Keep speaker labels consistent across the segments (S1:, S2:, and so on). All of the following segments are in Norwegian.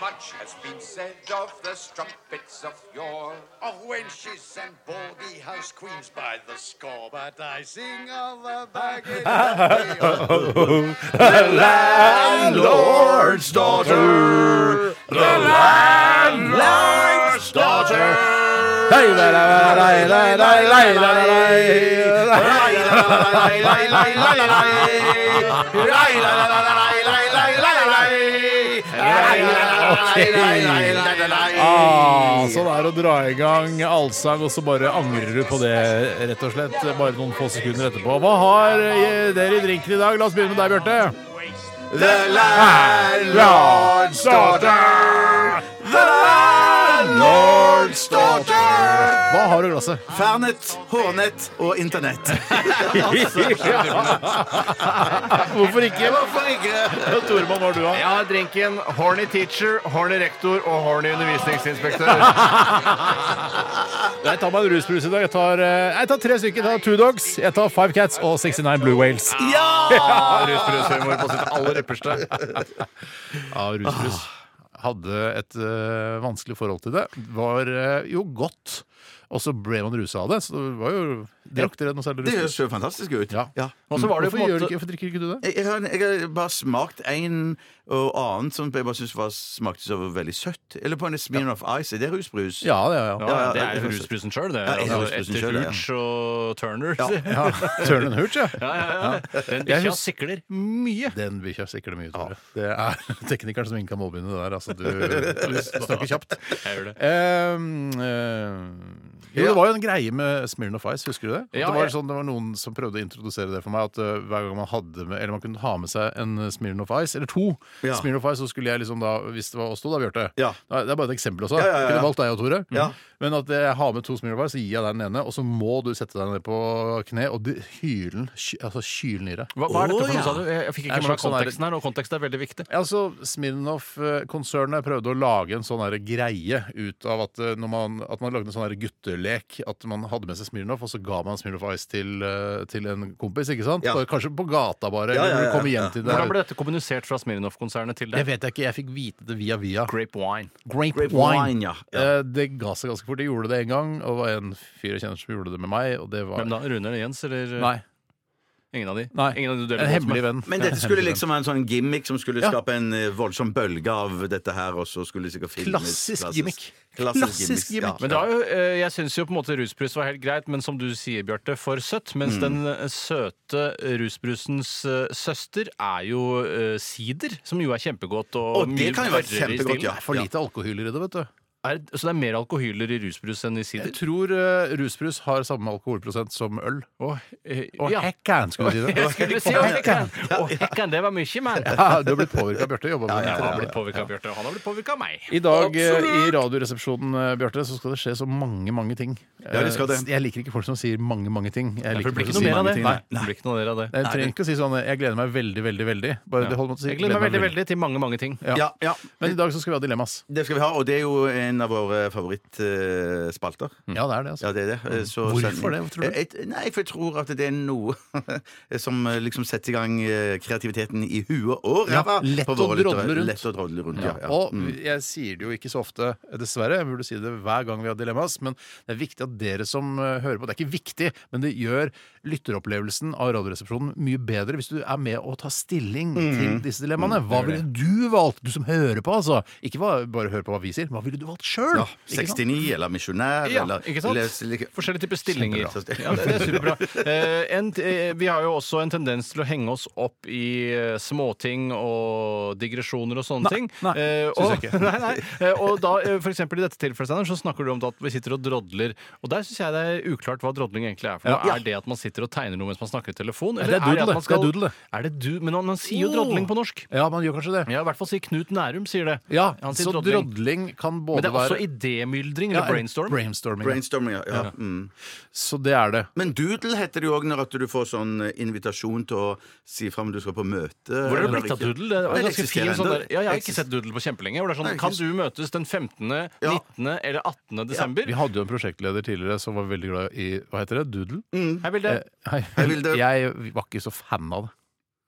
S1: Much has been said of the strumpets of yore, of wenches and baldy house queens by the score. But I sing of the baggage of the old
S2: Landlord's daughter. The landlord's daughter. Ah, sånn er det å dra i gang allsang, og så bare angrer du på det, rett og slett. Bare noen få sekunder etterpå. Hva har eh, dere i drinken i dag? La oss begynne med deg, Bjarte. The landlord's daughter. The landlord's daughter. Hva har du i glasset?
S3: Fernet, Hårnett og Internett.
S4: Altså,
S2: Hvorfor ikke?
S3: Hvorfor ikke?
S2: Toremann, hva har du av?
S4: Jeg har drinken Horny Teacher, Horny Rektor og Horny Undervisningsinspektør.
S2: Jeg tar meg en rusbrus i dag. Jeg tar, eh, jeg tar tre stykker. Jeg tar Two Dogs, jeg tar Five Cats og 69 Blue Whales.
S4: Rusbrushumor på sitt aller ypperste.
S2: Ja, rusbrus. Hadde et eh, vanskelig forhold til det. Var eh, jo godt. Og så ble man rusa av det. Så det var jo Drakk dere noe særlig
S3: Det
S2: rusbrus?
S3: høres jo fantastisk ut.
S2: Ja.
S4: Og så var det jo
S2: Hvorfor,
S4: på en
S2: gjør du
S4: måte
S2: ikke, hvorfor drikker ikke du det?
S3: Jeg, jeg, har, jeg har bare smakt en og annen som jeg bare syns smakte så veldig søtt. Eller på en Smirnoff Ice. Er det rusbrus?
S2: Ja, det er
S3: Ja, ja,
S5: Det er
S3: det er
S5: jo
S3: sant.
S5: rusbrusen sjøl, det.
S3: Ja, det er
S5: altså,
S3: rusbrusen
S5: etter
S3: selv, ja.
S5: Hooch og Turner. Ja.
S2: ja. Turn and Hooch, ja.
S5: Ja, ja, Den
S2: Jeg
S5: bikkja
S2: hus-
S5: sikler mye.
S2: Den bikkja sikler mye, Tore. Det er teknikeren som ikke kan målbegynne det der. Altså, du, du snakker kjapt.
S5: Jeg gjør det.
S2: Ehm, eh, jo, det var jo en greie med Smirnoff Ice, husker du det? At
S5: Ja,
S2: det, var
S5: jeg-
S2: sånn, det var noen som prøvde å introdusere det for meg. At eh, hver gang man hadde med, eller man kunne ha med seg en Smirnoff Ice, eller to,
S3: Ja.
S2: Smirnoff Ice, så skulle jeg liksom da, hvis det var oss to, da, Bjarte
S3: Ja.
S2: Nei, Det er bare et eksempel også.
S3: Ja, ja, ja.
S2: Kunne valgt deg og Tore.
S3: Ja.
S2: Men at jeg har med to Smirnoff Ice, så gir jeg deg den ene, og så må du sette deg ned på kne og dy- hyle den, ky- altså kyle den i deg.
S5: Hva, hva er dette for
S3: Å, ja.
S5: noe, sa du? Jeg jeg fikk
S2: Det er
S5: ikke med meg
S2: sånn der-
S5: konteksten her, og kontekst er veldig viktig.
S2: Altså, Smirnov-konsernet prøvde å lage en sånn her greie ut av at, eh, når man, at man lagde en sånn her guttelek. At man hadde med seg Smirnov, og så ga man Smirnov Ice til, eh, til en kompis. ikke sant?
S3: Ja.
S2: Bare- Kanskje på gata, bare.
S3: Ja, ja,
S2: eller
S3: ja,
S2: komme
S3: ja.
S2: hjem til det.
S5: Hvordan ble dette kommunisert fra Smirnov-konsernet til
S2: Jeg vet
S5: deg?
S2: ikke. Jeg fikk vite det via via.
S5: Grape wine.
S2: Grape,
S3: Grape wine, ja.
S2: Eh, Det ga seg ganske fort. Jeg gjorde det en gang, og det var en fyr jeg kjenner som gjorde det med meg. Og det var
S5: Hvem da? Rune eller Jens? Eller eh,
S2: Nei.
S5: ingen av de?
S2: Nei.
S5: Ingen av de du
S2: En
S5: deler båt
S2: hemmelig
S5: med?
S2: venn.
S3: Men dette skulle liksom være en sånn gimmick som skulle
S2: Ja.
S3: skape en eh, voldsom bølge av dette her, og så skulle det sikkert filmes.
S2: Klassisk gimmick.
S3: Klassisk,
S2: Klassisk
S3: gimmick.
S2: gimmick.
S5: Men det var jo, eh, jeg syns jo på en måte rusbrus var helt greit, men som du sier, Bjarte, for søtt. Mens den eh, søte rusbrusens eh, søster er jo eh, sider, som jo er kjempegodt. Og,
S3: Og det
S5: mye
S3: kan jo være
S5: tørrere i
S3: kjempegodt,
S5: stilen.
S3: ja.
S2: For lite alkohyler i det, vet du.
S5: Er, så det er mer alkohyler i rusbrus enn i
S2: Jeg
S5: sider?
S2: tror eh, rusbrus har samme alkoholprosent som øl.
S5: eh,
S2: Og
S5: ja.
S2: hekkan, skulle du si det?
S5: Jeg skulle si hekkan! Og hekkan, det var mye, mann!
S2: Ja, du har blitt påvirka av Bjarte. Jobba med
S5: Jeg har
S2: det.
S5: blitt påvirka av Bjarte, og han har blitt påvirka av meg.
S2: I dag eh, i Radioresepsjonen eh, Bjørte, så skal det skje så mange mange ting.
S3: Ja, det skal det.
S2: Eh, Jeg liker ikke folk som sier mange mange ting. Jeg
S5: For
S2: liker
S5: det
S2: folk
S5: blir ikke
S2: som
S5: noe
S2: sier
S5: mer av
S2: mange
S5: det.
S2: ting.
S5: Nei, det blir ikke noe mer av det.
S2: Jeg trenger ikke å si sånn eh, 'jeg gleder meg veldig, veldig, veldig'. Bare det holder med å si
S5: Jeg gleder meg veldig, veldig til mange, mange ting.
S2: Ja.
S3: Ja, ja.
S2: Men i dag så skal vi ha dilemmas.
S3: Det skal vi ha, og det er jo en av våre favorittspalter.
S2: Ja, det er det,
S3: Ja,
S2: altså.
S3: det er det. Eh, så
S2: Hvorfor
S3: send inn.
S2: det? Hva tror du?
S3: Eh, et- Nei, for jeg tror at det er noe som eh, liksom setter i gang eh, kreativiteten i huet og
S2: Ja,
S3: ræva.
S2: lett
S3: på våre
S2: å
S3: lyttere.
S2: drodle rundt.
S3: Lett å drodle rundt, ja. ja.
S2: Og Mm. jeg sier det jo ikke så ofte, dessverre. Jeg burde si det hver gang vi har dilemmas. Men det er viktig at dere som eh, hører på Det er ikke viktig, men det gjør lytteropplevelsen av Radioresepsjonen mye bedre hvis du er med og tar stilling til disse dilemmaene. Hva ville du valgt, du som hører på, altså? Ikke hva, bare hør på hva vi sier. Hva ville du valgt sjøl?
S3: Ja, 69 eller misjonær
S5: Ja,
S3: eller
S5: ikke sant?
S3: les- like-
S5: Forskjellige typer stillinger.
S3: Kjempebra.
S5: Ja, det det er superbra. Eh, en, t- eh, vi har jo også en tendens til å henge oss opp i eh, småting og digresjoner og sånne ting.
S2: nei,
S5: Eh, og,
S2: synes jeg ikke.
S5: Nei, nei. Eh, og da, eh, for eksempel i dette tilfellet, Steinar, så snakker du om at vi sitter og drodler. Og der syns jeg det er uklart hva drodling egentlig er for noe.
S2: Ja.
S5: Er det at man sitter og tegner noe mens man snakker i telefon?
S2: det er
S5: at
S2: doodle, det.
S5: man
S2: Det er doodle, det.
S5: Er det du? Men man, man sier jo
S2: Oh.
S5: drodling på norsk.
S2: Ja, man gjør kanskje det.
S5: Ja, i hvert fall sier Knut Nærum sier det.
S2: Ja,
S5: Han sier
S2: Så drodling kan
S5: Men
S2: både det
S5: det det
S2: var-
S5: også idémyldring
S2: Ja,
S5: eller brainstorm?
S2: brainstorming. ja.
S3: Brainstorming, ja. ja. Mm.
S2: Så det er det.
S3: Men doodle heter det jo òg når at du får sånn eh, invitasjon til å si fra om du skal på møte.
S5: Hvor er det
S3: eller
S5: blitt av
S3: ikke.
S5: Doodle? Det
S3: Nei,
S5: var
S3: det
S5: ganske fin
S3: eksisterer
S5: sånn
S3: ennå.
S5: der. Ja, jeg har ikke
S3: Eksist-
S5: sett Doodle på kjempelenge. Hvor det er
S3: Nei,
S5: sånn,
S3: ikke s-
S5: Kan du møtes den 15., 19. eller 18. desember?
S2: Vi hadde jo en prosjektleder tidligere som var veldig glad i Hva heter det? Doodle?
S3: Mm.
S5: Hei, Vilde.
S2: Eh, hei.
S3: Hei, Vilde.
S2: Jeg var ikke så fan av det.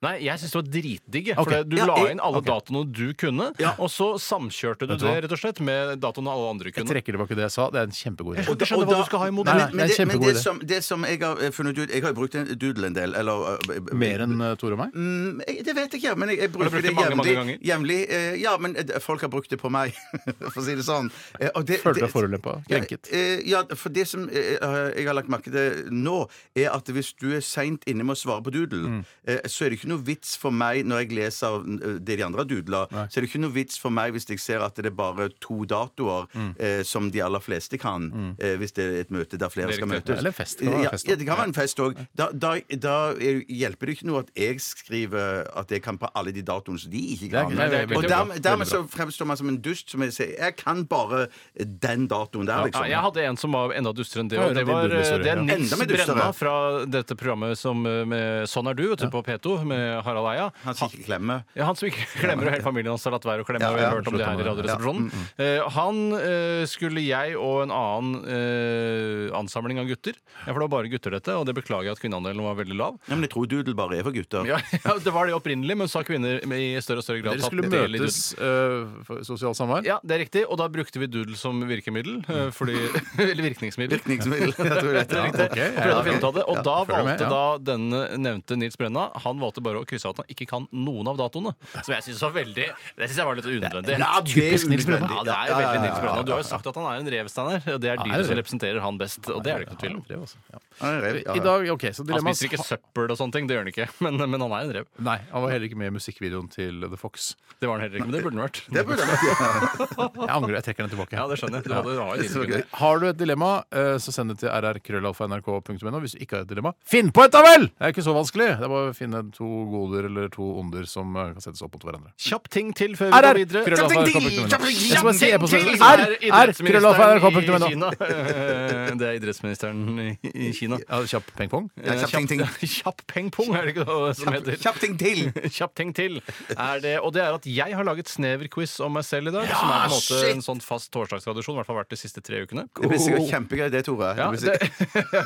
S5: Nei, jeg syns det var dritdigg. jeg.
S2: Ok.
S5: For det- du
S3: Ja,
S5: la
S3: jeg-
S5: inn alle datoene du kunne,
S3: Ja.
S5: og så samkjørte du
S2: Vet du hva?
S5: det rett og slett med datoene alle andre
S2: Jeg
S5: kunne.
S2: trekker tilbake det jeg sa. Det er en kjempegod idé.
S5: Jeg skjønner ikke
S3: Og
S5: hva
S3: da-
S5: du skal ha imot
S2: Nei,
S5: det.
S2: nei.
S3: Men,
S2: det
S3: det,
S2: er en
S3: men
S2: kjempegod
S3: det,
S2: idé.
S3: som, det som jeg har eh, funnet ut Jeg har jo brukt en doodle en del. Eller, eh, b- b-
S2: Mer enn eh, Tore og meg.
S3: Mm, jeg- Det vet jeg ikke, men jeg, jeg
S5: brukt
S3: bruker
S5: det
S3: det
S5: mange, mange ganger?
S3: jevnlig. jevnlig, eh, Ja, men eh, folk har brukt det på meg, for å si det sånn. Eh, og det-
S2: Følte
S3: det-
S2: deg forulempet, krenket.
S3: Ja, eh, Ja, for det som eh, eh, jeg har lagt merke til nå, er at hvis du er seint inne med å svare på doodle,
S2: Mm.
S3: eh, så er det ikke noe vits for meg når jeg leser eh, det de andre har doodla, så er det ikke noe vits for meg hvis jeg ser at det er bare to datoer
S2: Mm.
S3: eh, som de aller fleste kan, eh, hvis det er et møte der flere
S5: Det er
S3: skal
S5: riktig.
S3: møtes.
S2: Eller fest, det kan være
S3: Ja,
S2: fest
S3: ja, det kan være en fest òg. Da, da, da er- hjelper det ikke noe at jeg skriver at jeg kan på alle de datoene som de ikke kan.
S2: Det er- det er veldig
S3: og
S2: bra.
S3: dermed, dermed
S2: Veldig
S3: så fremstår man som en dust som jeg sier Jeg kan bare den datoen der,
S5: Ja,
S3: liksom.
S5: jeg hadde en som var enda dustere enn det.
S2: Ja,
S5: Og det,
S2: din
S5: var, eh,
S2: doodle-historie,
S5: det er
S2: ja.
S5: Nils
S3: Enda mer dustere.
S5: Brenna fra dette programmet som, eh, med Sånn er du, vet du, på P2 med Harald Eia.
S3: Han sier ikke klemme.
S5: Ja, Han som ikke klemmer, og hele familien hans har latt være å klemme.
S3: Ja,
S5: og jeg
S3: ja,
S5: har hørt om det her i radioresepsjonen. Eh, han eh, skulle jeg og en annen eh, ansamling av gutter ja, For det var bare gutter, dette, og det beklager jeg at kvinneandelen var veldig lav.
S3: Ja, men jeg tror doodle bare er for gutter.
S5: Ja, ja, Det var det opprinnelig, men så har kvinner i større og større grad
S2: Dere skulle
S5: tatt del i
S2: møtes
S5: doodle.
S2: eh, for sosialt samvær.
S5: Ja, det er riktig, og da brukte vi doodle som virkemiddel. eh, Fordi, eller virkningsmiddel.
S3: Virkningsmiddel. Jeg tror det er riktig.
S2: ok, ja,
S5: Jeg prøvde å
S2: ok.
S5: finne ut av det, og
S2: Ja,
S5: da
S2: følger
S5: valgte
S2: med, ja.
S5: da denne nevnte Nils Brenna Han valgte bare å krysse av at han ikke kan noen av datoene. Som jeg syns var veldig Det synes jeg var litt unødvendig.
S3: Ja, det er
S2: Typisk Nils Brenna.
S3: unødvendig.
S5: Ja, det er jo
S3: Ja, ja, ja,
S5: veldig
S3: ja,
S5: Nils Brenna.
S3: ja,
S5: Du har jo sagt at han er en revsteiner. og Det er
S2: er
S5: dyret som
S2: det.
S5: representerer han best, og det er det ikke noe tvil om.
S2: Ja, det er også, ja.
S3: Han er rev, ja,
S2: I
S3: ja.
S2: dag, ok, så
S5: Han
S2: dilemmas
S5: spiser ikke søppel og sånne ting, det gjør han ikke, men, men han er en rev.
S2: Nei, han var heller ikke med i musikkvideoen til The Fox.
S5: Det var han heller ikke, men det burde han vært.
S3: Det burde han vært.
S2: Jeg angrer, jeg trekker den tilbake.
S5: Ja, det skjønner jeg. Du hadde, du har jo
S3: så
S5: dine
S3: gøy.
S5: grunner.
S2: Har du et dilemma, eh, så send det til rrkrøllalfa.nrk.no. Hvis du ikke har et dilemma, finn på et, da vel! Det er ikke så vanskelig. Det er bare å finne to goder eller to onder som eh, kan settes opp mot hverandre.
S5: Kjapp ting til før vi går
S2: RR!
S5: videre.
S2: Krøllalfa.nrk.no. Jeg skal bare si
S5: Til
S2: e-posten.
S5: er
S2: RR!
S5: idrettsministeren i
S2: Krøllalfa.nrk.no.
S5: Kina. Eh, Det er idrettsministeren i- i Kina.
S2: Ja, kjapp pengpong.
S3: Ja, kjapp ting, ting.
S5: Kjapp pengpong, er det ikke det som heter?
S3: Eh, Kjapp ting til!
S5: Kjapp ting til. Er det, og det er at jeg har laget snever-quiz om meg selv i dag. som er på en måte
S3: shit!
S5: en sånn fast torsdagstradisjon, i hvert fall vært de siste tre ukene.
S3: Det blir sikkert kjempegøy, det, Tore.
S5: Ja,
S3: Oh. Det blir
S5: det,
S3: sikkert-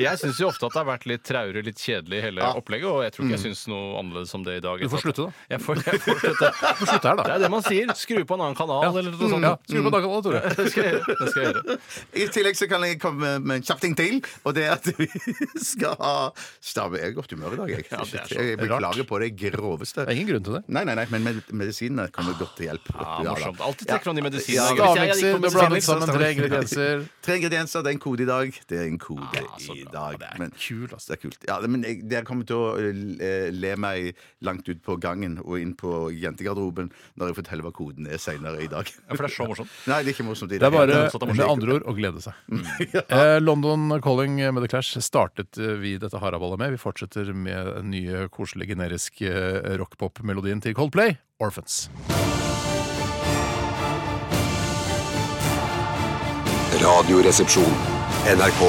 S5: jeg syns jo ofte at det har vært litt traurig, litt kjedelig, hele opplegget. Og jeg tror ikke jeg syns noe annerledes om det i dag.
S2: Du får slutte, da.
S5: Jeg får, jeg får slutte.
S2: Vi får slutte her,
S5: Det
S2: da.
S5: er det man sier. Skru på en annen kanal, eller noe sånt.
S2: Ja, skru på dagkallet, Tore.
S5: Det skal jeg gjøre. Det skal jeg gjøre.
S3: I tillegg så kan jeg komme med en kjapp ting til, og det er at vi skal ha Stabe, jeg er i godt humør i dag, jeg.
S5: det er så
S3: jeg beklager på det groveste.
S2: Det er ingen grunn til det.
S3: Nei, nei, nei, men med- medisinene kommer godt til hjelp.
S5: Ja,
S3: da.
S5: morsomt. Alltid trekker han i medisin.
S3: Ja,
S5: Hvis jeg- jeg gikk
S2: Stavmikser,
S5: på
S2: du har
S5: medisin,
S2: blandet
S5: liksom,
S2: sammen tre ingredienser.
S3: Tre ingredienser, det er en kode i dag. Det er en kode
S5: så
S3: i
S5: bra.
S3: dag.
S2: Det er
S3: Men,
S2: kult, altså.
S3: det er kult. Ja, det- men jeg, jeg kommer til å eh, le meg langt ut på gangen og inn på jentegarderoben når jeg forteller hva koden er seinere i dag.
S5: Ja, for det er så morsomt.
S3: Nei, det er ikke morsomt i
S2: Det er bare
S5: er sånn at det
S2: med
S5: må skje.
S2: andre ord å glede seg. Eh, London Calling med The Clash startet eh, vi dette haraballet med. Vi fortsetter med den nye koselige generiske eh, rockpop-melodien til Coldplay, Orphans.
S6: Radioresepsjon. NRK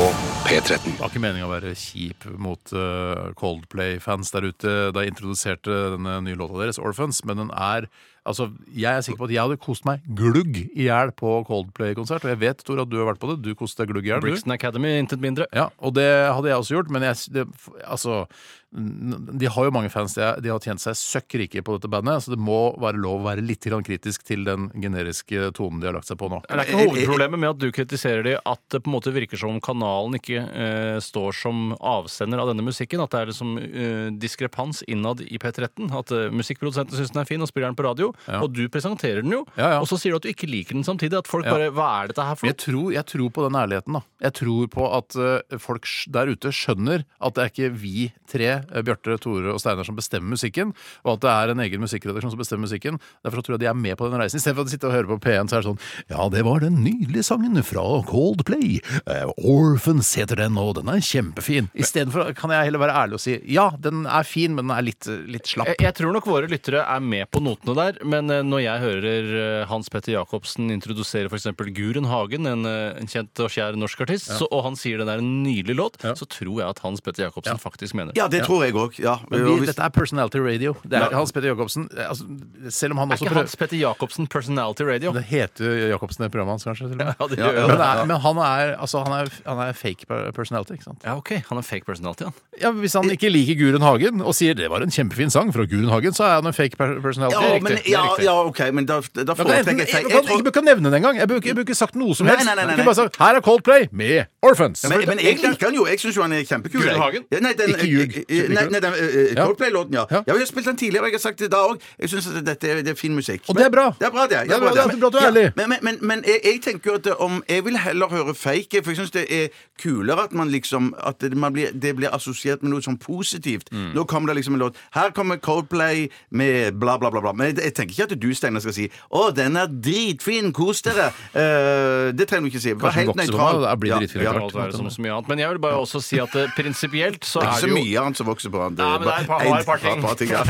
S6: P13.
S2: Det var ikke meninga å være kjip mot eh, Coldplay-fans der ute da jeg introduserte denne nye låta deres, Orphans, men den er Altså, jeg er sikker på at jeg hadde kost meg glugg i hjel på Coldplay-konsert, og jeg vet, Tor, at du har vært på det. Du koste deg glugg i hjel, du.
S5: Brixton Academy, intet mindre.
S2: Ja, og det hadde jeg også gjort, men jeg, det, altså, n- de har jo mange fans. De, er, de har tjent seg søkk rike på dette bandet, så det må være lov å være litt grann kritisk til den generiske tonen de har lagt seg på nå.
S5: Men Det er ikke hovedproblemet med at du kritiserer de at det på en måte virker som om kanalen ikke eh, står som avsender av denne musikken. At det er liksom eh, diskrepans innad i P13. At eh, musikkprodusenten syns den er fin og spiller den på radio,
S2: Ja.
S5: og du presenterer den jo.
S2: Ja, ja.
S5: Og så sier du at du ikke liker den samtidig. At folk
S2: Ja.
S5: bare Hva er dette her for
S2: Men jeg
S5: noe?
S2: tror, jeg tror på den ærligheten, da. Jeg tror på at eh, folk sj- der ute skjønner at det er ikke vi tre, eh, Bjarte, Tore og Steinar, som bestemmer musikken, og at det er en egen musikkredaksjon som bestemmer musikken. Derfor tror jeg de er med på den reisen. Istedenfor å sitte og høre på P1, så er det sånn Ja, det var den nydelige sangen fra Coldplay. eh, Orphans het heter den, og den er kjempefin. Istedenfor kan jeg heller være ærlig og si ja, den er fin, men den er litt, litt slapp.
S5: Jeg, jeg tror nok våre lyttere er med på notene der, men eh, når jeg hører eh, Hans Petter Jacobsen introdusere f.eks. Guren Hagen, en, eh, en kjent og kjær norsk artist, så, og han sier den er en nydelig låt, så tror jeg at Hans Petter Jacobsen faktisk mener det.
S3: Ja, det tror jeg òg. Ja.
S2: Men
S3: Og
S2: vi,
S3: hvis-
S2: dette er personality radio. Det er
S5: Ja.
S2: Hans Petter Jacobsen. eh, Altså, selv om han
S5: Er
S2: også
S5: ikke
S2: prøver
S5: Hans Petter Jacobsen personality radio?
S2: Det heter Jacobsen i programmet hans, kanskje? Til og med.
S5: Ja, det
S3: Ja,
S5: gjør
S3: ja.
S5: jo
S2: Men,
S5: det.
S2: det er, men han, er, altså, han, er, han er fake per- personality, ikke sant?
S5: Ja, OK. Han er fake personality, han.
S2: Ja, Hvis han ikke liker Gurun Hagen og sier det var en kjempefin sang fra Gurun Hagen, så er han en fake per- personality.
S3: ja,
S2: riktig.
S3: men,
S2: Det er
S3: ja,
S2: riktig.
S3: ja, OK, men da, da
S2: Ja, men det er
S3: foretrekker
S2: enten-
S3: jeg
S2: jeg
S3: seg
S2: kan- jeg burde ikke nevne det engang. Jeg burde ikke- jeg burde ikke sagt noe som
S3: Nei,
S2: helst.
S3: nei, nei,
S2: Jeg
S3: nei,
S2: kunne bare sagt, Her er Coldplay med Orphans.
S3: Men, men jeg liker han jo. Jeg syns jo han er kjempekul.
S5: Guri
S3: jeg.
S5: Hagen?
S3: Ja, nei, den,
S2: Ikke ljug.
S3: Nei, nei, den eh,
S2: Ja.
S3: Coldplay-låten, ja.
S2: Ja.
S3: ja. Vi har spilt den tidligere, og jeg har sagt det da òg. Jeg syns dette er, det er fin musikk.
S2: Og det er bra.
S3: Det er bra, det.
S2: Det er bra, det er bra at du er
S3: Ja,
S2: ærlig.
S3: Men, men, men, men jeg, jeg tenker jo at om Jeg vil heller høre fake, for jeg syns det er kulere at man liksom At det- man blir, det blir assosiert med noe sånn positivt.
S2: Mm.
S3: Nå kommer det liksom en låt Her kommer Coldplay med bla, bla, bla. bla. Men jeg, jeg tenker ikke at du, Steinar, skal si 'Å, den er dritfin, kos dere'. Eh, det trenger du ikke si. Vær
S2: Kanskje den
S3: helt
S2: vokser på
S3: nøytral.
S2: meg, og da blir det dritfin
S5: Det
S2: etter
S5: kan
S2: hvert.
S5: godt være som så mye annet. Men jeg vil bare også si at eh, prinsipielt så
S3: Det er
S5: er
S3: ikke
S5: det
S3: så
S5: jo
S3: mye annet som vokser på han.
S5: Nei, men det er et par-
S3: en-
S5: et par ting.
S3: par ting, ja.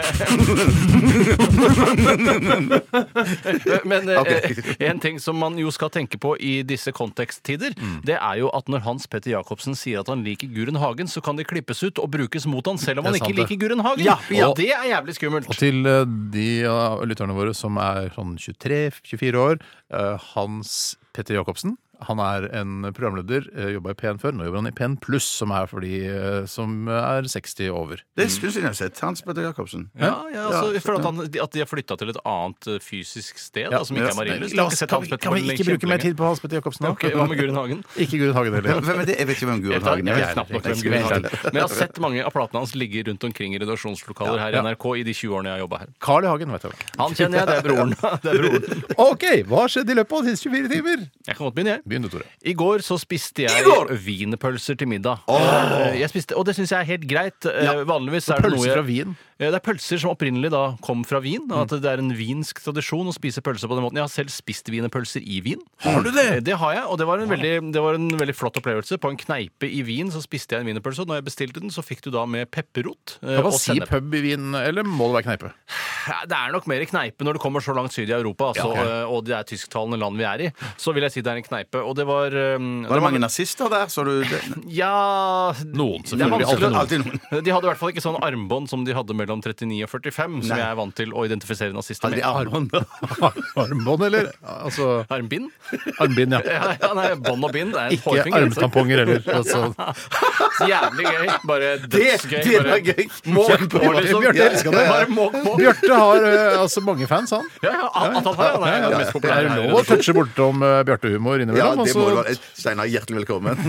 S5: Men eh,
S3: Ok.
S5: eh, en ting som man jo skal tenke på i disse konteksttider,
S2: Mm.
S5: det er jo at når Hans Petter Jacobsen sier at han liker Guren Hagen, så kan de klippes ut og brukes mot han selv om
S2: Det
S5: han
S2: er
S5: ikke
S2: sant,
S5: liker Guren Hagen.
S2: Ja, ja.
S5: Og det er jævlig skummelt.
S2: Og til eh, de av lytterne våre som er sånn 23-24 år, eh, Hans Petter Jacobsen. Han er en programleder, eh, jobba i P1 før. Nå jobber han i P1 pluss, som er for de eh, som er 60 over.
S3: Det er en stund siden jeg har sett Hans Petter Jacobsen.
S5: Ja, ja, altså, jeg
S3: så-
S5: føler at, han, at de har flytta til et annet eh, fysisk sted,
S2: Ja,
S5: da, som
S3: ja.
S5: ikke er Marienlyst. Jeg
S2: La
S5: har
S2: oss-
S5: ikke sett
S2: kan,
S5: Hans
S2: vi-
S5: Petter
S2: kan vi
S5: på
S2: ikke
S5: lenge.
S2: bruke mer tid på Hans Petter Jacobsen nå?
S5: Ok, Hva med Guren Hagen?
S2: Ikke Gurun Hagen
S3: Hvem
S2: heller.
S3: er det? Jeg vet ikke hvem
S5: Jeg
S3: Guro
S5: vet,
S3: Hagen er.
S5: ikke, jeg vet knapt nok hvem Guren Hagen er. Men jeg har sett mange av platene hans ligger rundt omkring i redaksjonslokaler her i
S2: Ja.
S5: NRK i de 20 årene jeg har jobba her.
S2: Carl I. Hagen, vet jeg.
S5: Han kjenner jeg, det er broren. Det er broren.
S2: OK, hva skjedde i løpet av de siste 24 timer?
S5: Jeg kan godt begynne, jeg.
S2: Begynn du, Tore.
S5: I går så spiste jeg
S3: går?
S5: wienerpølser til middag. Eh, Jeg spiste, og det syns jeg er helt greit. Eh, Vanligvis er det noe
S2: Pølser
S5: jeg,
S2: fra Wien.
S5: Eh, Det er pølser som opprinnelig da kom fra Wien. og At det er en wiensk tradisjon å spise pølser på den måten. Jeg har selv spist wienerpølser i Wien. Har du Det Det har jeg, og det var, en veldig, det var en veldig flott opplevelse. På en kneipe i Wien så spiste jeg en wienerpølse, og når jeg bestilte den, så fikk du da med pepperrot. eh,
S2: Kan
S5: og
S2: man si
S5: sennep.
S2: pub i Wien, eller må det være kneipe?
S5: Ja, Det er nok mer kneipe når du kommer så langt syd i Europa, altså, eh, og det er tysktalende land vi er i. Så vil jeg si det er en kneipe. Og det var eh,
S3: Var det mange nazister der? Så du det?
S5: Ja
S2: Noen,
S5: Det er
S2: selvfølgelig.
S5: vanskelig.
S2: Alltid noen.
S3: Alltid noen.
S5: De hadde i hvert fall ikke sånn armbånd som de hadde mellom 39 og 45, som jeg er vant til å identifisere nazister
S3: Aldri
S5: med.
S3: armbånd.
S2: Armbånd, eller? Altså
S5: Armbind?
S2: armbind, ja.
S5: Ja, ja, nei, bånd og bind. Det er en
S2: Ikke
S5: hårfinger. altså.
S2: armtamponger heller. Altså,
S5: Jævlig gøy. Bare dødsgøy.
S3: det
S5: bare-
S3: var gøy.
S5: Måk på,
S2: Bjarte,
S5: liksom.
S2: Bjarte elsker det.
S5: Bare måk på.
S2: Bjarte har eh, altså mange fans, han.
S5: Ja, ja, at han har, han er jo den mest
S2: Det er
S5: populære. her i
S2: lov å touche bortom eh, Bjarte-humor
S3: Ja,
S2: innimellom.
S3: det må det
S2: altså.
S3: være. Steinar, hjertelig velkommen.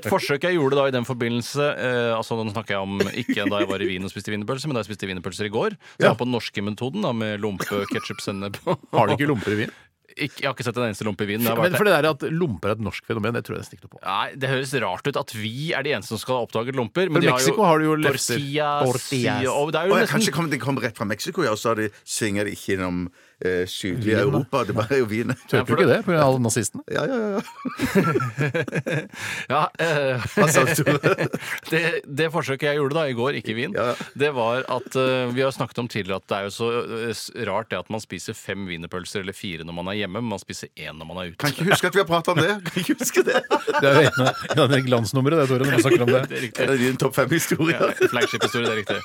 S5: Et forsøk jeg gjorde da i den forbindelse eh, altså Nå snakker jeg om ikke da jeg var i Wien og spiste wienerpølser, men da jeg spiste wienerpølser i går. Så jeg var på den norske metoden da med lompe, ketsjup, sennep
S2: Har de ikke lomper i Wien?
S5: Ikke- Jeg har ikke sett en eneste lompe i Wien. men jeg har vært
S2: Men for det der at lomper er et norsk fenomen, det tror jeg nesten ikke noe på.
S5: Nei, Det høres rart ut at vi er de eneste som skal ha oppdaget lomper.
S2: For
S5: de
S2: Mexico har du jo lefser.
S5: tortillas,
S2: Tortillas.
S5: ja, og det er
S3: Og
S5: jo
S3: jeg, kanskje
S5: nesten
S3: kom, det kom rett fra Mexico, ja, og så har de- synger de ikke gjennom eh, sydlige Europa. Det var jo Wien.
S2: Tør du ikke det pga. alle nazistene?
S3: Ja, ja, ja.
S5: ja, eh, det, det forsøket jeg gjorde da i går, ikke i Wien, det var at eh, Vi har snakket om tidligere at det er jo så eh, s- rart det at man spiser fem wienerpølser eller fire når man er hjemme, men man spiser én når man er ute.
S3: Kan ikke huske at vi har pratet om det. Kan ikke huske det.
S2: Det er jo en av- en av de glansnumrene, det, Tore, når man snakker om det.
S5: Det er riktig.
S3: En av dine topp
S5: Ja,
S3: fem-historier.
S5: Flagship-historie, det er riktig.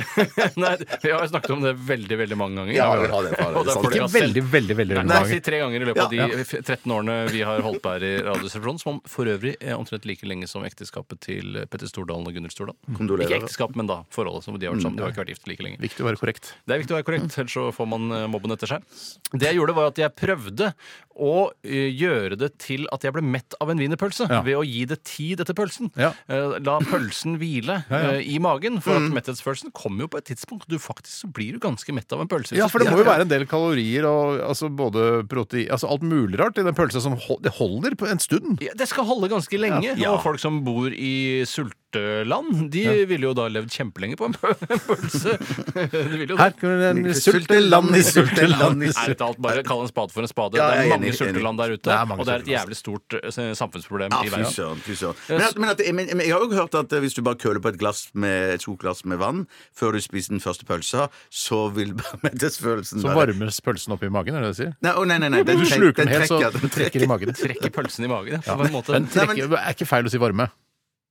S5: Nei, vi har jo snakket om det veldig veldig mange ganger.
S3: Ja, vi har det, vi har det,
S5: Og det er
S3: sant.
S5: fordi
S2: Ikke
S5: at selv-
S2: veldig, veldig, veldig
S5: Nei,
S2: mange
S5: si
S2: ganger.
S5: tre ganger i løpet av de
S3: Ja,
S5: f- 13 årene vi har holdt på her i Radioresepsjonen, som om- for øvrig er omtrent like lenge som ekteskapet til Petter Stordalen og Gunnar Stordalen.
S3: Kondolerer.
S5: Ikke ekteskap, men da forholdet som de har vært sammen. De har ikke vært gift like lenge.
S2: Viktig å være korrekt.
S5: Det er viktig å være korrekt, ellers så får man eh, mobben etter seg. Det jeg gjorde, var at jeg prøvde å eh, gjøre det til at jeg ble mett av en wienerpølse.
S2: Ja.
S5: Ved å gi det tid etter pølsen.
S2: Ja.
S5: Eh, La pølsen hvile eh, i magen, for at metthetsfølelsen kommer jo på et tidspunkt. Du faktisk så blir du ganske mett av en pølse. hvis
S2: Ja,
S5: du
S2: for det
S5: spiser
S2: må jo
S5: den.
S2: være en del kalorier og altså, både protein Altså alt mulig rart i den pølsa som hol- det holder på en stund.
S5: Ja, det skal holde ganske lenge. Og folk som bor i sulte sulteland, de ville jo da levd kjempelenge på en pølse. De ville jo
S2: Her kunne den sulteland i sulteland i
S5: Ærlig talt, bare kall en spade for en spade.
S3: Ja,
S5: det
S3: jeg
S5: er
S3: er
S5: mange
S3: enig,
S5: sulteland der ute,
S2: Det er mange
S5: og det er et
S2: sulteland.
S5: jævlig stort eh, samfunnsproblem
S3: Ja,
S5: i
S3: fy
S5: verden.
S3: søren. fy søren. Men, at, men, at, men, men jeg har jo hørt at eh, hvis du bare køler på et glass med et stort glass med vann før du spiser den første pølsa, så vil bare mettelsesfølelsen
S2: Så varmes pølsen opp i magen, er det det du sier?
S3: Nei, å, nei, nei, nei, den,
S2: Du
S3: den,
S2: sluker den
S3: den
S2: helt, så
S3: trekker. Den trekker.
S2: trekker i magen.
S5: Trekker pølsen i magen, ja. På en måte.
S2: Men trekker, det er ikke feil å si varme.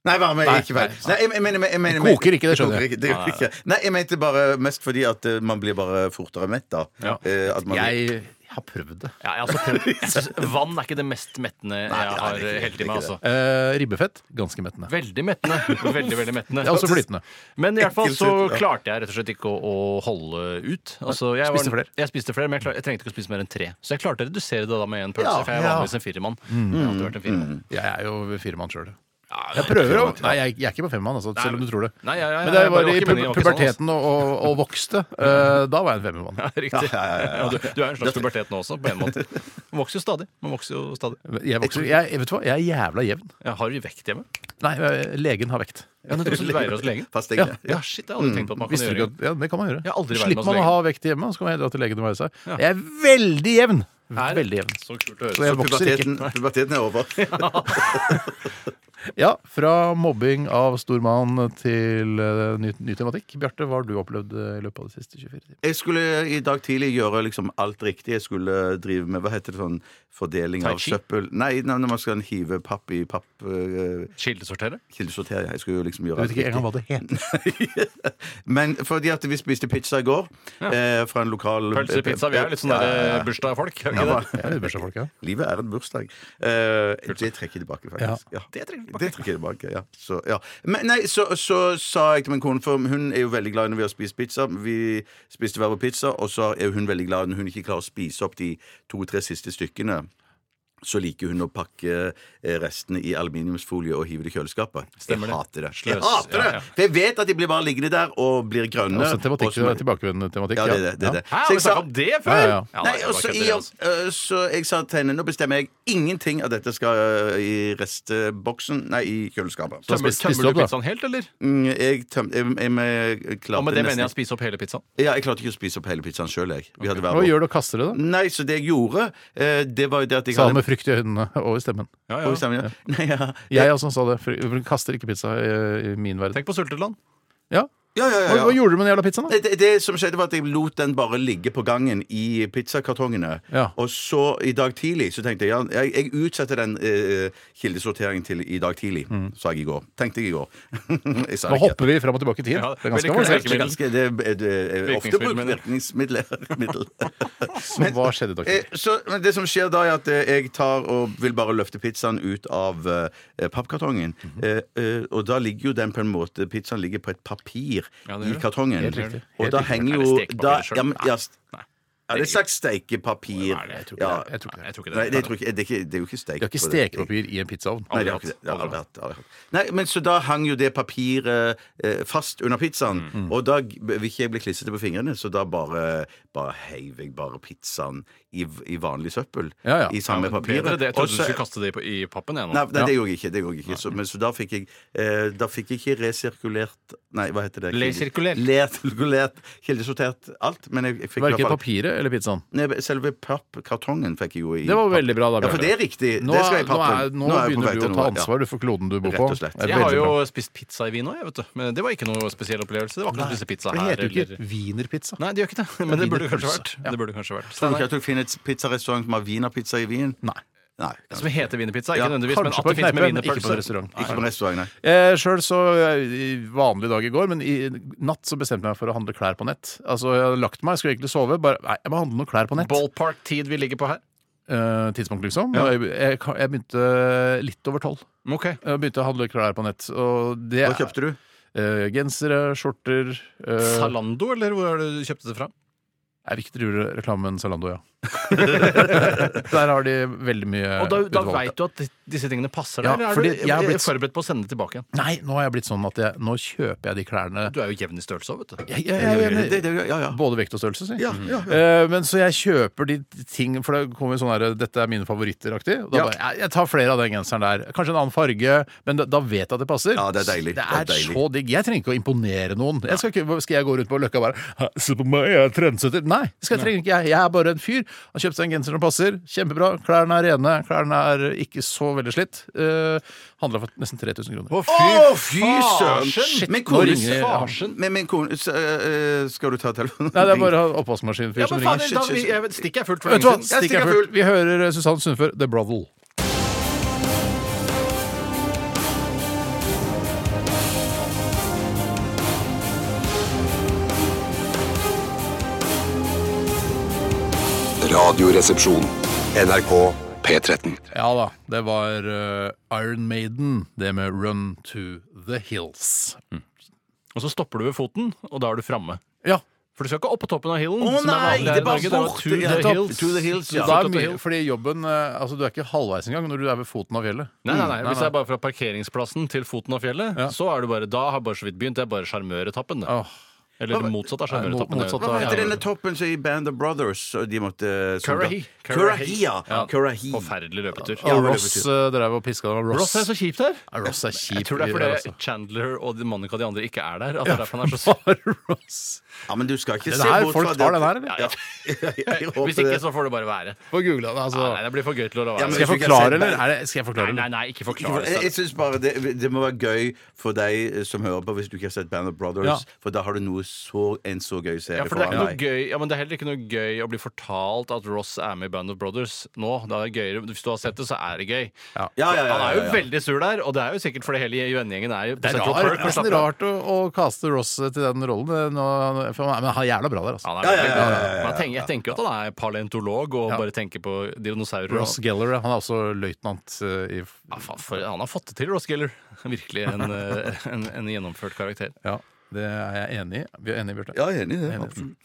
S3: Nei, varme er
S2: Nei,
S3: ikke feil. Nei, jeg, jeg, mener- jeg, mener-
S2: Det koker ikke, det skjønner jeg.
S3: koker ikke, det gjør det ikke. Nei, jeg mente bare mest fordi at eh, man blir bare fortere mett da. Eh, at man-
S2: Jeg har prøvd det.
S5: Ja, jeg har også prøvd. Jeg synes vann er ikke det mest mettende
S3: ja,
S5: jeg har
S3: det er ikke-
S5: helt i
S3: det er
S5: meg,
S3: ikke
S5: altså.
S2: Eh, ribbefett ganske mettende.
S5: Veldig mettende. Altså Veldig, veldig mettende.
S2: Ja, også flytende.
S5: Men i hvert fall så
S3: Ekkelt, ja.
S5: klarte jeg rett og slett ikke å, å holde ut. Altså, jeg
S2: Spiste flere?
S5: Jeg spiste flere, men jeg, klar, jeg trengte ikke å spise mer enn tre. Så jeg klarte å redusere det da med en pølse,
S3: Ja,
S5: for jeg er
S3: ja.
S5: vanligvis en firemann. Jeg har alltid vært en firemann.
S2: Jeg er jo firemann sjøl. Jeg prøver å Nei, jeg, jeg er ikke på femmann, altså, selv om du tror det.
S5: Nei, ja, ja, ja,
S2: Men det
S5: jeg
S2: var
S5: bare-
S2: i
S5: ikke
S2: pu
S5: meningen, det var ikke sånn,
S2: puberteten og, og, og vokste. eh, da var jeg en femmermann.
S5: Ja, Riktig.
S3: Ja, ja, ja, ja.
S5: Ja, du, du er en slags pubertet nå også, på en måte. Man vokser jo stadig. Man vokser jo stadig.
S2: Jeg, vokser, jeg, jeg, vet du hva? jeg er jævla jevn.
S5: Ja, har du vekt hjemme?
S2: Nei, eh, legen har vekt.
S5: Ja, nettopp, så du veier oss lenge?
S3: Fast jeg-
S2: Ja.
S5: Ja, shit, jeg har aldri tenkt på at man kan
S2: Visste du
S5: gjøre
S2: ikke at, ja, det kan man gjøre.
S5: Jeg har aldri vært med
S2: Slipper
S5: hos
S2: man å
S5: legen.
S2: ha vekt hjemme, så kan man heller dra til legen og veie seg. Jeg er veldig jevn!
S5: Er-
S2: Veldig jevn.
S5: Så kult å høre.
S2: Så jeg vokser ikke.
S3: Puberteten, puberteten er over.
S2: Ja, Fra mobbing av stor mann til eh, ny, ny tematikk. Bjarte, hva har du opplevd eh, i løpet av de siste 24 timer?
S3: Jeg skulle i dag tidlig gjøre liksom alt riktig. Jeg skulle drive med hva heter det sånn fordeling
S5: Tai
S3: av
S5: chi?
S3: søppel Nei, nei, når man skal hive papp i papp eh,
S5: Kildesortere?
S3: kildesortere. Jeg skulle jo liksom gjøre
S2: Jeg vet
S3: alt
S2: ikke
S3: riktig.
S2: engang hva det heter.
S3: Men fordi at vi spiste pizza i går eh, fra en lokal
S5: Pølse, pizza. Vi er jo litt sånn
S3: Ja, ja,
S5: der
S3: ja.
S5: eh, bursdagsfolk. er vi
S3: Ja,
S5: ikke det?
S3: hva-
S2: Jeg er bursdagsfolk, ja.
S3: Livet er en bursdag. Eh, det trekker jeg tilbake, faktisk. Ja. Det trekker jeg tilbake. ja. Så, ja. Men, nei, så, så sa jeg til min kone, for hun er jo veldig glad når vi har spist pizza. Vi spiste hver vår pizza, og så er hun veldig glad når hun ikke klarer å spise opp de to-tre siste stykkene. Så liker hun å pakke eh, restene i aluminiumsfolie og hive det i kjøleskapet.
S5: Stemmer det.
S3: Jeg hater det.
S5: Sløs.
S3: Jeg hater det!
S5: Ja, ja.
S3: For jeg vet at de blir bare liggende der og blir grønne.
S2: Også tematikk, eh,
S3: og så-
S2: tilbakevendende tematikk.
S3: ja, det er det. det, er det.
S5: Hæ,
S3: Så
S5: har
S3: jeg
S5: vi
S3: sa-
S5: snakket om det før?
S2: Ja, ja, ja.
S3: Nei, og så i-
S5: altså.
S3: øh, så jeg sa til henne nå bestemmer jeg ingenting av dette skal øh, i restboksen Nei, i kjøleskapet.
S2: Så-
S5: Tømmer,
S2: spiste
S5: tømmer
S2: opp,
S5: du
S2: da.
S5: pizzaen helt, eller?
S3: Mm, Jeg, tøm, jeg, jeg, jeg klarte
S5: Og med det
S3: nesten-
S5: mener jeg å spise opp hele pizzaen.
S3: ja, jeg klarte ikke å spise opp hele pizzaen sjøl, jeg. Vi hadde hver
S2: Hva
S3: vår.
S2: gjør du og kaster det, da?
S3: Nei, så det jeg gjorde, eh, det var jo det at jeg
S2: Sa han med frykt i øynene og i stemmen.
S5: Ja,
S3: Oi, stemmer, ja. Nei, ja.
S2: Jeg også sa det. for Hun kaster ikke pizza i, i min verden.
S5: Tenk på sulteland.
S2: Ja.
S3: Ja, ja,
S2: Hva,
S3: ja,
S2: hva
S3: ja.
S2: gjorde du med den jævla pizzaen, da?
S3: Nei, Det, det som skjedde, var at jeg lot den bare ligge på gangen i pizzakartongene.
S2: Ja.
S3: Og så i dag tidlig så tenkte jeg ja, jeg, jeg utsetter den eh, kildesorteringen til i dag tidlig, sa jeg i går. Tenkte jeg i går. jeg sa det
S2: Mm. Nå
S3: ikke.
S2: hopper vi fram og tilbake i tid.
S5: Ja,
S2: Det er ganske
S5: veldig kult.
S2: avansert.
S3: Det er ganske- det er- det er ofte
S5: Virkningsmiddel,
S3: brukt
S5: mener jeg.
S3: virkningsmiddel. middel.
S2: Så hva skjedde i dag?
S3: Eh, så, men det som skjer da, er at eh, jeg tar og vil bare løfte pizzaen ut av eh, pappkartongen.
S5: Mhm.
S3: eh, eh, og da ligger jo den på en måte Pizzaen ligger på et papir
S5: Ja, det
S3: i
S5: gjør det.
S3: kartongen.
S2: Helt riktig.
S3: og
S2: Helt
S3: da
S2: riktig.
S3: henger
S5: Er det
S3: jo
S5: stekepapir
S3: da,
S5: selv?
S3: ja, men,
S5: Nei.
S3: ja, st-
S5: Nei.
S3: ja, det er slags stekepapir.
S5: Nei, det- jeg tror ikke
S3: Ja.
S5: det.
S2: Jeg tror ikke det.
S5: Nei, jeg tror ikke
S3: Nei,
S5: det.
S3: det, tror ikke, det, er ikke, det er jo ikke steik.
S2: Du har
S3: på
S2: ikke stekepapir i en pizzaovn.
S3: Nei, det har ikke
S5: Aldri
S3: det.
S5: hatt.
S3: det har aldri
S5: Aldri
S3: hatt. Aldri hatt. Nei, men Så da hang jo det papiret eh, fast under pizzaen,
S2: Mm,
S3: og da g- vil ikke jeg bli klissete på fingrene, så da bare, bare heiv jeg bare pizzaen i, i vanlig søppel.
S2: Ja, ja.
S3: I samme papir.
S5: Bedre det. Jeg trodde du skulle
S3: Nei,
S5: kaste det i, i pappen. Jeg, nå.
S3: nei, det gjorde jeg ikke. det gjorde jeg ikke så, Men så da fikk jeg eh, Da fikk jeg ikke resirkulert Nei, hva heter det?
S5: Lesirkulert.
S3: Lesirkulert, Kildesortert alt. Men jeg, jeg fikk i hvert
S2: Verken
S3: fall
S2: papiret eller pizzaen.
S3: Nei, Selve pappkartongen fikk jeg jo i
S2: Det var
S3: papp.
S2: veldig bra, da,
S3: Ja, for det er riktig.
S2: Nå,
S3: det skal jeg i
S2: nå,
S3: pappen.
S2: er, nå,
S3: er jeg på vei
S2: begynner du
S3: til
S2: å
S3: noe,
S2: ta
S3: ja.
S2: ansvar du for kloden du bor
S3: Rett
S2: på.
S3: og slett.
S2: Det er
S5: jeg har
S2: veldig
S5: jo
S2: bra.
S5: spist pizza i Wien òg, jeg, vet du. Men det var ikke noe spesiell opplevelse. Det var ikke noe å spise pizza
S2: Det
S5: her.
S2: heter jo
S5: eller-
S2: ikke wienerpizza.
S5: Nei, det gjør ikke det. Men det burde det kanskje
S2: Wienerpølse.
S5: vært. Det burde det kanskje vært.
S3: Tror du ikke
S5: Steinar,
S3: at du finner et pizzarestaurant som har wienerpizza i Wien?
S2: Nei.
S3: Nei.
S5: Som heter wienerpizza,
S3: Ja,
S5: ikke nødvendigvis, men
S2: Kanskje
S5: at
S2: på
S5: det
S2: en
S5: finnes
S2: kneipe,
S5: med
S2: men ikke på en
S5: wienerpølse.
S2: restaurant.
S3: Ikke på restaurant, nei.
S2: Eh, Sjøl så eh, i Vanlig dag i går, men i natt så bestemte jeg meg for å handle klær på nett. Altså, Jeg hadde lagt meg, skulle egentlig sove. Bare, nei, jeg må handle noen klær på nett.
S5: Ballpark-tid vi ligger på her.
S2: Eh, tidspunkt, liksom. Jeg, jeg, jeg begynte litt over tolv.
S5: Ok.
S2: Jeg begynte å handle klær på nett. Og
S3: Hva
S2: det
S3: kjøpte du?
S2: Eh, gensere, skjorter eh,
S5: Zalando, eller hvor er det du kjøpte det fra?
S2: Jeg vil ikke drive reklame med en Zalando, ja. Der har de veldig mye
S5: Og da, da
S2: utvalgte.
S5: veit du at disse tingene passer
S2: Ja,
S5: deg? Eller
S2: fordi
S5: er du
S2: jeg har blitt-
S5: forberedt på å sende det tilbake igjen?
S2: Nei, nå har jeg blitt sånn at jeg, nå kjøper jeg de klærne
S5: Du er jo jevn i størrelse òg, vet du.
S2: Jeg- jeg- jeg er enig.
S3: Det- det- ja, ja.
S2: Både vekt og størrelse, si.
S3: Ja, ja,
S2: Eh, men så jeg kjøper de ting For det kommer jo sånn her 'Dette er mine favoritter'-aktig. Og Da
S3: Ja.
S2: bare jeg, jeg tar flere av den genseren der. Kanskje en annen farge, men da, da vet jeg at det passer.
S3: Ja, det er deilig.
S2: Det
S3: Det er
S2: er
S3: deilig.
S2: så digg. Jeg trenger ikke å imponere noen. Jeg skal, ikke, skal jeg gå rundt på Løkka og bare «Ha, 'Se på meg, jeg er trendsetter'? Nei, det skal jeg trenger ikke jeg. Jeg er bare en fyr. Har kjøpt seg en genser som passer. Kjempebra. Klærne er rene. Klærne er ikke så veldig slitt. Uh, Handla for nesten 3000 kroner.
S3: Å, fy søren!
S2: Shit,
S3: Men
S2: nå
S3: kone,
S2: ringer-
S5: Farsen.
S3: men, men kone så, eh, eh, Skal du ta telefonen?
S2: Nei, det er bare oppvaskmaskinfyr som ringer.
S3: faen, da- jeg
S5: Stikket er fullt.
S2: Vet du hva?
S3: Jeg
S2: Stikk er
S3: stikker
S2: fullt. Vi hører eh, Susanne Sundfør, The Brothel.
S6: Radioresepsjon. NRK P13.
S2: Ja da, det var eh, Iron Maiden, det med Run to the Hills.
S5: Og så stopper du ved foten, og da er du framme.
S2: Ja.
S5: For du skal ikke opp på toppen av hillen.
S3: Å
S5: som er
S3: nei,
S5: vanlig
S3: det
S5: her i
S3: er bare
S5: Norge. Det er
S3: bort,
S5: to
S3: ja,
S5: the
S3: topp.
S5: hills.
S3: To the hills, ja.
S2: Da
S5: Så det
S2: er
S5: er
S2: mye,
S5: mye-
S2: fordi jobben eh, Altså, du er ikke halvveis engang når du er ved foten av fjellet. Mm.
S5: Nei, nei, nei. Hvis det er bare fra parkeringsplassen til foten av fjellet, så er du bare Da har bare så vidt begynt. Det er bare sjarmøretappen. det.
S2: Åh.
S5: Eller motsatt av sjarmøretappen.
S2: Nei, motsatt
S5: det.
S3: Hva
S2: Ja,
S3: heter
S2: ja.
S3: denne toppen som i Band of Brothers? Og de måtte eh, som
S5: Currahy.
S3: da- Currahy, ja. Currahy.
S5: Forferdelig løpetur.
S2: Og Ross eh, drev og piska det var Ross.
S5: Ross er så kjipt her.
S2: Ja, Ross er kjip.
S5: Jeg tror det er
S2: i-
S5: fordi
S2: altså.
S5: Chandler og Monica og de andre ikke er der. At det er derfor han er så
S2: Bare Ross.
S3: Ja, men du skal ikke
S2: Det
S3: se
S2: her,
S3: bort fra
S2: folk
S3: det.
S2: tar den her, eller?
S5: Ja, ja.
S3: Jeg håper
S5: Hvis ikke,
S3: det.
S5: så får det bare være.
S2: Få google det, altså.
S5: Nei, nei, det blir for gøy til å la
S3: Ja, men-
S5: være.
S2: Skal jeg
S3: Hvis du ikke har
S2: forklare,
S3: sett
S2: eller?
S3: den-
S2: Er det, skal jeg
S5: Nei,
S2: forklare?
S5: nei, nei, ikke forklar
S3: Jeg, jeg
S7: altså.
S5: det.
S3: synes bare det, det må være gøy for deg eh, som hører på, hvis du ikke har sett Band of Brothers,
S2: Ja.
S3: for da har du noe så, en så gøy serie
S5: Ja, for det er,
S3: foran
S5: ikke noe
S3: deg.
S5: gøy, ja, men det er heller ikke noe gøy å bli fortalt at Ross er med i Band of Brothers nå. Det er gøyere. Hvis du har sett det, så er det gøy.
S3: Ja, ja, ja,
S5: Han er jo
S3: ja, ja.
S5: veldig sur der, og det er jo sikkert fordi hele vennegjengen er jo på
S2: Det er
S5: Central
S2: rar-
S5: Perk og
S2: nesten
S5: slapper av.
S2: rart å, å kaste Ross til den rollen, eh, nå, for han er- men han er jævla bra der, altså.
S5: Han er
S3: Ja, ja, ja,
S5: veldig
S3: ja, ja,
S5: bra. Men jeg tenker, jeg tenker jo at han er paleontolog og
S2: Ja.
S5: bare tenker på dinosaurer.
S2: Ross
S5: og-
S2: Geller, han er også løytnant eh, i
S5: Ja, faen, for, han har fått det til, Ross Geller. Virkelig en, eh, en, en gjennomført karakter.
S2: Ja, det er jeg enig i. Vi er enige, Bjarte.
S3: Ja, jeg er enig i det.
S2: Enig.
S3: absolutt.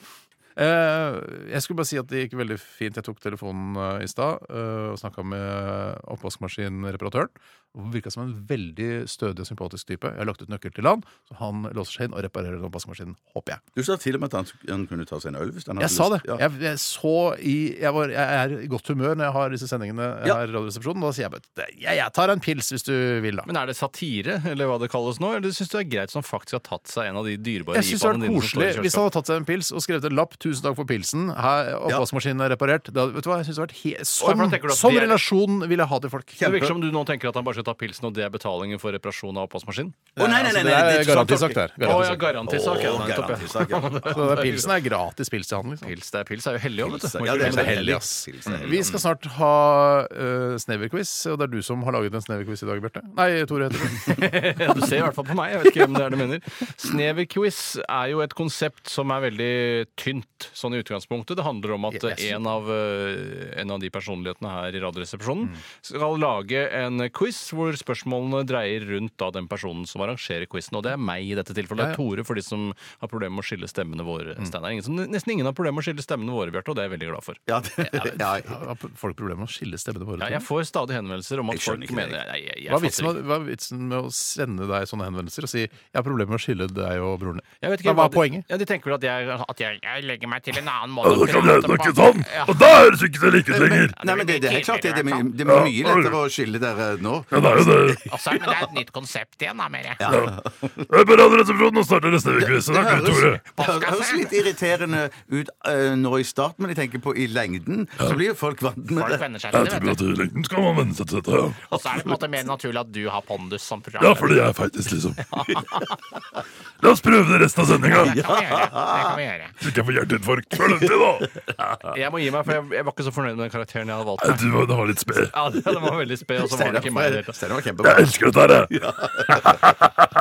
S2: Eh, jeg skulle bare si at det gikk veldig fint. Jeg tok telefonen eh, i stad eh, og snakka med oppvaskmaskinreparatøren. Hun virka som en veldig stødig og sympatisk type. Jeg har lagt ut nøkkel til han, så han låser seg inn og reparerer den oppvaskmaskinen, håper jeg.
S3: Du sa til og med at han, han kunne ta seg en øl hvis han hadde
S2: Jeg sa det.
S3: lyst. Ja.
S2: Jeg, jeg så i jeg, var, jeg er i godt humør når jeg har disse sendingene
S3: Ja.
S2: her i Radioresepsjonen. Da sier jeg bare jeg, jeg tar en pils hvis du vil, da.
S5: Men er det satire, eller hva det kalles nå? Eller syns du det er greit som faktisk har tatt seg en av de dyrebare
S2: Jeg syns det hadde
S5: IPA-ene dine
S2: vært
S5: som
S2: koselig
S5: står i
S2: hvis han
S5: kjøleskapet?
S2: hadde tatt seg en pils og skrevet en lapp 'Tusen takk for pilsen', her, oppvaskmaskinen er reparert. Det hadde, vet du hva, jeg synes det hadde vært he
S5: for da
S2: Sånn,
S5: tenker du at
S2: sånn
S5: det er-
S2: relasjon vil jeg ha til folk.
S5: Det virker som du nå tenker at han bare skal ta pilsen, og det er betalingen for reparasjon av oppvaskmaskinen?
S3: Å, nei, nei, nei, nei,
S2: Altså, det er
S3: det er
S2: garantisak
S3: sånn-
S2: der.
S5: Å ja,
S2: Garantisak.
S5: garantisak. ja,
S3: Å,
S5: nettopp, ja.
S3: garantisak, ja.
S2: Så den pilsen er gratis pils til han, liksom.
S5: Pils, det er pils er jo hellig òg, vet du. Må
S3: Ja,
S5: ikke
S3: det er
S5: glemme det.
S3: hellig,
S2: ass.
S3: Pils er hellig.
S2: Vi skal snart ha uh, sneverquiz, og det er du som har laget en sneverquiz i dag, Bjarte. Nei, Tore heter du.
S5: Ja, Du ser i hvert fall på meg. Jeg vet ikke hvem det er du mener. Sneverquiz er jo et konsept som er veldig tynt sånn i utgangspunktet. Det handler om at
S2: Yes.
S5: en av, eh, en av de personlighetene her i
S3: Mm.
S5: Radioresepsjonen skal lage en quiz hvor spørsmålene dreier rundt da den personen som arrangerer quizen. Og det er meg i dette tilfellet. Det er Tore for de som har problemer med å skille stemmene våre.
S3: Mm.
S5: Steinar. Ingen som, nesten ingen har problemer med å skille stemmene våre, Bjarte, og det er jeg veldig glad for.
S3: Ja, det- ja, ja.
S2: Har folk problemer med å skille stemmene våre?
S5: Ja,
S2: Tore?
S5: jeg får stadig henvendelser om at
S3: Jeg skjønner
S5: folk
S3: ikke det,
S5: mener Nei, jeg, jeg,
S2: Hva er,
S5: fatter
S2: vitsen
S5: ikke.
S2: med, hva er vitsen med å sende deg sånne henvendelser og si 'jeg har problemer med å skille deg og broren din'?
S5: Jeg vet ikke
S2: hva er
S5: de-
S2: poenget?
S5: Ja, De tenker vel at jeg, at jeg, jeg legger meg til en annen måte. å
S2: sånn
S5: prate på. Ja.
S7: Og da høres ikke det like ut lenger!
S3: Nei, men det, det er klart det, det, er my- det er mye lettere å skille dere nå.
S7: Ja, det er jo det.
S5: Og så er- men det er et nytt konsept igjen, da, mer.
S7: Jeg er på Radioresepsjonen og starter neste uke, så da er du, Tore.
S3: Det høres litt irriterende ut eh, nå i starten, men jeg tenker på i lengden, så blir jo folk vant med det.
S5: venner seg
S7: Jeg tror at i lengden skal man venne seg til dette. ja.
S5: Og så er det på en måte mer naturlig at du har pondus som program.
S7: Ja, fordi jeg er feitis, liksom. La oss prøve det resten av sendinga. Så ikke jeg får hjerteinfarkt før den tid, da.
S5: Jeg må gi meg, for jeg, jeg var ikke så fornøyd med den karakteren jeg hadde valgt.
S7: Nei, Du var- det var litt sped.
S5: Ja, den var veldig sped, og så var det ikke meg i det hele tatt.
S3: Steinar var
S7: Jeg
S3: kjempebra.
S7: elsker dette her, jeg.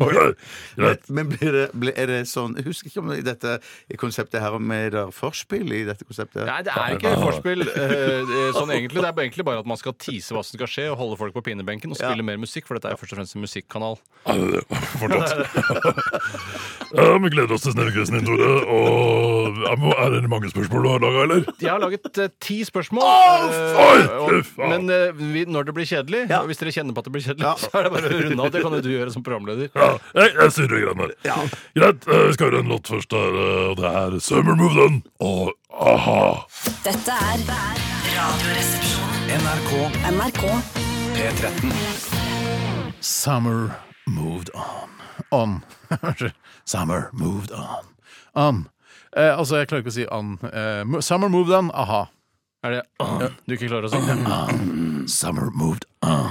S7: Ok, Greit.
S3: Men blir det, blir, er det sånn Jeg husker ikke om det i dette konseptet her om er det forspill i dette konseptet.
S5: Nei, det er ikke forspill eh, sånn egentlig. Det er egentlig bare at man skal tease hva som skal skje, og holde folk på pinebenken og spille mer musikk, for dette er jo først og fremst en musikkanal.
S7: Fortsatt. Ja, vi gleder oss til Snevekvisten din, Tore. Og ja, men er det mange spørsmål du har laga, eller?
S5: Jeg har laget eh, ti spørsmål.
S7: Å,
S5: eh,
S7: fy faen!
S5: men eh, vi, når det blir kjedelig, og hvis dere kjenner på at det blir kjedelig, så er det bare å runde av. Det kan jo du gjøre som programleder.
S7: Ja, jeg, jeg surrer greiene her. Greit, eh, vi skal høre en låt først. Der, eh, og det er Summer Move Done og a-ha.
S8: Dette er Radioresepsjonen.
S9: NRK
S8: NRK
S9: P13.
S2: Summer moved on. On. Summer moved on. On. Eh, altså, jeg klarer ikke å si on. Eh, mo- summer moved on. Aha.
S5: Er det ah, du ikke klarer å si?
S2: Summer moved on.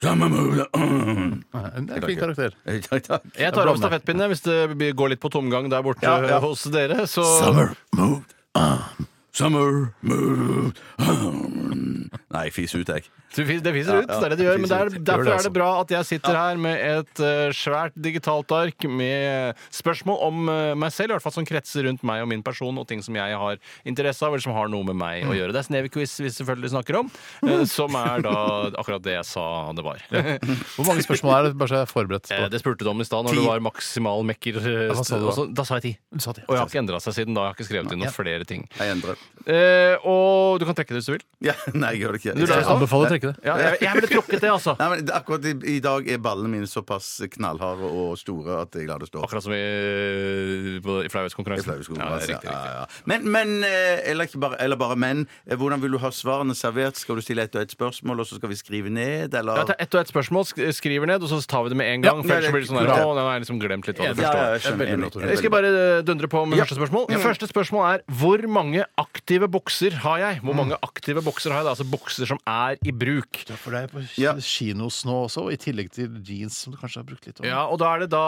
S3: Summer moved on.
S2: Eh, Det er en fin karakter.
S3: Takk, takk.
S5: Jeg tar over stafettpinnen hvis det blir- går litt på tomgang der borte
S3: Ja, ja.
S5: hos dere. Så
S2: moved
S3: Summer moved on. Nei, fis ut, jeg.
S5: det fis- det fiser ut, det er det det gjør. Men det er, derfor er det
S2: altså.
S5: bra at jeg sitter her med et eh, svært digitalt ark med eh, spørsmål om eh, meg selv, i hvert fall som kretser rundt meg og min person, og ting som jeg har interesse av, eller som har noe med meg
S2: Mm.
S5: å gjøre. Det er Snevequiz vi selvfølgelig snakker om, eh, som er da akkurat det jeg sa det var.
S2: Hvor mange spørsmål er det? Bare så jeg er forberedt
S5: Eh,
S2: på
S5: Det spurte du om i stad, når du var maksimal mekker. eh,
S2: Ja, hva sa du da?
S5: og så- Da sa jeg ti.
S2: Du sa ti.
S5: Og jeg har ikke endra seg siden da. Jeg har ikke skrevet inn noen flere ting.
S3: Jeg endrer.
S5: Eh, og du kan trekke det hvis du vil.
S3: Ja, nei, jeg gjør det ikke.
S5: Du lar
S2: Jeg anbefaler å trekke det.
S5: Ja, jeg, jeg ville trukket det, altså.
S3: Nei, men det- Akkurat i, i dag er ballene mine såpass knallharde og store at jeg lar det stå.
S5: Akkurat som i, på-
S3: I
S5: i flauhetskonkurransen.
S3: flauskolen,
S5: Ja,
S3: altså.
S5: riktig, riktig.
S3: Ja, ja, ja. Men, men eh, eller, ikke bare, eller bare men. eh, Hvordan vil du ha svarene servert? Skal du stille ett og ett spørsmål, og så skal vi skrive ned, eller?
S5: Ja, ta ett og ett spørsmål, sk- skriver ned, og så tar vi det med en gang.
S3: Ja,
S5: for
S3: det er
S5: ellers så blir det sånn der,
S3: kult, det.
S5: Å, nå har jeg liksom glemt litt hva det
S3: Ja,
S5: første
S3: ja,
S5: var.
S3: jeg skjønner.
S2: Jeg er veldig
S3: Enig.
S2: bra, Tore.
S5: Jeg skal bare eh, dundre på med første spørsmål. Første spørsmål er hvor mange aktive bukser har jeg?
S3: Mm.
S5: Hvor mange aktive bukser har jeg? Det er altså bukser som er i bruk.
S2: For det er på
S3: Ja.
S2: kinos nå også, i tillegg til jeans som du kanskje har brukt litt.
S5: Ja, og da er det da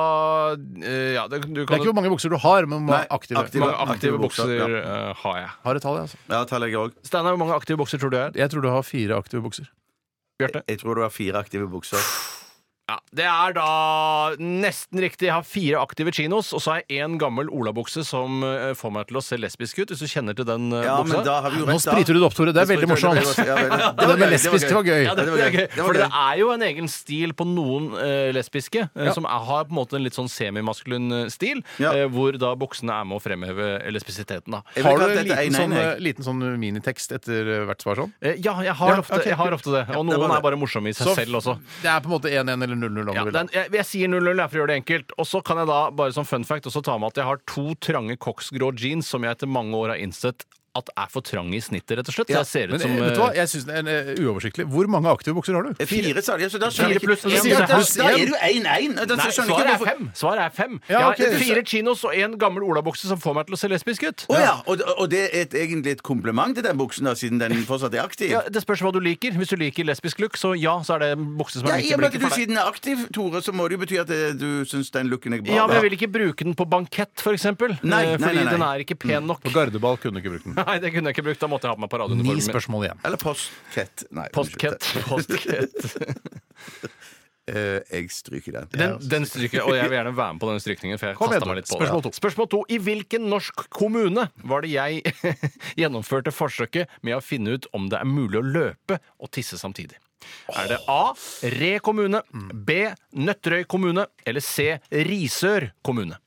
S5: eh, Ja, det, du
S2: Det
S5: kan
S2: er ikke hvor mange bukser du har, men hvor mange
S3: Nei,
S2: aktive.
S3: aktive.
S5: Hvor mange
S3: Aktive
S5: aktive
S3: bukser,
S5: bukser
S3: ja.
S5: eh, har jeg?
S2: Har et tall, jeg, altså.
S3: Ja, tar jeg òg.
S5: Steinar, hvor mange aktive bukser tror du jeg er?
S2: Jeg tror du har fire aktive bukser.
S5: Bjarte?
S3: Jeg tror du har fire aktive bukser.
S5: Ja, Det er da nesten riktig. Jeg har fire aktive chinos, og så har jeg én gammel olabukse som eh, får meg til å se lesbisk ut, hvis du kjenner til den eh,
S3: Ja,
S5: buksa.
S3: men da har vi jo
S2: Nå
S3: rett, da.
S2: spriter du det opp, Tore. Det er
S3: Jeg
S2: veldig
S3: spriter-
S2: morsomt.
S3: Ja, vel, ja.
S2: Det med
S3: gøy,
S2: lesbisk var gøy.
S5: Ja,
S3: det
S5: det, det,
S3: var
S5: er gøy.
S3: gøy. Det var
S5: For det
S3: gøy.
S5: er jo en egen stil på noen eh, lesbiske eh, som er, har på en måte en litt sånn semimaskulin eh, stil,
S3: Ja.
S5: eh, hvor da buksene er med å fremheve lesbisiteten. da.
S3: Jeg vil
S2: Har du
S3: kalle
S2: en
S3: dette 1-1,
S2: liten sånn,
S3: jeg.
S2: eh, liten sånn minitekst etter eh, hvert svar sånn?
S5: Eh, ja, jeg har,
S2: Ja,
S5: ofte,
S2: ok,
S5: jeg har ofte det.
S3: det
S5: Og noen
S3: var
S5: er bare morsomme i seg
S2: Så-
S5: selv også.
S2: Det er på en måte 1-1 eller 0-0. om
S5: Ja,
S2: du vil.
S5: den, jeg, jeg sier 0-0 jeg, for å gjøre det enkelt. Og så kan jeg da bare som fun fact også ta med at jeg har to trange koksgrå jeans som jeg etter mange år har innsett at er for trange i snittet, rett og slett. Så jeg ser ut
S2: Men
S5: som
S2: eh, vet du hva,
S5: eh,
S2: jeg synes den er eh, uoversiktlig. Hvor mange aktive bukser har du?
S3: Eh, Fire, sa de. Så da skjønner jeg
S5: Fire pluss
S3: ikke-
S5: en,
S3: Ja,
S5: så
S3: Da
S5: pluss
S3: da er
S5: en.
S3: du 1-1. Da
S5: Nei,
S3: skjønner jeg ikke
S5: svaret er
S3: hvorfor-
S5: fem! Svaret er fem.
S2: Ja, ok.
S5: Jeg har fire chinos og en gammel olabukse som får meg til å se lesbisk ut.
S3: Å ja, og, og det er et, egentlig et kompliment til den buksen, da, siden den fortsatt er aktiv.
S5: Ja, det spørs hva du liker. Hvis du liker lesbisk look, så ja, så er det en bukse som
S3: Ja, I
S5: er midt i
S3: og med at
S5: blikket
S3: du
S5: for deg.
S3: siden er aktiv, Tore, så må det jo bety at eh, du syns den looken er bra.
S5: Ja, men jeg vil ikke bruke den på bankett, for eksempel.
S3: Nei, nei,
S5: Eh, Fordi
S3: nei, nei.
S5: den er ikke pen nok.
S2: På Gardeball kunne du ikke brukt den.
S5: Nei, det kunne jeg ikke brukt. Da måtte jeg ha på meg
S2: Mm. Ni
S5: paradeuniformen. min.
S2: spørsmål igjen.
S3: Eller postkett. Nei,
S5: Postkett.
S3: unnskyld.
S5: Postkett.
S3: Eh, jeg stryker den.
S5: Den, den stryker, og jeg vil gjerne være med på denne strykningen. For jeg
S2: Kom igjen,
S5: kastet meg litt på det.
S2: spørsmål to.
S5: Spørsmål to. I hvilken norsk kommune var det jeg gjennomførte forsøket med å finne ut om det er mulig å løpe og tisse samtidig? Er det A. Re kommune, B. Nøtterøy kommune eller C. Risør kommune?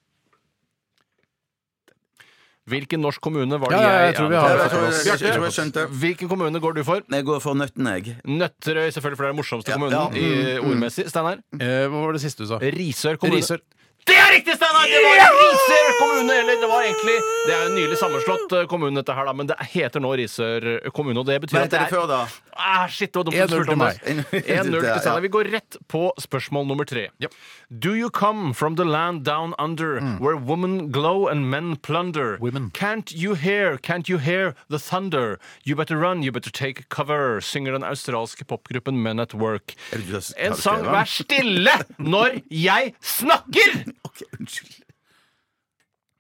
S5: Hvilken norsk kommune var det
S2: Ja, ja, jeg
S5: jeg
S2: tror vi har
S3: Jeg,
S5: gjennomførte
S3: jeg, tror- jeg, jeg, jeg tror jeg
S5: forsøket?
S3: skjønte.
S5: Hvilken kommune går du for?
S3: Jeg går for nøtten, jeg.
S5: Nøtterøy, selvfølgelig, for det er den morsomste kommunen
S3: ja.
S2: Mm,
S5: i ordmessig. Steinar?
S2: Eh, hva var det siste du sa?
S5: Risør kommune.
S2: Risør.
S5: Det er riktig, Steinar! Det var Risør kommune! Eller det var egentlig Det er jo en nylig sammenslått eh, kommune, dette her, da, men det heter nå Risør eh, kommune. Og det betyr
S3: Hva
S5: at det
S3: heter det
S5: er
S3: før, da?
S5: Ah, shit, det var dumt
S2: 1-0
S5: at du spurte om
S2: til
S5: det.
S3: meg.
S5: 1-0 til
S3: Ja, ja.
S5: Steinar. Vi går rett på spørsmål nummer tre. Do you come from the land down under,
S3: Mm.
S5: where women glow and men plunder?
S2: Women.
S5: Can't you hear, can't you hear the thunder? You better run, you better take cover, synger den australske popgruppen Men at Work.
S3: Er det du som- har
S5: En
S3: du
S5: sang,
S3: skrevet den?
S5: vær stille når jeg snakker!
S3: Ok, unnskyld.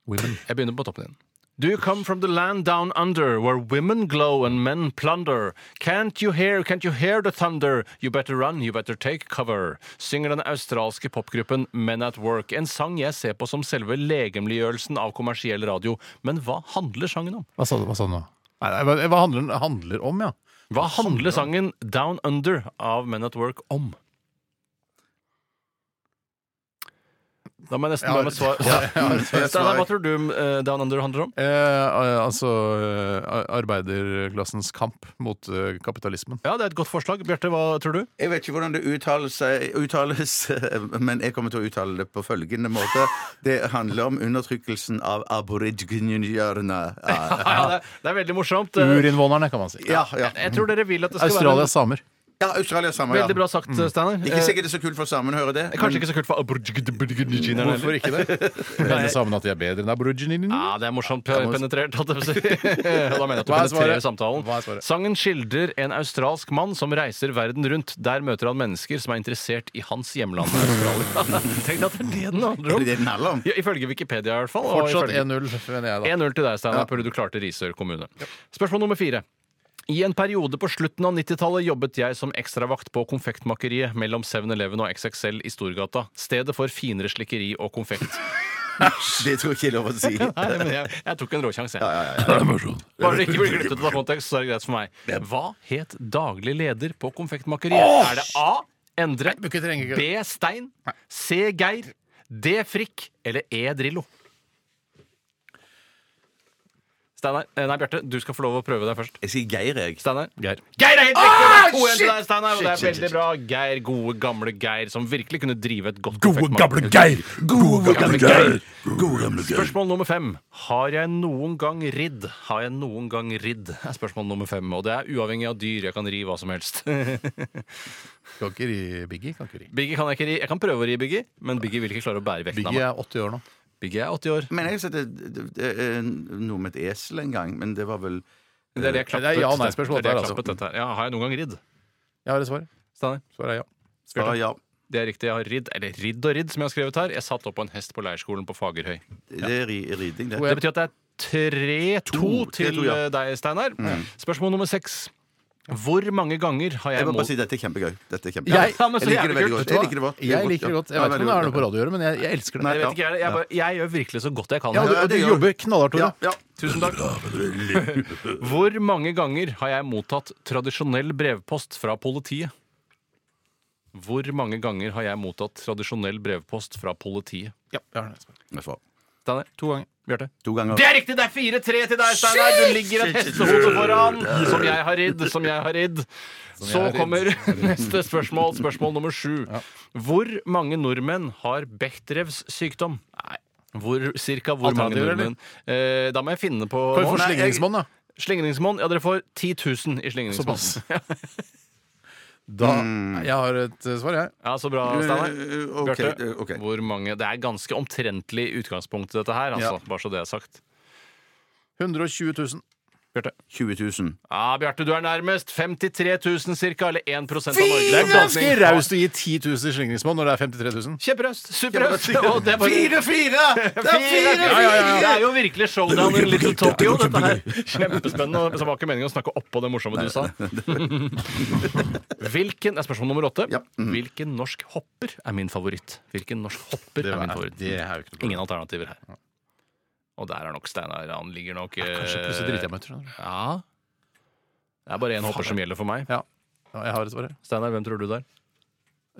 S2: Women.
S5: Jeg begynner på toppen igjen. Do you come from the land down under, where women glow and men plunder? Can't you hear, can't you hear the thunder? You better run, you better take cover. Synger den australske popgruppen Men at Work. En sang jeg ser på som selve legemliggjørelsen av kommersiell radio. Men hva handler sangen om?
S2: Hva sa du, hva sa du nå? Nei, nei, hva- hva handler den handler om, ja?
S5: Hva handler sangen Down Under av Men at Work om? Da må jeg nesten la meg svare. Steinar, hva tror du eh, Down Under handler om?
S2: Eh, al- altså eh, arbeiderklassens kamp mot eh, kapitalismen.
S5: Ja, det er et godt forslag. Bjarte, hva tror du?
S3: Jeg vet ikke hvordan det uttales, eh, uttales, men jeg kommer til å uttale det på følgende måte. Det handler om undertrykkelsen av aboriginerne. Ja,
S5: Ja, det, er, det er veldig morsomt. Eh,
S2: Urinnvånerne, kan man si.
S3: ja. ja.
S5: Jeg tror dere vil at det skal
S2: Australias samer.
S3: ja Australia samme,
S5: være
S3: ja.
S5: Veldig bra sagt, eh, Steinar.
S3: Ikke sikkert det er så kult for samen å høre det.
S5: Eh, Kanskje ikke så kult for aboriginerne heller.
S2: Hvorfor ikke det? Mener samene at de er bedre enn aboriginene?
S5: Ja, det er morsomt pe- penetrert. holdt jeg på å si. da mener jeg at du
S2: Hva er
S5: penetrerer
S2: svaret?
S5: samtalen.
S2: Hva er svaret?
S5: Sangen skildrer en australsk mann som reiser verden rundt. Der møter han mennesker som er interessert i hans hjemland. Australia. Tenk deg at det er det den handler
S3: Det er
S5: om!
S3: det den handler om.
S5: Ja, ifølge Wikipedia, i hvert fall. og
S2: Fortsatt
S5: ifølge-
S2: 1-0, mener jeg, da.
S5: 1-0 til deg, Steinar, fordi du klarte Risør kommune. Spørsmål nummer fire. I en periode på slutten av 90-tallet jobbet jeg som ekstravakt på konfektmakeriet mellom 7-Eleven og XXL i Storgata, stedet for finere slikkeri og konfekt.
S3: Det tror jeg ikke er lov å si.
S5: Nei, men jeg, jeg tok en råsjanse, jeg.
S7: Det er bare sånn.
S5: Bare det ikke blir glemt ut av kontekst, så er det greit for meg. Hva het daglig leder på konfektmakeriet? Er det A. Endre.
S2: Nei, du trenger ikke-
S5: B. Stein. C. Geir. D. Frikk. Eller E. Drillo. Steinar, eh, nei, Bjarte, du skal få lov å prøve deg først.
S3: Jeg sier Geir, jeg.
S5: Steinar. Geir. Geir er helt riktig!
S7: Ah,
S5: Det er 2-1 til deg, Steinar, og det er veldig bra. Geir, gode, gamle Geir, som virkelig kunne drive et godt
S7: Gode,
S5: konfektmarked.
S7: gamle Geir! Gode, gamle Geir! Gode, gamle Geir.
S5: Spørsmål nummer fem. Har jeg noen gang ridd? Har jeg noen gang ridd? er spørsmål nummer fem, og det er uavhengig av dyr. Jeg kan ri hva som helst.
S2: Kan ikke ri Biggie. Kan ikke ri.
S5: Biggie kan jeg ikke ri. Jeg kan prøve å ri Biggie, men Biggie vil ikke klare å bære vekten av
S2: Biggie
S5: meg.
S2: er 80 år nå.
S5: Biggie er 80 år.
S3: Men jeg satte noe med et esel en gang, men det var vel
S5: Det er det jeg klappet.
S2: Det er ja- og nei-spørsmål,
S5: Det er det jeg
S2: der, altså.
S5: klappet dette her. Ja, har jeg noen gang ridd?
S2: Ja, det er svaret.
S5: Steinar.
S2: Svaret er ja.
S3: bare Ah, ja.
S5: Det er riktig. Jeg har ridd, eller ridd og ridd, som jeg har skrevet her. Jeg satt opp på en hest på leirskolen på Fagerhøy.
S3: Det er ri- riding, det.
S5: Det betyr at det er 3-2
S3: To.
S5: til eh,
S3: 3-2, ja.
S5: deg, Steinar. Spørsmål nummer seks. Hvor mange ganger har jeg,
S3: Jeg må bare
S5: målt
S3: si dette er kjempegøy. Dette er kjempegøy.
S2: Jeg-
S5: Ja, men så
S3: jeg liker det
S5: jævlig
S3: veldig
S5: kult.
S3: godt. Jeg liker det godt.
S2: Jeg liker det godt. Jeg vet ikke om det har noe på radio å gjøre, men jeg, jeg elsker det.
S5: Jeg
S3: Ja.
S5: vet ikke, jeg, jeg, bare- jeg gjør virkelig så godt jeg kan.
S2: Ja, du,
S3: Ja,
S2: og du
S3: det gjør
S2: jobber knallhardt, Tore.
S3: Ja, ja.
S5: Tusen takk. Hvor mange ganger har jeg mottatt tradisjonell brevpost fra politiet? Hvor mange ganger har jeg mottatt tradisjonell brevpost fra politiet?
S2: Ja, jeg har det.
S3: Jeg får
S5: Steinar?
S2: To ganger.
S5: Bjarte?
S3: To ganger.
S5: Det er riktig! Det er 4-3 til deg, Steinar! Du ligger et hestehode foran, som jeg har ridd, som jeg har ridd. Så
S2: har ridd.
S5: kommer neste spørsmål, spørsmål nummer sju. Hvor mange nordmenn har Bechdrevs sykdom? Hvor, cirka hvor mange
S2: Alternativer,
S5: nordmenn? Eh, da må jeg finne på
S2: Kan vi få
S5: nå.
S2: slingringsmonn, da?
S5: Slingringsmonn. Ja, dere får 10 000 i slingringsmonn.
S2: Såpass. Da Jeg har et eh, svar, jeg.
S5: Ja, så bra, Steinar.
S3: Eh, ok,
S5: Bjarte,
S3: eh, ok.
S5: hvor mange Det er ganske omtrentlig utgangspunkt til dette her, altså. Bare så det er sagt.
S2: 120 000.
S3: 20 000.
S5: Ja, Bjarte, du er nærmest. 53 000 cirka, eller 1 av Norges
S2: Det er ganske
S5: befolkning.
S2: raust å gi 10 000 i slingringsmonn når det er 53 000.
S5: Kjemperøst. Superøst. Og det er bare-
S3: fire! Det
S5: Fire, fire!
S2: Ja, ja, ja.
S5: Det er jo virkelig showdown in Little
S7: kjempegøy.
S5: Tokyo,
S7: Det går
S5: dette her. Kjempespennende. og Det var ikke meningen å snakke oppå det morsomme du sa. Hvilken, det er spørsmål nummer åtte.
S3: Ja.
S2: mm.
S5: Hvilken norsk hopper er min favoritt? Hvilken norsk hopper er min favoritt?
S2: det er jo ikke noe
S5: Ingen alternativer her. Og der er nok Steinar. Han ligger nok eh,
S2: Kanskje plutselig driter jeg meg ut. skjønner du.
S5: Ja. Det er bare én hopper som gjelder for meg.
S2: Ja. Ja, jeg har et svar, jeg.
S5: Steinar, hvem tror du det er?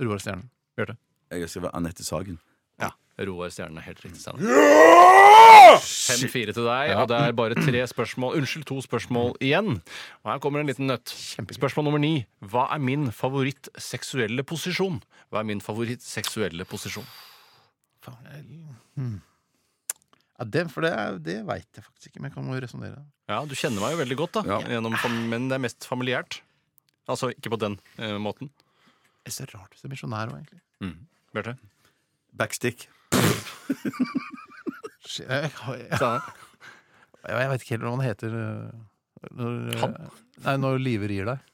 S2: Roar Stjernen.
S5: Bjarte?
S3: Jeg skriver Anette Sagen.
S5: Roar Stjernen er helt riktig. Steinar. 5-4 til deg, og det er bare tre spørsmål Unnskyld, to spørsmål igjen. Og her kommer en liten nøtt. Spørsmål nummer ni. Hva er min favoritt seksuelle posisjon? Hva er min favoritt seksuelle posisjon?
S2: Faen, jeg- hmm. Ja, det, for det, er- det veit jeg faktisk ikke, men jeg kan jo resonnere.
S5: Ja, du kjenner meg jo veldig godt, da. Gjennom fam men det er mest familiært. Altså ikke på den eh, måten.
S2: Det er så rart hvis det er misjonær òg, egentlig.
S5: Bjarte?
S3: Backstick.
S2: Shit, Jeg, jeg, jeg,
S5: Steinar?
S2: jeg veit ikke heller hva han heter øh, når, øh,
S5: Han?
S2: Nei, når livet rir deg.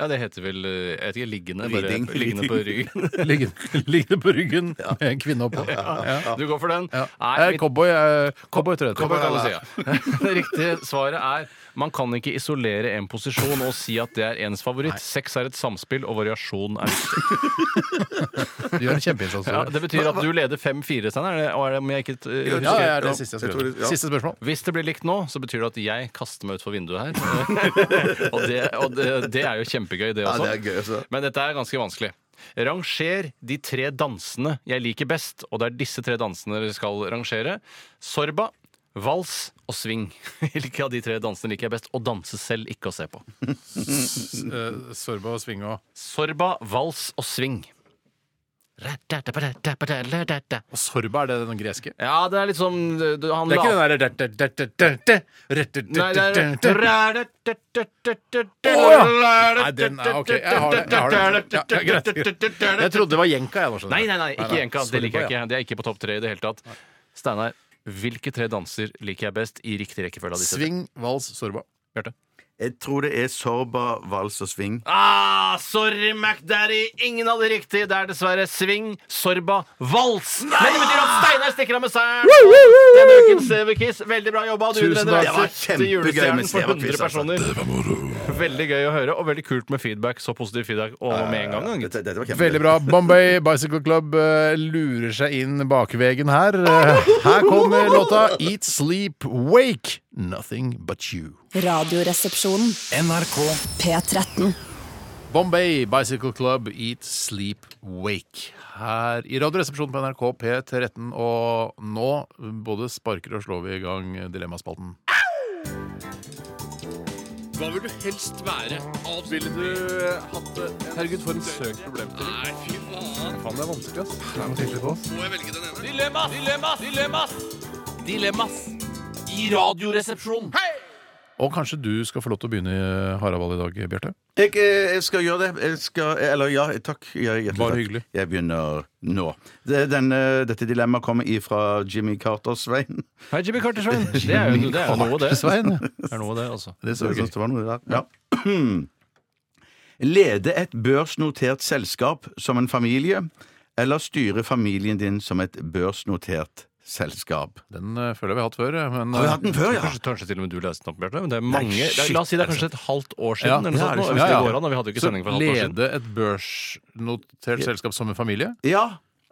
S5: Ja, det heter vel eh, jeg vet ikke, liggende, bare,
S3: Riding.
S5: liggende på ryggen.
S2: Liggende liggende på ryggen med en kvinne oppå. Ja.
S5: Du går for den?
S2: Ja.
S5: Nei,
S2: Eh,
S5: mitt-
S2: Cowboy eh, Cowboy tror jeg det
S5: Kommer
S2: heter.
S5: alle sider. Det riktige svaret er man kan ikke isolere en posisjon og si at det er ens favoritt. Sex er et samspill, og variasjon er viktig.
S2: Du gjør en kjempeinnsats.
S5: Ja,
S2: Tore.
S5: det betyr at du leder 5-4, Steinar. er det- og er det om jeg ikke eh,
S2: Ja,
S5: husker?
S2: ja, det er det siste
S3: jeg
S2: jeg skal
S3: tror det- ja.
S2: gjøre. Siste spørsmål.
S5: Hvis det blir likt nå, så betyr det at jeg kaster meg utfor vinduet her. og det, og det, det er jo kjempegøy, det
S3: Ja,
S5: også.
S3: det er gøy, altså.
S5: Men dette er ganske vanskelig. Ranger de tre dansene jeg liker best, og det er disse tre dansene dere skal rangere. Sorba, vals og swing. Hvilke av de tre dansene liker jeg best? Å danse selv, ikke å se på.
S2: Eh, Sorba og Svingo.
S5: Sorba, vals og swing.
S2: Og Sorba, er det den greske?
S5: Ja, det er litt sånn du, du- han
S2: Det er
S5: la-
S2: ikke den
S5: Nei, det er
S2: derre Nei, den er OK. Jeg har det. Jeg, har det. Ja, ja, greit, greit. jeg trodde det var jenka, jeg. nå, skjønner du.
S5: Nei, nei, nei, ikke jenka. Det
S2: Sorry
S5: liker
S2: for
S5: jeg ikke. Det er ikke på topp tre i det hele tatt. Steinar, hvilke tre danser liker jeg best i riktig rekkefølge av disse? tre?
S2: Sving, vals, sorba.
S5: Bjarte?
S3: Jeg tror det er sorba, vals og swing.
S5: Ah, sorry, MacDaddy. Ingen av de riktige. Det er dessverre sving, sorba, vals. Men det betyr at Steinar stikker av med seieren. Denne ukens Severkiss. eh, Veldig bra jobba. Du
S2: Tusen
S5: vinner
S2: takk.
S5: en
S3: Det
S5: reise
S3: var
S5: til
S3: kjempegøy
S5: julestjernen
S3: med
S5: for 100
S3: Severquiz, altså.
S5: personer.
S7: Det var moro.
S5: Veldig gøy å høre, og veldig kult med feedback. Så positiv feedback. Og med en gang. gitt.
S3: Dette, dette var kjempe-
S2: Veldig bra. Bombay Bicycle Club eh, lurer seg inn bakvegen her. Eh, her kommer låta Eat Sleep Wake. Nothing but you.
S8: Radioresepsjonen. NRK P13.
S2: Bombay Bicycle Club Eat Sleep Wake. Her i Radioresepsjonen på NRK P13. Og nå både sparker og slår vi i gang Dilemmaspalten.
S5: Dilemmas! Dilemmas! Dilemmas! Dilemmas i Radioresepsjonen.
S2: Og kanskje du skal få lov til å begynne i Haraball i dag, Bjarte?
S3: Jeg, eh, jeg skal gjøre det. Jeg skal, eller ja, takk. Ja, hjertelig
S2: Bare
S3: takk.
S2: hyggelig.
S3: Jeg begynner nå. Det, denne, dette dilemmaet kommer ifra Jimmy Carter, Svein.
S5: Hei, Jimmy Carter, Svein. Det er jo det er jo noe, det.
S2: Svein.
S5: Det er noe, det, altså.
S2: Det
S3: Så
S2: så
S3: jeg
S2: gøy.
S3: synes det var noe der. Ja. Lede et børsnotert selskap som en familie, eller styre familien din som et børsnotert selskap?
S2: Den eh, føler jeg vi har hatt før. eh, Men,
S3: Har vi hatt den før, ja?
S5: Kanskje, kanskje til og med du leste den opp, Bjarte. Men det er mange det er-
S3: shit,
S5: La oss si det er kanskje et halvt år siden. eller noe
S2: altså. ja, liksom.
S5: sånt, nå, hvis
S2: Ja, ja.
S5: det går an, og Vi hadde jo ikke
S2: Så
S5: sending for et halvt år siden.
S2: Lede et børsnotert selskap som en familie?
S3: Ja.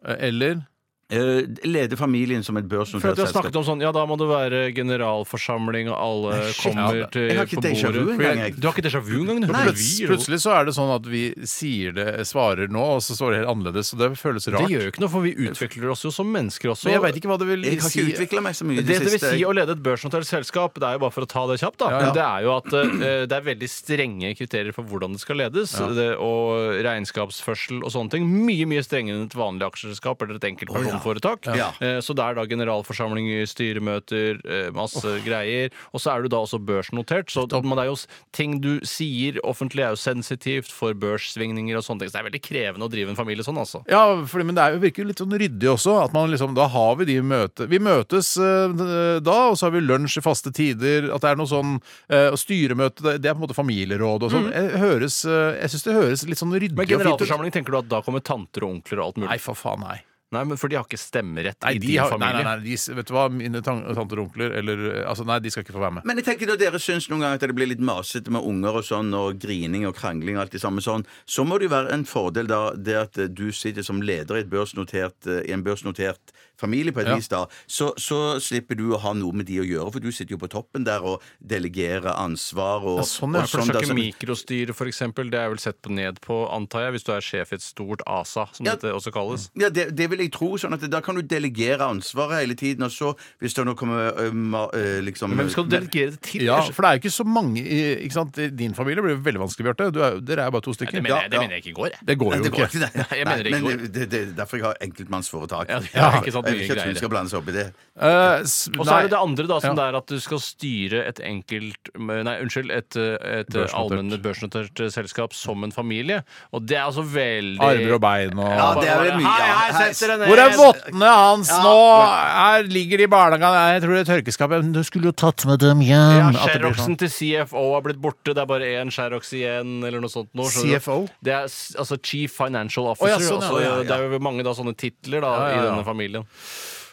S2: eh, Eller
S3: Eh, Lede familien som et
S5: For at
S3: børsnotert
S5: du har snakket
S3: selskap.
S5: om sånn, ja da må det være generalforsamling, og alle kommer
S2: ja.
S5: til
S3: Jeg har
S5: på
S3: ikke déjà vu
S5: bordet.
S3: engang, jeg.
S5: Du har ikke déjà vu engang? du.
S2: Plutselig, plutselig så er det sånn at vi sier det, svarer nå, og så svarer det helt annerledes. Og det føles
S5: Det
S2: rart.
S5: gjør jo ikke noe, for vi utvikler oss jo som mennesker også.
S2: Men jeg veit ikke hva det vil
S3: Jeg har
S2: si.
S3: ikke utvikla meg så mye i
S5: Det
S3: det
S5: det vil
S3: siste.
S5: si å lede et børsnotert selskap, det er jo bare for å ta det kjapt, da.
S2: Ja, ja.
S5: Det er jo at eh, det er veldig strenge kriterier for hvordan det skal ledes. Det, og regnskapsførsel og sånne ting. Mye mye strengere enn et vanlig aksjeselskap eller et enkeltpersonforetak.
S3: Ja.
S5: Eh, Så det er da generalforsamlinger, styremøter, eh, masse greier. Og så er du da også børsnotert. Så man er jo s- ting du sier offentlig er jo sensitivt for børssvingninger og sånne ting. Så det er veldig krevende å drive en familie sånn, altså.
S2: Ja, fordi, men det er jo, virker jo litt sånn ryddig også. At man liksom, da har vi de møte Vi møtes eh, da, og så har vi lunsj i faste tider. At det er noe sånn eh, og Styremøte, det- det er på en måte familieråd og sånn. Jeg, høres, eh, jeg syns det høres litt sånn ryddig
S5: Mm. Men
S2: og fint ut.
S5: generalforsamling, tenker du at da kommer tanter og onkler og alt mulig?
S2: Nei, for faen, nei.
S5: Nei, men for de har ikke stemmerett
S2: Nei, de
S5: i din
S2: har, nei,
S5: familie.
S2: nei, nei de, vet du hva, mine tan tanter og onkler eller eh, Altså, nei, de skal ikke få være med.
S3: Men jeg tenker når dere syns noen ganger at det blir litt masete med unger og sånn, og grining og krangling og alt det samme sånn, så må det jo være en fordel da det at eh, du sitter som leder i, et børsnotert, eh, i en børsnotert familie på et
S2: Ja.
S3: vis, da. Så, så slipper du å ha noe med de å gjøre, for du sitter jo på toppen der og delegerer ansvar og
S2: Ja, sånn, ja,
S3: og
S5: For du
S3: da,
S5: skal ikke
S3: så-
S5: mikrostyre, for eksempel. Det er vel sett på ned på, antar jeg, hvis du er sjef i et stort ASA, som
S3: Ja.
S5: dette også kalles.
S3: Ja, det, det vil jeg tro. sånn at Da kan du delegere ansvaret hele tiden. Og så, hvis det nå kommer ø, ma- ø, liksom
S5: Men skal du delegere det til?
S2: Ja, for det er jo ikke så mange i ikke sant? i din familie. blir det veldig vanskelig, Bjarte. Du er- Dere er jo bare to stykker.
S5: det mener, jeg, det mener jeg ikke går, jeg.
S2: Det går
S3: Nei,
S2: jo
S3: det går
S2: ikke.
S3: ikke, nei.
S5: Nei, jeg mener det ikke
S3: men det, det, det er derfor jeg har enkeltmannsforetak.
S5: Ja, det er ikke sant,
S3: Jeg vil
S5: mye
S3: ikke at hun
S5: greier.
S3: skal blande seg opp i det.
S2: Eh, s-
S5: Og så
S2: nei.
S5: er det det andre, da,
S2: Ja.
S5: som det er at du skal styre et enkelt Nei, unnskyld, et, et
S2: Børsnotert.
S5: allmenn børsnotert eh, selskap som en familie. Og det er altså veldig
S2: Armer og bein og
S3: Ja, det er vel mye,
S5: Hei,
S3: ja.
S5: hei, sett dere ned!
S2: Hvor er vottene hans nå? Her ligger de i barnehagen. Nei, Jeg tror det er tørkeskapet. Men du skulle jo tatt med dem
S5: Ja,
S2: hjem. Mm, At det blir sånn.
S5: Xeroxen til CFO har blitt borte. Det er bare én Xerox igjen, eller noe sånt. Nå, skjønner du?
S2: CFO?
S5: Det er s- altså Chief Financial
S2: Å,
S5: Officer.
S2: ja, sånn, ja.
S5: altså,
S2: Å, ja, ja.
S5: Det er jo mange da, sånne titler da,
S2: Ja, ja,
S5: i
S2: ja.
S5: denne familien.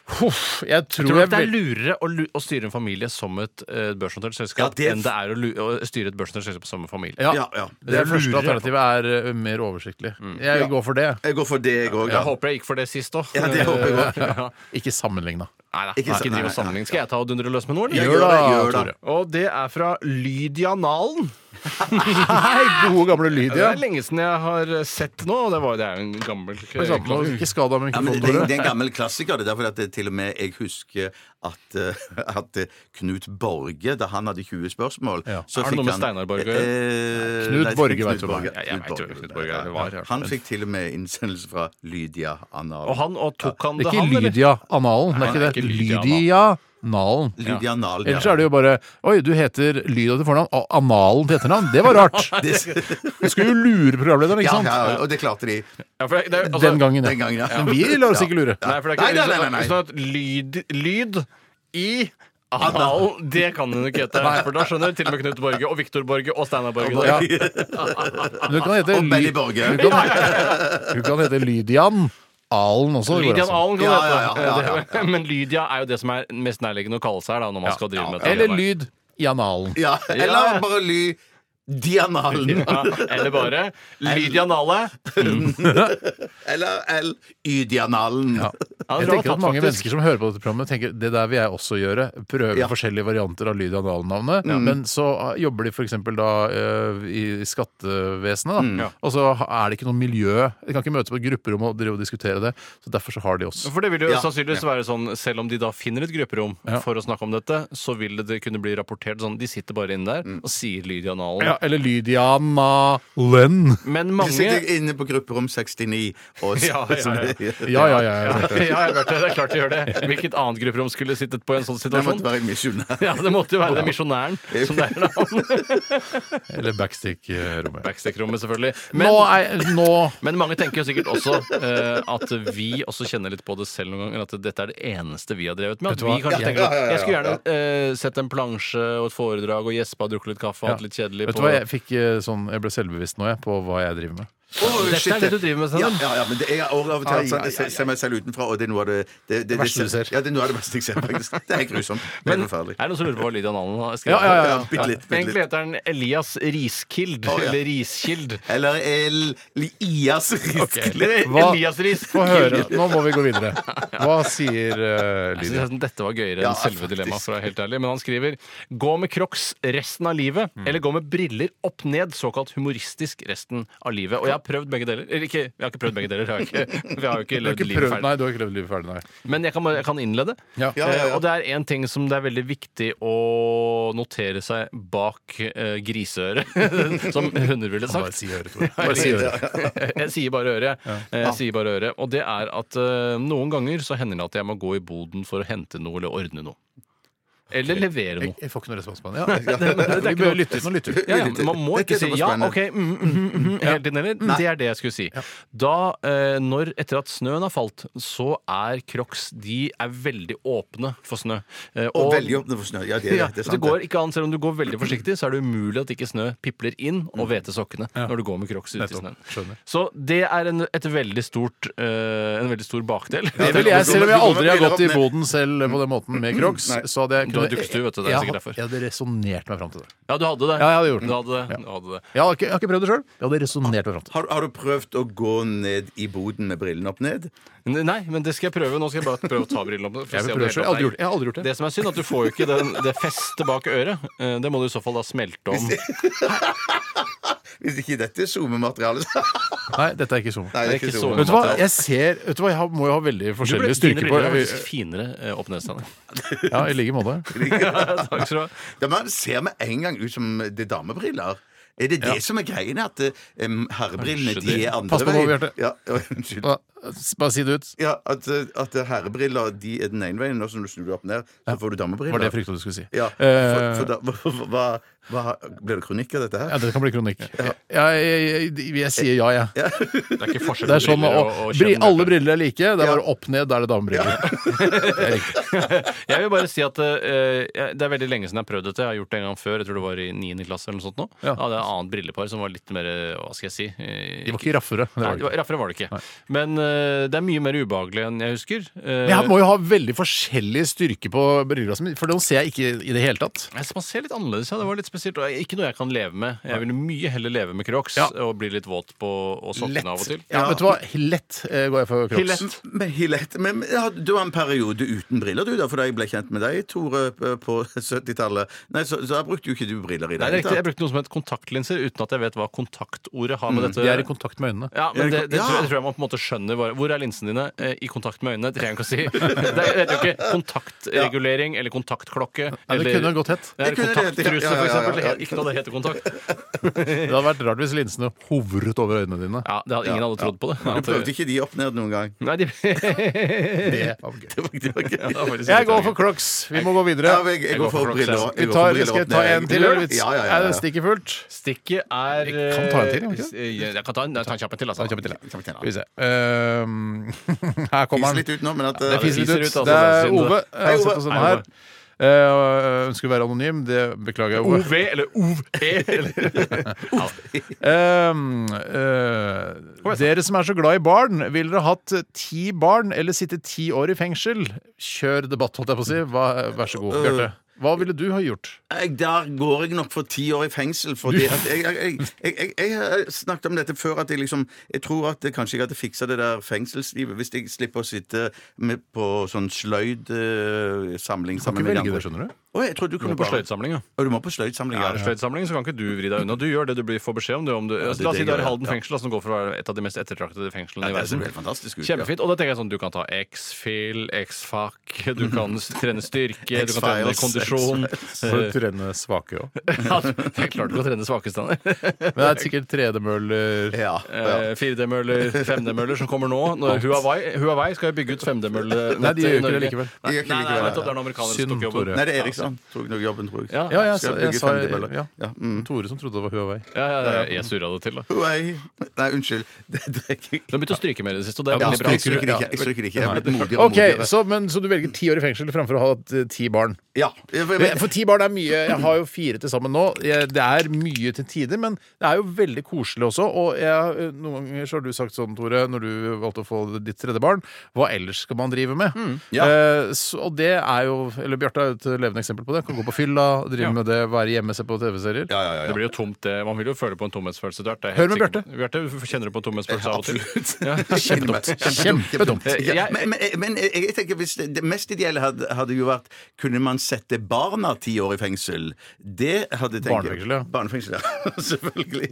S2: Huff, jeg tror,
S5: Tror du
S2: jeg
S5: at det er
S2: vel-
S5: lurere å, lu- å styre en familie som et eh, børsnotert selskap
S3: Ja, det-
S5: enn det er å, lu å styre et børsnotert selskap som en familie?
S2: ja.
S3: Ja, ja.
S2: Det, første alternativet er ø, mer oversiktlig. Jeg går for det.
S3: Jeg går for det, jeg òg.
S5: Jeg håper jeg gikk for det sist òg.
S3: Ja, det håper jeg også.
S2: Ikke sammenligna.
S5: Nei, nei,
S3: Ikke
S5: ikke,
S3: sant,
S5: driv
S3: nei,
S5: og
S3: nei,
S5: sammenlign. Skal jeg ta og dundre løs med noen?
S3: Ja,
S5: eller?
S3: gjør det, gjør det.
S2: Tore.
S5: Og det er fra Lydia Nalen.
S2: Hei, gode gamle
S5: Det
S2: Lydia.
S5: er lenge siden jeg har sett nå. Og det, var, det er jo en gammel
S2: Oi, sånn. sant, nå er du Ikke skada med
S3: Ja, men det,
S2: mikrofonen,
S3: det
S2: Tore.
S3: er en gammel klassiker. Det er derfor at det, til og med jeg husker at, eh, at eh, Knut Borge, da han hadde 20 spørsmål
S2: Ja.
S3: så
S5: Er det
S3: fikk
S5: noe med
S3: han-
S5: Steinar Borge?
S3: Eh,
S2: Knut
S3: nei,
S2: Borge
S3: Knut
S2: vet du hva
S5: Ja, jeg vet jo hvem Knut Borge er, det var.
S3: Han fikk til og med innsendelse fra Lydia Anal.
S5: Og han, og tok han
S2: Det
S5: det,
S2: er ikke
S5: han, eller?
S2: Lydia Analen. Det
S5: Nei,
S2: er ikke det.
S5: Lydia
S2: Lydia Nalen.
S3: Lydia Anal, ja.
S2: Ellers er det jo bare Oi, du heter Lydia til fornavn og Analen til etternavn. Det var rart. Du skulle jo lure programlederen,
S3: ja,
S2: ikke sant?
S3: ja, og det klarte de
S5: Ja, for det, er- altså-
S2: Den gangen,
S3: den gangen, ja.
S2: Men vi lar oss ikke lure.
S5: Nei, for det er ikke
S3: Nei, nei, nei, nei, nei.
S5: Hvis du har et lyd, lyd i Anal, det kan hun ikke hete. For da skjønner til og med Knut Borge og Viktor Borge og Steinar Borge. det.
S2: Ja. Men Du kan hete,
S3: Og
S2: Ly-
S3: Benny Borge.
S2: du kan, du kan hete Lydian Alen også. det går
S5: Lydian
S2: altså.
S5: Alen kan det
S3: Ja,
S5: hete.
S3: ja, ja, ja,
S5: Det- Men Lydia er jo det som er mest nærliggende å kalle seg her, da, når man skal drive med det.
S2: Eller Lyd Jan Alen.
S3: Ja, eller bare Ly Dianalen.
S5: Ja, eller bare Lydia Nale.
S3: Eller L-Ydianalen. Ja.
S5: Ja, det
S2: Jeg
S5: tror
S2: tenker
S5: var
S2: at Mange
S5: faktisk.
S2: mennesker som hører på dette programmet, tenker det der vil jeg også gjøre. Prøve
S3: Ja.
S2: forskjellige varianter av Lydian Alen-navnet. Men så ah, jobber de f.eks. da eh, i skattevesenet, da. Og så ha- er det ikke noe miljø. De kan ikke møtes på et grupperom og drive og diskutere det. Så derfor så har de oss.
S5: For det vil jo
S3: Ja.
S5: sannsynligvis være sånn, Selv om de da finner et grupperom for å snakke om dette, så vil det kunne bli rapportert sånn. De sitter bare
S3: Mm.
S5: inne der og sier Lydia Nalen.
S2: Ja, eller Lydiana Len.
S5: Men
S3: De
S5: mange
S3: sitter inne på grupperom 69 og
S5: Ja, ja, ja.
S2: Ja, ja, ja. ja.
S5: ja, jeg hørte det. Det er klart de gjør det. Hvilket annet grupperom skulle sittet på i en sånn
S3: Det
S5: situasjon?
S3: måtte være misjonær.
S5: Ja, Det måtte jo være den misjonæren som det er navn.
S2: Eller eh, backstick-rommet.
S5: Backstack-rommet, selvfølgelig.
S2: Nå
S5: Men,
S2: er nå
S5: men mange tenker jo sikkert også eh, at vi også kjenner litt på det selv noen ganger. At dette er det eneste vi har drevet med. At
S2: Vet du hva?
S5: vi kanskje tenker at Jeg skulle gjerne eh, sett en plansje og et foredrag og gjespa, drukket litt kaffe og hatt litt kjedelig
S2: Vet du
S5: på
S2: hva, jeg fikk eh, sånn Jeg ble selvbevisst nå, jeg, på hva jeg driver med.
S3: Oh,
S5: Dette er det du driver med,
S3: Ja,
S5: Steinar.
S3: ja, ja, men det, jeg har også av og til sånn, jeg ser- ser meg selv utenfra, og det er noe av det Det, det, det,
S2: verste du ser.
S3: Ja, det er noe av det verste jeg ser, faktisk. Det er helt grusomt. Det er
S5: Men er
S3: forferdelig.
S5: det noen som lurer på hva Lydia Nalen har
S2: Ja,
S5: skrevet?
S2: ja, ja,
S3: Ja,
S2: ja.
S3: bitte litt. Bitte
S5: Egentlig
S3: litt.
S5: heter den Elias Riskild.
S3: Å, ja.
S5: Eller Riskild.
S3: Eller El-Ias Riskle.
S2: Hva-
S5: Elias Risk.
S2: Få høre. Nå må vi gå videre. Hva sier uh,
S5: Jeg
S2: Lydia?
S5: synes nesten sånn, dette var gøyere
S3: Ja,
S5: enn selve
S3: faktisk.
S5: dilemmaet. for å være helt ærlig Men han skriver gå med crocs resten av livet,
S2: Mm.
S5: eller gå med briller opp ned, såkalt humoristisk resten av livet. Og jeg har prøvd begge deler. Eller ikke, jeg har ikke prøvd begge deler. Jeg har ikke, for jeg har jo ikke
S2: Du har
S5: levd
S2: ikke
S5: livet
S2: prøvd,
S5: ferdig.
S2: nei, du har ikke levd livet ferdig, nei.
S5: Men jeg kan, bare- jeg kan innlede.
S2: Ja. Ja,
S3: ja, ja.
S5: Eh, Og det er én ting som det er veldig viktig å notere seg bak eh, griseøret, som hunder ville sagt.
S2: Bare si øret, Tore.
S5: Nei,
S2: Bare si
S5: jeg-
S2: øret.
S5: Jeg sier bare øret. jeg. Eh, Jeg sier bare øret. Og det er at eh, noen ganger så hender det at jeg må gå i boden for å hente noe eller ordne noe. Eller levere
S2: Jeg,
S5: noe.
S2: jeg får ikke noe respons på den. Ja, vi bør lytte. Nå lytter vi.
S5: Ja, ja, men man må
S3: Dette
S5: ikke
S3: er
S5: si
S3: såpass
S5: ja,
S3: spennende.
S5: OK, mm, mm, mm, mm, hele tiden, eller? Det er det jeg skulle si. Da, eh, når etter at snøen har falt, så er crocs De er veldig åpne for snø. Eh,
S3: Og veldig åpne for snø. Ja, det er,
S5: ja,
S3: det er
S5: det
S3: sant.
S5: går ikke an, Selv om du går veldig forsiktig, så er det umulig at ikke snø pipler inn og hveter sokkene når du går med crocs ute i
S2: Mm. Nettopp.
S5: snøen.
S2: Skjønner.
S5: Så det er en, et veldig stort, eh, en veldig stor bakdel.
S2: Det vil jeg, selv om jeg aldri har gått i boden selv på den måten med crocs, så hadde jeg
S5: Du har dukstue, vet du, det er
S2: Jeg
S5: sikkert
S2: hadde-
S5: derfor.
S2: Jeg hadde resonnert meg fram til det.
S5: Ja, du hadde det.
S2: Ja, jeg hadde gjort det.
S5: Du hadde det. Du hadde det.
S2: Jeg har ikke, jeg har ikke prøvd det sjøl. Jeg hadde resonnert meg fram til det.
S3: Har, har du prøvd å gå ned i boden med brillene opp ned?
S5: N- Nei, men det skal jeg prøve. Nå skal jeg bare prøve å ta brillene opp.
S2: Jeg
S5: for å se
S2: vil
S5: om
S2: prøve
S5: det
S2: selv. Jeg
S5: helt
S2: har aldri
S5: opp-
S2: gjort det. Jeg har aldri gjort det.
S5: Det som er synd, at du får jo ikke den, det festet bak øret. Eh, Det må du i så fall da smelte om. Det
S3: Hvis ikke dette er zoomemateriale, så
S2: Nei, dette er ikke sommer.
S3: Nei,
S5: er ikke så
S2: Vet du hva, jeg ser Vet du hva, jeg har- må jo ha veldig
S5: Du ble-
S2: forskjellig
S5: Dine
S2: styrke
S5: briller er
S2: på
S5: faktisk finere eh, opp ned, Steinar.
S2: Ja, i like måte.
S5: Takk skal du ha.
S3: Ja, Man ser med en gang ut som det er damebriller. Er det det som er greien? At em, herrebrillene de er andre
S2: Pass på nå,
S3: veien?
S2: Bjarte.
S3: Ja, ja, unnskyld.
S2: Hva- Bare si det ut.
S3: Ja, at, eh, at herrebriller de er den ene veien, og så når du snur deg opp ned, så får du damebriller.
S2: Var det jeg frykta du skulle si.
S3: Ja, for,
S2: Eh,
S3: for da, hva, hva, Blir det kronikk av dette her?
S2: ja, det kan bli kronikk. Ja, jeg, jeg, jeg sier ja, jeg.
S5: Det er ikke forskjell
S2: Det er sånn,
S5: briller
S2: og,
S5: og- og
S2: bri,
S5: kjønn.
S2: Alle briller er like. Det er bare opp ned, da er det damebriller.
S5: Jeg vil bare si at eh, jeg- det er veldig lenge siden jeg har prøvd dette. Jeg har gjort det en gang før. Jeg tror det var i 9. klasse eller noe sånt nå.
S2: Ja.
S5: Ja. Da hadde jeg et annet brillepar som var litt mer eh, Hva skal jeg si? eh,
S2: De var ikke raffere. Det var
S5: Nei, det
S2: de ikke.
S5: var, raffere var det ikke. Men eh, det er mye mer ubehagelig enn jeg husker. Eh,
S2: Men Jeg må jo ha veldig forskjellig styrke på brillene mine, for dem ser jeg ikke i det hele tatt.
S5: jeg synes Man ser litt annerledes, ja. Det var litt spesielt. Og ikke noe jeg kan leve med. Jeg ville mye heller leve med crocs
S2: Ja.
S5: og bli litt våt på og sokkene av og til.
S2: Ja, vet du hva? Lett eh, går jeg for crocs.
S5: Hilett.
S3: Men, Hilett, men men, ja, Du var en periode uten briller, du, da, for da jeg ble kjent med deg, Tore, p- på 70-tallet. Nei, så, så da brukte jo ikke du briller i
S5: Nei,
S3: det
S5: det er
S3: hele
S5: riktig. Jeg
S3: tatt.
S5: brukte noe som het kontaktlinser, uten at jeg vet hva kontaktordet har med dette
S2: De Mm. er i kontakt med øynene.
S5: Ja,
S3: Ja,
S5: men det, det,
S3: ja.
S5: tror, jeg, det tror jeg man på en måte skjønner. Bare, hvor er linsene dine? Eh, I kontakt med øynene. Det trenger jeg ikke å si. Det er- det heter jo ikke kontaktregulering eller kontaktklokke.
S2: Nei, det
S5: eller-
S2: kunne godt hett.
S5: Det er
S3: Det kunne det hett, ja.
S5: Kontakttruse,
S3: Ja, ja,
S5: for
S3: ja,
S5: eksempel. Det
S3: ja.
S5: heter Ikke noe det heter kontakt.
S2: Det hadde vært rart hvis linsene hovret over øynene dine.
S5: Ja, det hadde, Ingen hadde trodd på det.
S3: Du prøvde ikke de opp ned noen gang?
S5: Nei, de...
S2: Det var gøy.
S3: Det var, det var
S5: Ja, det var
S3: gøy.
S5: faktisk
S2: Jeg
S5: litt
S2: går for
S5: gøy.
S2: crocs. Vi må gå videre.
S3: Ja, jeg, jeg går for
S5: Crocs,
S3: briller.
S5: jeg.
S3: jeg
S2: Vi
S3: går for
S2: tar,
S3: briller
S2: skal jeg
S3: opp
S2: ta
S3: ned.
S2: en til? eller?
S3: Ja, ja, ja.
S2: Er det
S3: ja.
S2: stikket fullt?
S5: Stikket er
S2: Jeg kan ta en til, kan vi ikke?
S5: eh, Jeg kan ta en, jeg tar en kjapp en til. Altså.
S2: Ta en kjapp en til, ja. Skal vi se. Ehm, her kommer
S3: Fis
S2: den.
S3: litt ut nå, men at
S2: Det
S3: eh,
S2: fiser litt ut.
S5: altså.
S2: Det
S5: Det
S2: er
S5: er synd,
S2: Ove.
S5: det.
S2: Jeg har sett oss sånn
S5: Hei,
S2: her.
S5: Ove.
S2: Eh, ønsker å være anonym. Det beklager jeg, Ove.
S5: OV eller OV E, eller
S2: Ehm, eh, dere som er så glad i barn, ville dere hatt ti barn eller sitte ti år i fengsel? Kjør debatt, holdt jeg på å si. Hva, vær så god, Bjarte. Hva ville du ha gjort?
S3: jeg, Der går jeg nok for ti år i fengsel. Fordi at jeg, jeg, jeg, jeg, jeg, jeg har snakket om dette før, at jeg liksom Jeg tror at jeg kanskje jeg hadde fiksa det der fengselslivet hvis jeg slipper å sitte med på sånn sløyd eh, samling
S2: Kan
S3: sammen med de
S2: ikke velge det,
S3: andre.
S2: skjønner du.
S3: Å, jeg trodde du kunne
S5: På
S3: bare
S5: sløydsamlinga.
S3: Å, du må på sløydsamling.
S5: Er
S3: Ja.
S5: det sløydsamling, så kan ikke du vri deg unna. Du gjør det du blir får beskjed om. Du, om du,
S3: det er
S5: la oss
S3: det jeg
S5: si du er i
S3: gjør,
S5: Halden
S3: ja.
S5: fengsel, da, som går for å være et av de mest ettertraktede fengslene
S3: Ja,
S5: i
S3: det ser
S5: verden.
S3: helt fantastisk ut.
S5: Kjempefint. Og da tenker jeg sånn, du kan ta X-fil, X-fac, du kan s- trene styrke, du kan trene
S3: X-Files,
S5: kondisjon.
S2: For å trene svake òg.
S5: Ja, det er klart du kan trene svakestene.
S2: Men det er sikkert 3D-møller
S3: Ja. Ja, ja.
S5: Eh, 4D-møller, 5D-møller som kommer nå. Når Huawei, Huawei skal jo bygge ut eh, 5D-møller.
S2: Nei, de gjør ikke det likevel.
S5: Nei,
S3: De gjør ikke det
S5: nei, nei,
S3: likevel.
S5: nettopp, det er noen amerikanere
S2: Synd,
S5: som tok jobben.
S2: Tore.
S3: Nei, det er Eriksson. Tok nok jobben, tror jeg.
S5: Ja,
S2: Ja,
S3: Skal
S2: jeg, sa-
S3: jeg
S2: jeg
S3: bygge
S2: sa
S3: 5D-møller?
S2: ja.
S3: Ja, mm.
S2: Tore som trodde det var Huawei.
S5: Ja, ja, ja, jeg surra det til, da.
S3: Huawei. Nei, unnskyld. Det drikker jeg ikke.
S5: Du har begynt å stryke mer i det siste, og det er
S2: Ja,
S5: veldig
S2: du
S5: bra.
S3: Jeg stryker det ikke. Jeg stryker det ikke. Jeg er blitt modigere og
S2: OK,
S3: modigere.
S2: så, men, så du velger ti år i fengsel framfor å ha hatt eh, ti barn?
S3: Ja. For,
S2: Men- For ti barn er mye. Jeg har jo fire til sammen nå. Jeg, det er mye til tider, men det er jo veldig koselig også. Og jeg, eh, noen ganger så har du sagt sånn, Tore, når du valgte å få ditt tredje barn, hva ellers skal man drive med?
S3: ja.
S2: Eh, så, og det er jo Eller Bjarte er jo et levende eksempel på det. Kan gå på fylla, drive med det, være hjemme, se på TV-serier.
S3: ja, ja, ja.
S5: Det blir jo tomt, det. Man vil jo føle på en tomhetsfølelse etter hvert. det er
S2: Hør
S5: helt
S2: med
S5: sikkert. Bjarte, kjenner du på en tomhetsfølelse av og til?
S3: Kjempedumt.
S2: Kjempedumt.
S5: Jeg-
S3: Men, men, men jeg tenker hvis det, det mest ideelle hadde, hadde jo vært Kunne man sette barna ti år i fengsel? Det hadde tenkt
S2: Barnefengsel, ja.
S3: Barnefengsel, ja. Selvfølgelig.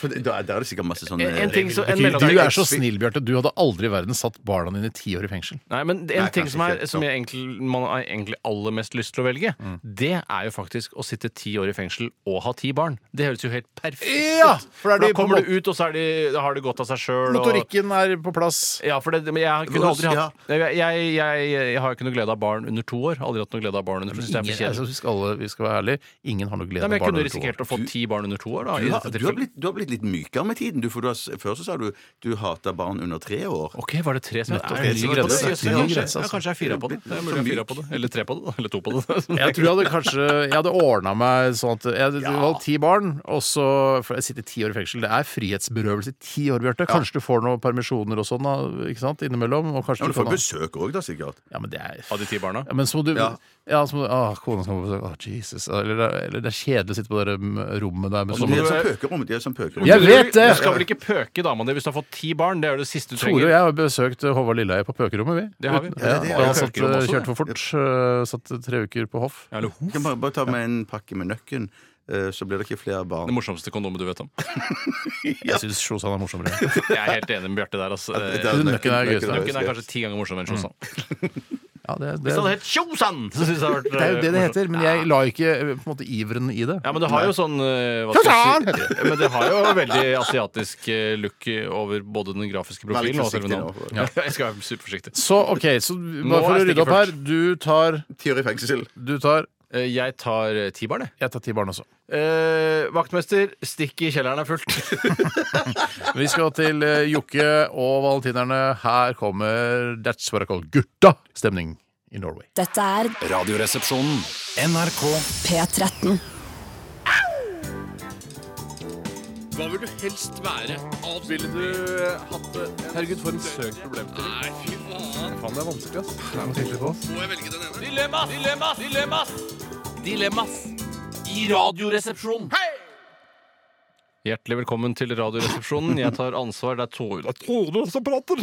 S3: For det, da, er- da er det sikkert masse sånne
S5: En- en ting som- en
S2: Du
S5: mellomting-
S2: er så snill, Bjarte. Du hadde aldri i verden satt barna dine ti år i fengsel.
S5: Nei, men en
S3: Nei,
S5: ting
S3: kanskje
S5: som, er,
S3: ikke.
S5: som jeg egentlig, man har egentlig aller mest lyst til å velge, det er jo faktisk å sitte ti år i fengsel og ha ti barn. Det høres jo helt perfekt ut.
S2: Ja, for da er de
S5: da
S2: på
S5: kommer
S2: en
S5: du ut, og så er de, da har det godt av seg sjøl.
S2: Motorikken er på plass.
S5: Ja, for det, men jeg kunne aldri
S3: Ja.
S5: hatt jeg, jeg, jeg, jeg har jo ikke noe glede av barn under to år. Aldri hatt noe glede av barn under to
S2: Ingen, altså,
S5: år.
S2: vi, skal alle, vi skal være ærlige. Ingen har noe glede
S5: Nei,
S2: av
S5: men jeg
S2: barn
S5: kunne
S2: over to år.
S5: risikert å få ti barn under to år. Da, i
S3: du har,
S5: dette
S3: du, har
S5: tilfellet.
S3: blitt, du har blitt litt mykere med tiden. Du, for du har, s- før så sa du du hata barn under tre år.
S5: Ok, var det tre som
S2: Nettopp.
S5: er
S2: Det
S5: det
S2: er
S5: ny
S2: ny
S5: grense?
S2: grense.
S5: Jøss,
S2: Ny
S5: kanskje-
S2: grense, altså.
S5: ja, Kanskje jeg er fire på det. Det er mulig jeg er fire på det. Eller tre på det. Eller to på det.
S2: Jeg tror jeg hadde kanskje Jeg hadde ordna meg sånn at Jeg hadde valgt ti barn, og så For jeg sitter ti år i fengsel. Det er frihetsberøvelse i ti år, Bjarte. Kanskje du får noen permisjoner og sånn da, ikke sant, innimellom.
S3: Ja,
S2: Og kanskje
S3: men
S2: du
S3: du får
S2: får noe
S3: besøk òg, da, sikkert.
S2: Ja, men det er
S5: Av de ti barna?
S2: ja, men så må du ja.
S3: Ja.
S2: så må du, Å, kona skal på besøk. Å, Jesus. Eller, det er- eller det er kjedelig å sitte på det der, mm, rommet der med
S5: så
S3: De
S5: må
S3: er
S2: sånn
S5: du-
S3: som pøkerom. De er som pøkerom.
S2: Jeg vet det!
S5: Du skal vel ikke pøke damene hvis du har fått ti barn? Det er jo det siste du
S2: Tore og
S5: trenger.
S2: jeg har besøkt eh, Håvard Lilleheie på pøkerommet, vi.
S5: Det har vi.
S2: Uten-
S5: Ja,
S2: Ja,
S3: det
S2: og
S3: har
S2: han
S3: vi.
S2: satt,
S5: Pøkerom også,
S2: kjørte for fort. eh, Satt tre uker på hoff.
S5: Ja, eller ho.
S3: Du kan bare, bare ta med en pakke med nøkken, eh, så blir det ikke flere barn.
S5: Det morsomste kondomet du vet om.
S2: Jeg syns Sjosan er morsommere.
S5: Jeg er helt enig med Bjarte der. Altså.
S3: Det er
S2: Nøkken er gøyest. Mm.
S5: Nøkken er kanskje ti ganger morsommere enn Sjosan.
S2: Ja, det,
S5: Hvis det hadde
S2: det,
S5: hett Tjosan, så syns jeg det hadde vært eh,
S2: det er jo det det
S5: morsomt.
S2: heter, men jeg la ikke eh, på en måte iveren i det.
S5: Ja, men det har jo sånn eh, hva skal jeg si? Men det har jo veldig asiatisk eh, look over både den grafiske
S3: Vær litt
S5: profilen og selve
S3: forsiktig
S5: navnet.
S3: nå.
S5: Jeg skal være superforsiktig.
S2: Så OK, så bare for
S5: er
S2: å rydde opp her.
S5: stikket
S2: Du tar
S3: Ti år i fengsel.
S2: Du tar
S5: Eh, Jeg tar eh, T-barn, jeg.
S2: Jeg tar ti barn også.
S5: Eh, vaktmester, stikk i kjelleren er fullt.
S2: Vi skal til eh, Jokke og valentinerne. Her kommer That's What I Call Gutta-stemning i Norway.
S8: Dette er
S6: Radioresepsjonen.
S8: P13.
S5: eh, Dilemmas! Dilemmas! Dilemmas! Dilemmas i Radioresepsjonen. Hjertelig velkommen til Radioresepsjonen. Jeg tar ansvar. Det er Tore Det er Tore som prater!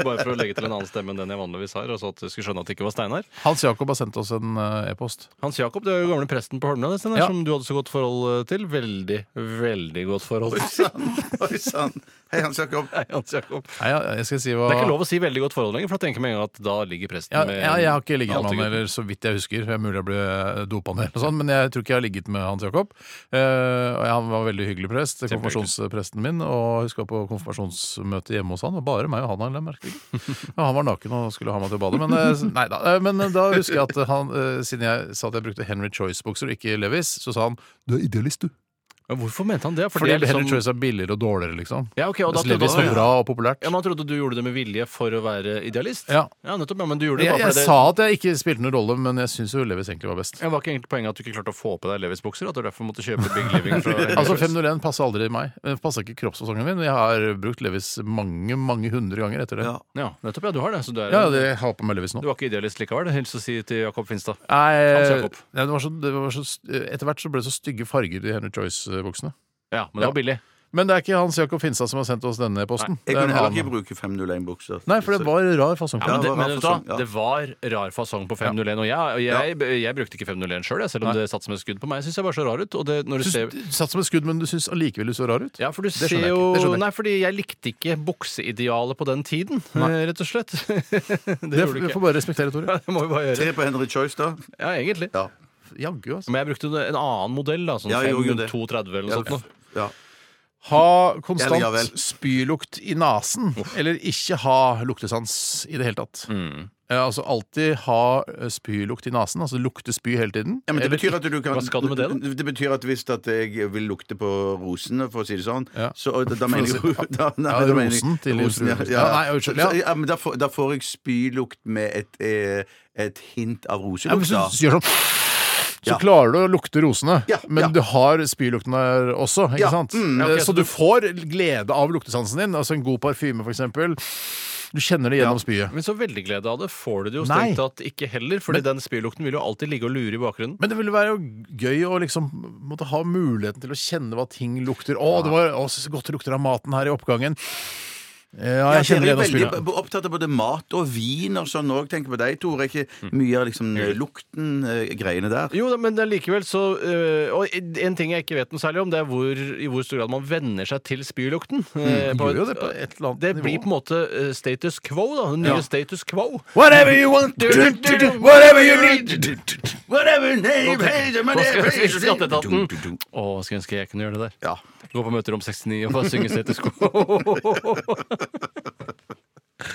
S5: Bare for å legge til en annen stemme enn den jeg vanligvis har. Og så at du skulle skjønne at det ikke var Steinar.
S2: Hans Jakob har sendt oss en eh, e-post.
S5: Hans Jakob, du er jo gamle presten på Holmlia, det, Steinar,
S2: Ja.
S5: som du hadde så godt forhold eh, til. Veldig, veldig godt forhold til.
S3: Oi sann. Hei, Hans Jakob.
S5: Nei, Hans Jakob.
S2: Nei, jeg- jeg skal si hva
S5: Det er ikke lov å si 'veldig godt forhold' lenger, for da tenker jeg med en gang at da ligger presten
S2: ja,
S5: med
S2: ja, jeg har ikke ligget med
S5: Alltid
S2: han
S5: gutten.
S2: heller, så vidt jeg husker. Det er mulig jeg ble dopa ned, eller sånn, men jeg tror ikke jeg har ligget med Hans Jakob. Eh, og han var veldig hyggelig prest, konfirmasjonspresten min, og husker på konfirmasjonsmøte hjemme hos han. Det var bare meg og han, det er merkelig. Ja, han var naken og skulle ha meg til å bade, men, eh, nei, da, eh, men da husker jeg at han, eh, siden jeg sa at jeg brukte Henry Choice-bukser og ikke Levis, så sa han du er idealist, du.
S5: Men Hvorfor mente han det? For
S2: Fordi
S5: det er
S2: Henry
S5: liksom-
S2: Choice er billigere og dårligere, liksom.
S5: Ja, ok, og da
S2: Mens
S5: trodde
S2: Levis
S5: han-
S2: var bra og populært.
S5: Ja, men Han trodde du gjorde det med vilje for å være idealist.
S2: Ja.
S5: nettopp, ja, Men du gjorde det
S2: Jeg,
S5: bare
S2: jeg
S5: fordi
S2: sa at jeg ikke spilte noen rolle, men jeg syns jo Levis egentlig var best.
S5: det ja, Var ikke egentlig poenget at du ikke klarte å få på deg Levis-bukser? At du derfor måtte kjøpe Big Living? Fra
S2: Altså 501 passer aldri meg. Den passer ikke kroppsfasongen min. men Jeg har brukt Levis mange mange hundre ganger etter det.
S3: Ja.
S5: Ja, nettopp, ja, du har det. Så du, er,
S2: Ja, det jeg har på meg Levis nå.
S5: du var ikke idealist likevel. Hils å si til Jakob Finstad.
S2: Nei,
S5: Hans
S2: nei,
S5: Jakob.
S2: det var så, det var så, eh, etter hvert så ble det så stygge farger i Henry Choice-buksene.
S5: Ja, men det
S2: Ja.
S5: var billig.
S2: Men det er ikke Hans Jakob Finstad som har sendt oss denne posten.
S3: Jeg
S2: Det er en
S3: kunne heller
S2: annen.
S3: ikke bruke 501-bukser.
S2: Nei, for det var rar fasong.
S5: Ja, men det,
S3: det var
S5: men
S3: rar
S5: vet du hva?
S3: fasong, ja.
S5: Det var rar fasong på 501. Og jeg, og jeg, jeg brukte ikke 501 sjøl, selv, selv om det satt som et skudd på meg. Jeg syns jeg var så rar ut. Og det, når
S2: Du
S5: du
S2: syns-
S5: ser
S2: du satt som et skudd, men du syns allikevel du så rar ut.
S5: Ja, for du
S2: skjønner
S5: ser
S2: jeg
S5: jo
S2: ikke. Det skjønner jeg
S5: Nei, fordi jeg likte ikke bukseidealet på den tiden, eh, rett og slett. det,
S2: Det,
S5: gjorde du
S2: vi
S5: ikke.
S2: får bare respektere, Tore.
S5: Ja, Det må vi bare gjøre.
S3: Tre på Henry Choice, da.
S5: Ja, egentlig.
S3: Ja.
S2: Jaggu, altså.
S5: Men jeg brukte en annen modell, da, sånn
S3: Ja, jeg gjorde det.
S5: 5230 eller
S3: Ja,
S5: noe sånt. nå.
S3: ja.
S2: Ha
S3: Eller ja vel.
S2: konstant spylukt i nesen, eller ikke ha luktesans i det hele tatt.
S3: Mm.
S2: Eh, altså alltid ha eh, spylukt i nesen, altså lukte spy hele tiden.
S3: Ja, men det
S2: Eller
S3: betyr at du kan,
S5: Hva skal du med det, da?
S3: Det betyr at hvis at jeg vil lukte på rosene, for å si det sånn,
S2: Ja.
S3: så og da, da mener jeg jo da, nei,
S2: sånn. Ja,
S3: da mener jeg-
S2: rosen til
S3: rosen, ja,
S2: jomfru.
S3: ja.
S2: Ja, nei, unnskyld, ja.
S3: Så- ja, men da, får, da får jeg spylukt med et, eh, et hint av
S2: Ja, men
S3: roselukt,
S2: hvis
S3: da.
S2: du gjør sånn så
S3: Ja.
S2: klarer du å lukte rosene,
S3: Ja,
S2: men
S3: ja.
S2: du har spylukten der også. ikke
S3: Ja,
S2: sant?
S3: mm,
S2: Eh,
S5: ok,
S2: så
S5: så
S2: du
S5: du-
S2: får glede av luktesansen din. altså En god parfyme, f.eks. Du kjenner det gjennom spyet.
S5: Men så veldig glede av det får du det jo
S2: Nei.
S5: strengt tatt ikke heller, fordi den spylukten vil jo alltid ligge og lure i bakgrunnen.
S2: Men det ville være jo gøy å liksom måtte ha muligheten til å kjenne hva ting lukter. Å, det var å, så godt det lukter av maten her i oppgangen. Eh, Ja, jeg kjenner det
S3: Dere
S2: gjennom
S3: er veldig
S2: spyet.
S3: b- opptatt av både mat og vin og sånn òg, tenker på deg, Tore. Er ikke
S2: Mm.
S3: mye av liksom eh, lukten, eh, greiene der?
S5: Jo, da, men det er likevel så øh, Og en ting jeg ikke vet noe særlig om, det er hvor, i hvor stor grad man venner seg til spylukten. Eh,
S2: Du gjør
S5: på
S2: jo det
S5: et-
S2: på et eller annet
S5: det
S2: nivå.
S5: blir på en måte eh, status quo, da. Den nye status quo.
S2: Whatever you want, do, do, do, do, whatever you need.
S3: Whatever name, hey, the
S5: Hva
S3: money,
S5: skal jeg
S3: hey,
S5: si?
S3: the-
S5: Skatteetaten. Å, skulle ønske jeg kunne gjøre det der.
S3: Ja.
S5: Gå på møterom 69 og bare synge status quo.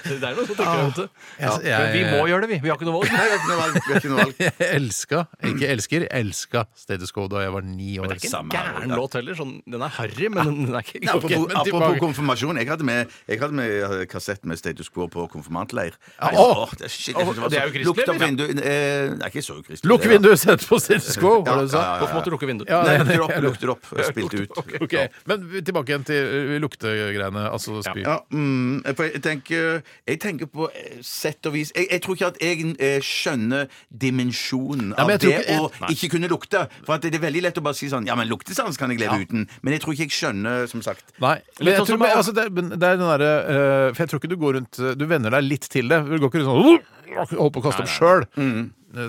S5: Det er noe som tenker jeg, vet du.
S2: Ah, Jeg,
S5: Men vi må
S2: jeg,
S5: gjøre det, vi. Vi har ikke noe valg.
S3: Nei, vi har ikke noe valg. Vi har ikke noe valg.
S2: jeg elska, ikke elsker, elska Status Quo da jeg var ni år.
S5: Det er ikke en
S3: Samme her,
S5: gæren
S3: ja.
S5: låt heller. Sånn, den er harry, men den er ikke
S3: Nei,
S5: ok,
S3: apropos,
S5: men de-
S3: apropos konfirmasjon. Jeg hadde med, jeg hadde med eh, kassett med status quo på konfirmantleir. Nei,
S2: Ah, åh!
S3: åh, det- shit, jeg synes
S5: Åh, det er
S3: var
S5: jo
S3: så-
S5: kristelig,
S3: Lukt av
S5: eller?
S3: vinduet eh, Nei, ikke så ukristelig.
S2: Lukk
S3: det, da.
S2: vinduet, sett på Status Quo, var det du sa?
S3: Ja, ja,
S5: Hvorfor
S3: ja.
S5: måtte du lukke vinduet?
S2: Ja,
S3: Nei,
S2: det-
S3: lukte det opp, lukte det opp. Jeg spilte ut.
S2: Ok, Men vi- tilbake igjen til ø, luktegreiene, altså spy.
S3: Ja, mm, for jeg tenker, jeg tenker på eh, sett og vis Jeg, jeg tror ikke at jeg eh, skjønner dimensjonen
S2: Ja,
S3: av
S2: men jeg
S3: det
S2: tror ikke- jeg-
S3: å ikke kunne lukte. For at det er veldig lett å bare si sånn Ja, men luktesans kan jeg leve uten. Men jeg tror ikke jeg skjønner, som sagt.
S2: Nei, men
S5: Litt
S2: jeg tror,
S5: sånn som-
S2: men, altså, det, er- men det er den eh, derre ø, For jeg tror ikke du går rundt ø, Du venner deg litt til det. Du går ikke rundt sånn «Åh!» og holder på å kaste opp sjøl.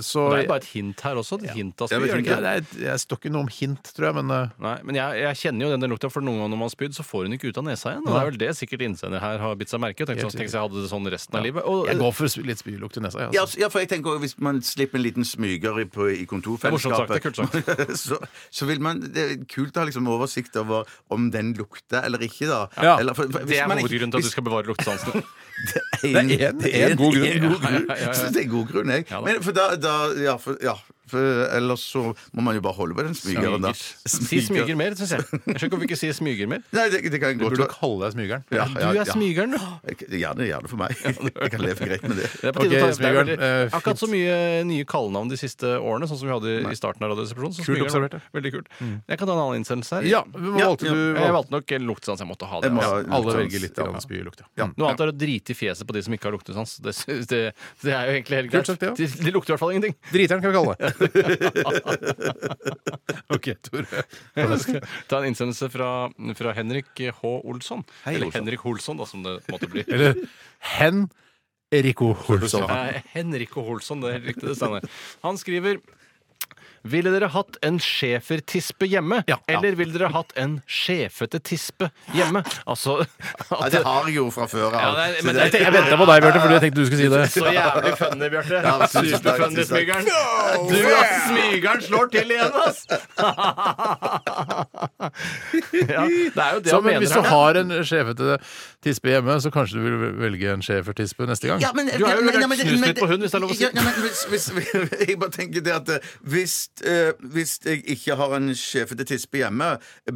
S2: Så
S5: Det er Mm. bare et hint her også. Et hint av
S3: Ja,
S5: spyd.
S3: men
S5: gjør
S2: Ja,
S5: det ikke det?
S2: det er et- Jeg står ikke noe om hint, tror jeg, men eh,
S5: Nei, men jeg, jeg kjenner jo den der lukta, for noen ganger når man har spydd, så får hun ikke ut av nesa igjen. Og det er vel det sikkert innsender her har bitt seg merke. Tenk
S2: Helt
S5: sånn, tenk så jeg hadde det sånn resten av livet. Og,
S2: jeg går for sp- litt spylukt i nesa.
S3: Ja,
S2: jeg, Altså.
S3: altså, ja, for jeg tenker også, Hvis man slipper en liten smyger i, på, i kontorfellesskapet
S5: Det er morsomt sagt,
S3: så, så vil man Det er kult å ha liksom oversikt over om den lukter eller ikke, da.
S2: Ja,
S3: eller, for, for, hvis
S5: det er
S3: man ikke-
S5: hovedgrunnen til at du skal bevare luktesansen.
S3: Det er en,
S2: Det er en- en god grunn.
S3: en god grunn.
S5: Ja, ja, ja, ja.
S3: Så det er god grunn, jeg.
S5: Ja da.
S3: Men for da, da ja, for, ja, for ellers så må man jo bare holde på den smygeren, da.
S5: Si smyger mer, syns jeg. Jeg skjønner ikke hvorfor vi ikke sier smyger mer.
S3: Nei, det, det kan
S2: Du
S3: godt
S2: burde
S3: være.
S2: kalle deg smygeren.
S3: Ja,
S5: Du
S3: ja,
S5: er
S3: ja.
S5: smygeren, du.
S3: Jeg- Gjerne, gjerne for meg. Jeg kan leve greit med det.
S5: Det er på
S2: Ok,
S5: tide å ta det er
S2: smygeren,
S5: veldig-
S2: eh,
S5: Akkurat så mye nye kallenavn de siste årene, sånn som vi hadde i starten av Radioresepsjonen. så
S2: Kult
S5: smygeren var
S2: observert, ja.
S5: Veldig kult. Jeg kan ta en annen innsendelse her.
S2: Ja, hva
S3: Ja.
S2: valgte du?
S5: Jeg valgte nok luktesans. Jeg måtte ha det.
S3: Jeg må
S5: altså.
S3: ha
S2: Alle
S3: luktesans.
S2: velger litt
S3: Ja.
S2: grann spylukt, ja. Mm.
S5: Noe annet er å drite i fjeset på de som ikke har luktesans. Det, synes- det, det er jo egentlig helt
S2: Kult
S5: greit.
S2: sagt, ja.
S5: de, de lukter i hvert fall ingenting.
S2: Driteren kan vi kalle det. OK, Tore.
S5: Ta en innsendelse fra, fra Henrik H. Olsson.
S3: Hei,
S5: Eller
S3: Olsson.
S5: Henrik Holsson, da, som det måtte bli.
S2: Eller hen Rico Holsson.
S5: Eh, Henrik og Holsson, det er riktig det Steinar. Han skriver ville dere hatt en schæfertispe hjemme?
S2: Ja.
S5: Eller ville dere hatt en schæfete tispe hjemme? Altså
S3: Ja,
S5: at,
S3: det har jeg jo fra før av.
S5: Ja, det er-
S3: Så
S5: men
S3: det-
S5: det-
S2: Jeg venta på deg, Bjarte, fordi jeg tenkte du skulle si det.
S5: Så jævlig funny, Bjarte.
S3: Ja, tusen takk,
S5: Superfunny,
S3: tusen takk.
S5: smygeren. Du, ass! Smygeren slår til igjen, ass! ja, det er jo det
S2: Så, men
S5: han mener.
S2: hvis du
S5: her.
S2: har en sjefete tispe hjemme, så kanskje du vil velge en schæfertispe neste gang?
S3: Ja, men,
S5: Du er jo
S3: men-
S5: rørt
S3: ja, men-
S5: snust
S3: men-
S5: litt på hund, hvis det er lov å si.
S3: Ja, ja, men hvis, hvis, jeg bare tenker det at eh, hvis, eh, hvis jeg ikke har en sjefete tispe hjemme,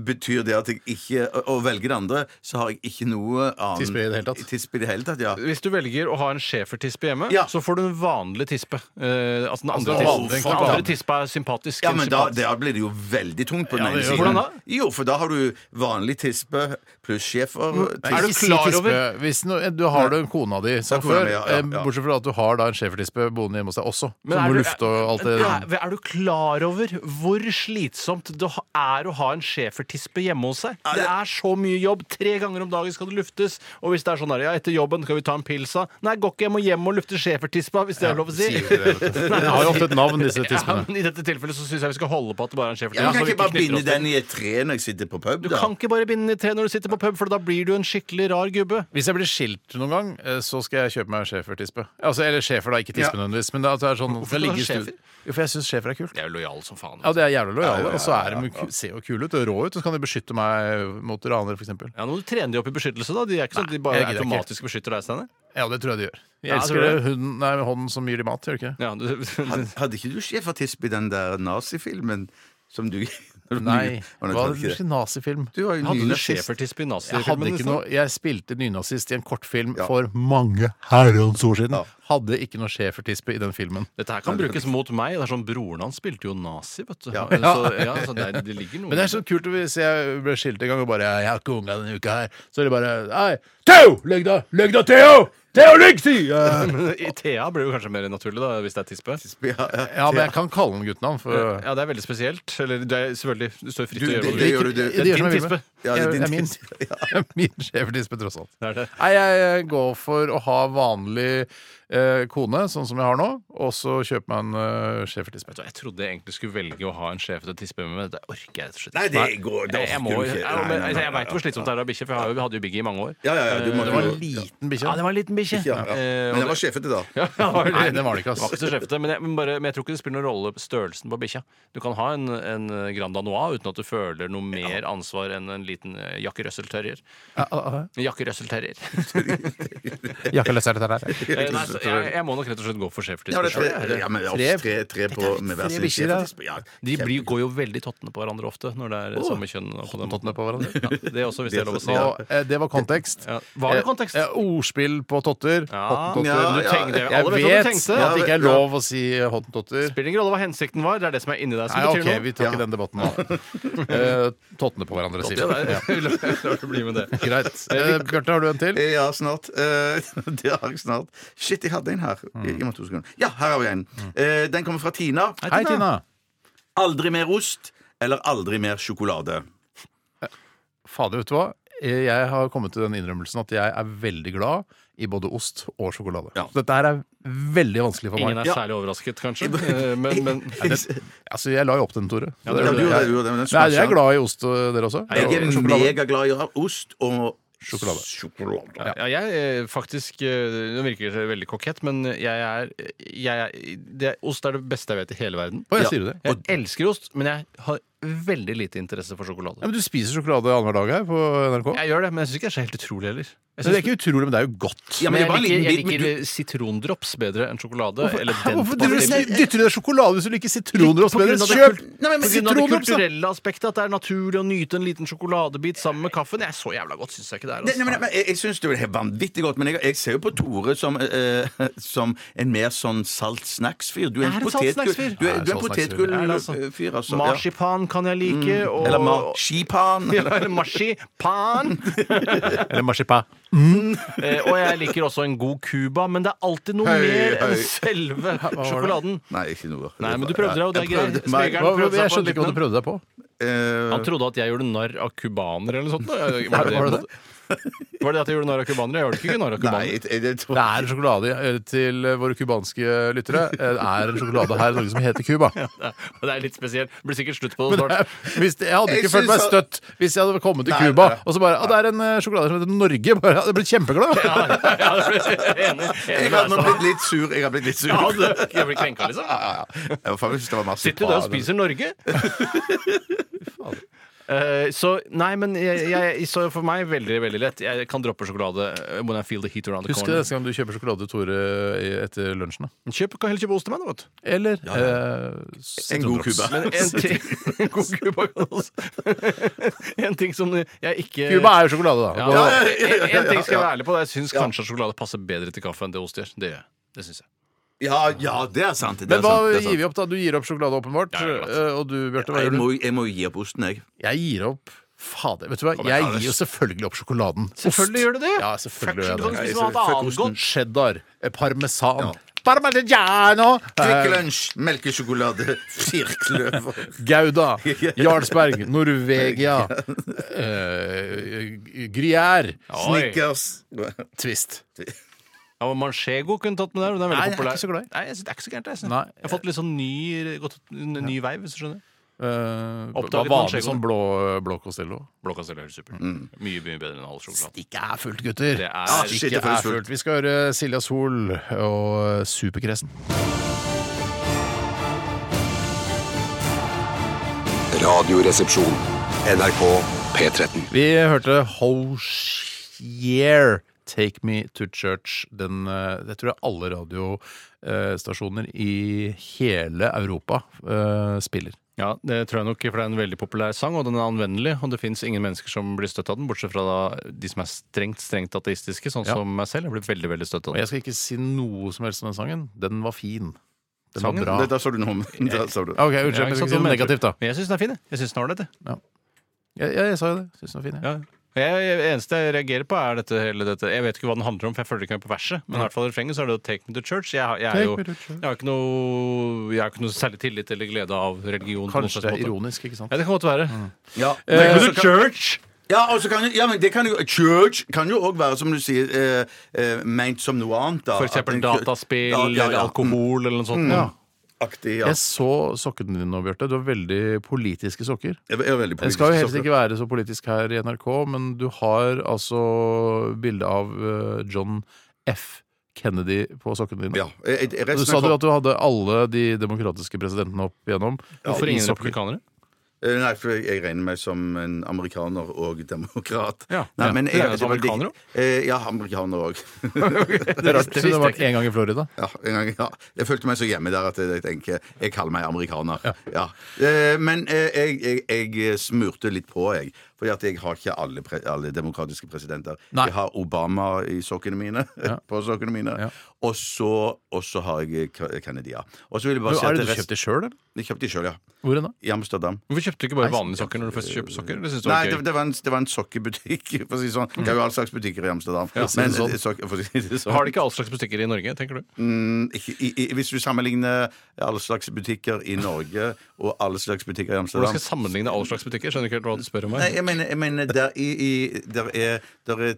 S3: betyr det at jeg ikke å- Å velge det andre, så har jeg ikke noe annet
S2: Tispe i det hele tatt?
S3: Tispe i det hele tatt, ja.
S5: Hvis du velger å ha en schæfertispe hjemme,
S3: Ja.
S5: så får du en vanlig tispe. Eh, altså den andre,
S2: den
S5: tispen
S2: vanlige,
S5: den andre
S2: vanlige.
S5: tispa er sympatisk.
S3: Ja,
S5: en
S3: men da,
S5: sympatisk-
S3: da blir det jo veldig tungt på den ene
S2: det gjør
S3: siden.
S2: det.
S5: Hvordan da?
S3: Jo, for da har du vanlig tispe pluss schæfer.
S2: Nei,
S5: Er du
S2: ikke si
S5: klar
S2: tispe.
S5: over-
S2: Hvis no, du har du kona di som
S3: Ja, kona
S2: før,
S3: mi, ja, ja,
S2: eh,
S3: ja.
S2: bortsett fra at du har da en schæfertispe boende hjemme hos deg også,
S5: Men
S2: som
S5: er
S2: må
S5: du-
S2: lufte og alt det
S5: er, er du klar over hvor slitsomt det ha- er å ha en schæfertispe hjemme hos seg? Det er så mye jobb. Tre ganger om dagen skal det luftes. Og hvis det er sånn der, ja, etter jobben kan vi ta en pilsa. Nei, går ikke hjem og hjem og lufte schæfertispa, hvis det er lov å si.
S2: Den har jo ofte et navn, disse
S5: Ja,
S2: tispene.
S5: men I dette tilfellet så syns jeg vi skal holde på at det bare er en schæfertispe.
S3: Ja, men
S5: så
S3: kan
S5: vi
S3: ikke bare
S5: knytter
S3: binde
S5: oss til
S3: den i et tre når jeg sitter på pub,
S5: Du
S3: da?
S5: kan ikke bare binde den i tre når du sitter på pub, for da blir du en skikkelig rar gubbe.
S2: Hvis jeg blir skilt noen gang, eh, så skal jeg kjøpe meg en schæfertispe. Altså, eller schæfer, da, ikke tispe nødvendigvis. Men det er- det er sånn
S5: Hvorfor skal
S2: det
S5: du ha
S2: ligger i stu-
S5: schæfer?
S2: Jo, for jeg syns schæfer er kult.
S5: Jeg er jo lojal som faen.
S2: Ja, det er jævlig lojale, og så er de ku- ser jo kule ut og rå ut, og så kan de beskytte meg mot ranere, f.eks.
S5: Ja, Nå må du trene de opp i beskyttelse, da. De er ikke sånn at de
S2: jeg
S5: bare
S2: gidder ikke.
S5: automatisk beskytter deg, Steinar.
S2: Ja, det tror jeg de gjør. Jeg
S5: Ja,
S2: elsker
S5: tror du
S2: det hunden, nei, hånden som gir dem mat, gjør de ikke det?
S5: Ja, du,
S3: Had- Hadde ikke du schæfertispe i den der nazifilmen som du
S2: Nei.
S3: Å,
S2: Hva
S3: tror
S2: er
S3: jeg ikke det.
S2: det nazifilm?
S3: Du var jo
S5: hadde du
S3: nynazist.
S5: schæfertispe i
S2: Jeg hadde
S5: nazifilmen?
S2: ikke
S5: Steinar?
S2: noe Jeg spilte nynazist i en kortfilm
S3: Ja.
S2: for mange herrens år siden.
S3: Ja.
S2: Hadde ikke noe schæfertispe i den filmen.
S5: Dette her kan brukes mot meg. Det er sånn Broren hans spilte jo nazi, vet du.
S3: Ja.
S5: Så, ja, så det, det ligger noe
S2: Men det er så kult hvis jeg ble skilt en gang og bare 'Jeg har ikke unga denne uka her', så er det bare Nei, Theo! Legg deg! Legg deg, Theo! Theo, legg deg! Eh,
S5: I Thea blir det jo kanskje mer naturlig, da, hvis det er tispe.
S3: Ja, ja.
S2: Ja, men jeg kan kalle den guttenavn, for
S5: Ja, det er veldig spesielt. Eller det er selvfølgelig, du står fritt
S3: Du,
S5: til å
S3: det,
S5: gjøre
S3: det
S5: hva du vil.
S3: gjør du. Det,
S2: Det er
S5: Det er
S2: din
S5: din
S2: tispe.
S5: tispe.
S3: Ja, det er din
S2: Jeg- jeg er min.
S3: tispe, ja.
S2: Min schæfertispe, tross alt.
S5: Det er det.
S2: Nei, jeg går for å ha vanlig eh, kone, sånn som jeg har nå, og så kjøper meg en eh, schæfertispe.
S5: Så Jeg trodde jeg egentlig skulle velge å ha en sjef til tispe, men det orker jeg rett og slett
S3: Nei, det går- det
S5: Jeg- jeg
S3: orker du
S5: må-
S3: ikke. Nei,
S5: Jeg,
S3: nei,
S5: men
S3: nei,
S5: jeg,
S3: nei,
S5: veit hvor slitsomt det er å ha bikkje, for jeg har jo- hadde jo Biggie i mange år.
S3: ja, ja, ja, du må
S2: Det var en liten bikkje.
S5: Ja, det var en liten bikkje.
S3: Ja, ja.
S5: Eh, og
S3: Men jeg var sjefete da.
S5: Ja, det var det.
S2: Nei, det var det ikke, ass.
S5: Det var ikke så skjefte, men, jeg, men, bare, men jeg tror ikke det spiller noen rolle størrelsen på bikkja. Du kan ha en, en Grand Anois uten at du føler noe mer ansvar enn en liten eh, Jack Russell-terrier. Jack Russell-terrier.
S2: Jakkeløsere der. der.
S5: Eh, nei, så jeg, jeg må nok rett og slett gå for
S3: Ja, det er
S5: sjeftispe.
S3: tre, ja, men det er
S2: Tre-
S3: ofte tre, tre på med hver
S2: tre
S3: sin
S2: bikkjer,
S3: sjefetispe. Ja,
S5: De blir, går jo veldig tottene på hverandre ofte når det er samme kjønn. og På den måten.
S2: Tottene på hverandre.
S5: Ja, det er også, hvis det er lov å si.
S2: Og, eh, det var kontekst.
S5: Ja. Var det kontekst?
S2: Eh, eh, ordspill på totter.
S5: Ja,
S2: Hottentotter.
S3: ja,
S5: Du
S3: ja.
S5: tenkte,
S2: Jeg
S5: alle vet hva
S2: vet
S5: du tenkte.
S2: at det ikke er
S3: Ja, ja.
S2: lov å si hottentotter.
S5: Spiller ingen rolle hva hensikten var, det er det som er inni deg som
S2: Nei,
S5: betyr
S2: OK,
S5: noe.
S2: vi tar ikke den debatten nå. Eh, Tottene på hverandre, sier vi.
S5: Ja, det er- La det bli med det.
S2: Greit. Eh, Bjarte, har du en til?
S3: Eh, Ja, snart. Eh, det har jeg snart. Shit, jeg hadde en her.
S2: Mm.
S3: Gi meg to sekunder. Ja, her har vi en. Eh, den kommer fra Tina.
S2: Hei, Tina.
S3: Aldri mer ost eller aldri mer sjokolade.
S2: Fader, vet du hva? jeg har kommet til den innrømmelsen at jeg er veldig glad i både ost og sjokolade. Så dette her er veldig vanskelig for
S5: Ingen
S2: meg.
S5: er særlig overrasket, kanskje. Eh, Men, men
S2: Altså, jeg la jo opp den, Tore. Så
S3: Ja,
S2: det-
S3: du gjorde det, du gjorde det, men den
S2: Nei, dere
S3: smasha.
S2: er glad i ost, eh, dere også?
S3: Jeg er
S2: Og sjokolade.
S3: megaglad i ost og
S2: Sjokolade.
S3: sjokolade.
S5: ja, jeg er faktisk eh, Nå virker det veldig kokett, men jeg er, jeg er det, Ost er det beste jeg vet i hele verden.
S2: Å, jeg sier det.
S5: Jeg elsker ost, men jeg har veldig lite interesse for sjokolade.
S2: Ja, men du spiser sjokolade annenhver dag her på NRK.
S5: Jeg gjør det, men jeg syns ikke det er så helt utrolig heller. Jeg
S2: Så det er
S5: synes,
S2: ikke utrolig, men det er jo godt.
S3: Ja, men det
S5: jeg
S3: var en
S5: liker,
S3: liten
S5: jeg
S3: bit, men
S5: liker sitrondrops bedre enn sjokolade.
S2: Hvorfor,
S5: eller
S2: Hæ, hvorfor
S5: dent-
S2: driver du- dytter du deg sjokolade hvis du liker sitronrops
S5: På grunn
S2: bedre?
S5: av det
S2: Kjøp
S5: kult- Nei, men på grunn av det
S2: sitronrops! da.
S5: kulturelle aspektet, at det er naturlig å nyte en liten sjokoladebit sammen med kaffen. Jeg er så jævla godt, syns jeg ikke det er.
S3: Nei, nei,
S5: Altså.
S3: men, men jeg jeg syns det er vanvittig godt, men jeg, jeg ser jo på Tore som, eh, som en mer sånn salt snacks-fyr. Du er
S5: Jeg er
S3: en
S5: en salt snacks-fyr.
S3: potetgull- du
S2: Jeg
S3: er-
S2: er
S3: du er en
S2: salt snacks-fyr.
S5: Jeg er det, altså.
S3: potetgull-fyr, altså. ja.
S5: Marsipan kan jeg
S2: Mm.
S5: like. Og,
S3: Eller marsipan.
S5: Ja, eller marsipan.
S2: Eller marsipan.
S5: Eh, og jeg liker også en god Cuba, men det er alltid noe
S3: Høy,
S5: mer enn
S3: høy.
S5: selve sjokoladen.
S3: Nei, ikke noe.
S5: Nei, men du prøvde deg, og det er
S3: Jeg prøvde
S5: greit.
S3: meg.
S5: Smegeren
S2: Hva-
S5: prøvde
S2: hva-
S5: seg
S2: Jeg
S5: på en
S2: skjønte ikke hva du
S5: liten
S2: prøvde deg på.
S3: Eh,
S5: Han trodde at jeg gjorde narr av cubanere eller noe sånt. da. Var det
S2: Var det
S5: det, var det at jeg gjorde narr av cubanere? Jeg gjorde ikke narr av
S3: Nei,
S5: cubanere.
S3: jeg- jeg- jeg tror-
S2: Det er en sjokolade eh, til eh, våre cubanske lyttere. Eh, Det er en sjokolade her i Norge som heter Cuba.
S5: Det er litt spesielt. Det Blir sikkert slutt på
S2: Men
S5: det
S2: det
S5: snart.
S2: er- Hvis det, jeg hadde ikke
S3: Jeg
S2: følt meg
S3: synes
S2: støtt hvis jeg hadde kommet til
S3: Nei,
S2: Cuba
S3: nei.
S2: og så bare «Ah, Det er en eh, sjokolade som heter Norge. Bare, jeg hadde blitt kjempeglad.
S5: Ja, det blir- enig.
S3: Jeg
S5: Enig med
S3: hadde
S5: deg,
S3: nok
S5: Stefan.
S3: blitt litt sur. Jeg hadde blitt litt sur.
S5: Ja, du- Jeg blir krenka, liksom.
S3: Jeg var faktisk, det var masse
S5: Sitter du der og spiser Norge? Eh, så nei, men jeg, jeg, så for meg veldig veldig lett. Jeg kan droppe sjokolade eh, when I feel the heat around the
S2: Husk det
S5: corner.
S2: neste gang du kjøper sjokolade, Tore, i- etter lunsjen. da.
S5: Kjøp, kan heller kjøpe ost til meg, da, vet du.
S2: Eller eh,
S3: En god
S2: sitronrops.
S3: Cuba.
S5: Men en ting, God Cuba kan også. altså? en ting som jeg ikke
S2: Cuba er jo sjokolade, da.
S5: ja,
S2: Gå-
S5: en, en ting skal jeg være ærlig på. Jeg syns kanskje at sjokolade passer bedre til kaffe enn det ost gjør. Det gjør jeg. Det syns jeg.
S3: Ja, ja, det er sant. Det
S2: Men
S3: er
S2: hva
S3: sant, det er sant.
S2: gir vi opp, da? Du gir opp sjokolade, åpenbart.
S5: Ja, ja,
S2: Eh, Og du, Bjarte, hva
S3: Jeg
S2: gjør du?
S3: må, jeg må jo gi opp osten, jeg.
S2: Jeg gir opp Fader, vet du hva? Jeg gir jo selvfølgelig opp sjokoladen.
S5: Selvfølgelig gjør du det.
S2: Ja, selvfølgelig gjør jeg det.
S5: Fuck, du kan spise noe annet godt.
S2: Cheddar, eh, parmesan Parmigiano! eh,
S3: Kvikk Lunsj, melkesjokolade, firkløver
S2: Gouda, Jarlsberg, Norvegia, eh, Gruyère,
S5: Oi.
S3: Snickers
S2: Twist.
S5: Ja, og Manchego kunne tatt med der. Den er veldig
S2: Nei, jeg er
S5: populær.
S2: ikke så glad i.
S5: Nei, jeg synes det er ikke så gærent. Jeg, synes.
S2: Nei.
S5: jeg har fått litt sånn ny, gått, en ny vei, hvis du skjønner.
S2: Uh,
S5: Oppdaget
S2: hva
S5: Manchego.
S2: vanlig som blå, eh, blå Costello?
S5: Blå kastell er super.
S2: Mm.
S5: Mye, mye bedre enn halv sjokolade.
S2: Ikke er fullt, gutter.
S5: Det er-
S3: shit,
S2: ikke
S3: det føles
S2: er fullt. Vi skal høre Silja Sol og eh, Superkresen.
S6: Radioresepsjon. NRK P13.
S2: Vi hørte Hoshier Take Me To Church. Den, eh, det tror jeg alle radiostasjoner i hele Europa eh, spiller.
S5: Ja, det tror jeg nok, for det er en veldig populær sang, og den er anvendelig. Og det fins ingen mennesker som blir støtt av den, bortsett fra da, de som er strengt strengt ateistiske, sånn
S2: Ja.
S5: som meg selv. Jeg blir veldig veldig støtt av
S2: Og
S5: den.
S2: jeg skal ikke si noe som helst om den sangen. Den var fin. Den
S5: Sangen?
S2: var
S3: Det-
S2: bra.
S3: Da sa du noe om da sa du.
S2: Ok, unnskyld,
S5: Ja,
S2: men jeg
S5: ikke
S2: skal
S5: sant,
S2: ikke si
S5: sånn
S2: noe liksom negativt, da.
S5: Men jeg syns den er fin. jeg. Jeg synes den har det, det.
S2: Ja, ja, jeg sa jo det. Syns den var fin. jeg.
S5: Ja. Jeg, jeg, eneste jeg reagerer på, er dette, hele dette Jeg vet ikke hva den handler om, for jeg følger ikke med på verset. Men i hvert fall i refrenget så er det jo 'Take me to church'. Jeg, har- jeg, er
S2: Take
S5: jo,
S2: me to church.
S5: jeg, har ikke noe, jeg har ikke noe særlig tillit eller glede av religion. på noen
S2: Kanskje
S5: slags
S2: det er Mm.
S5: måte.
S2: ironisk, ikke sant?
S5: Ja, det kan godt være. Eh,
S3: Ja.
S5: Take me
S3: Eh, så
S5: to church!
S3: Ja, og så kan, jo- ja, men det kan jo Church kan jo òg være, som du sier, eh, eh, ment som noe annet. Da.
S5: For
S3: At
S5: eksempel
S3: en-
S5: dataspill
S3: Ja, ja,
S5: eller
S3: ja.
S5: alkohol eller noe sånt.
S2: Mm. Ja.
S3: Aktig, ja.
S2: Jeg så sokkene dine nå, Bjarte. Du har veldig politiske sokker.
S3: Jeg er veldig
S2: Det
S3: politisk.
S2: skal jo helst
S3: så-
S2: ikke være så politisk her i NRK, men du har altså bilde av eh, John F. Kennedy på sokkene dine.
S3: Ja. Jeg, jeg,
S2: Du
S3: resten
S2: sa
S3: av
S2: du
S3: kroppen-
S2: at du hadde alle de demokratiske presidentene opp igjennom.
S5: Hvorfor
S2: i
S5: ingen
S2: sokker.
S5: republikanere?
S3: Eh, Nei, for jeg, jeg regner meg som en amerikaner og demokrat.
S5: Ja.
S3: Nei,
S5: Ja.
S3: men
S5: Du
S3: jeg,
S5: regner deg som
S3: det var digg-
S5: amerikaner
S3: Eh, ja, amerikaner òg.
S2: Det er rart, siden
S5: visste
S2: det har
S5: jeg
S2: vært en gang i Florida.
S3: Ja, en gang, ja. Jeg følte meg så hjemme der at jeg tenker jeg kaller meg amerikaner. Ja. Eh, men eh, jeg, jeg, jeg smurte litt på, jeg. Fordi at jeg har ikke alle, pre alle demokratiske presidenter.
S2: Nei.
S3: Jeg har Obama i sokkene mine. på sokkene mine.
S2: Ja.
S3: Og så og så har jeg eh, K- Kennedy. ja. Og så vil jeg
S2: Men
S3: bare si
S2: Er
S3: at
S2: det du
S3: rest-
S2: kjøpte sjøl, eller?
S3: Jeg kjøpte de sjøl, ja.
S2: Hvor hen da?
S3: I Amsterdam.
S5: Hvorfor kjøpte du ikke bare vanlige sokker når du først kjøper sokker? Det synes du
S3: Nei,
S5: var
S3: det,
S5: gøy.
S3: det, var en, det var en sokkebutikk. For å si det sånn. Det er jo all slags butikker i Amsterdam.
S2: si det sånn.
S3: eh, sokker- for å si det sånn.
S5: Har de ikke all slags butikker i Norge, tenker du?
S3: Ikke- i, i, hvis du sammenligner alle slags butikker i Norge og alle slags butikker i
S5: Hvordan
S3: Amsterdam
S5: skal jeg sammenligne all slags butikker? Skjønner ikke helt hva du spør om
S3: Nei,
S5: her.
S3: jeg jeg mener, jeg mener der, i, i, der er, der er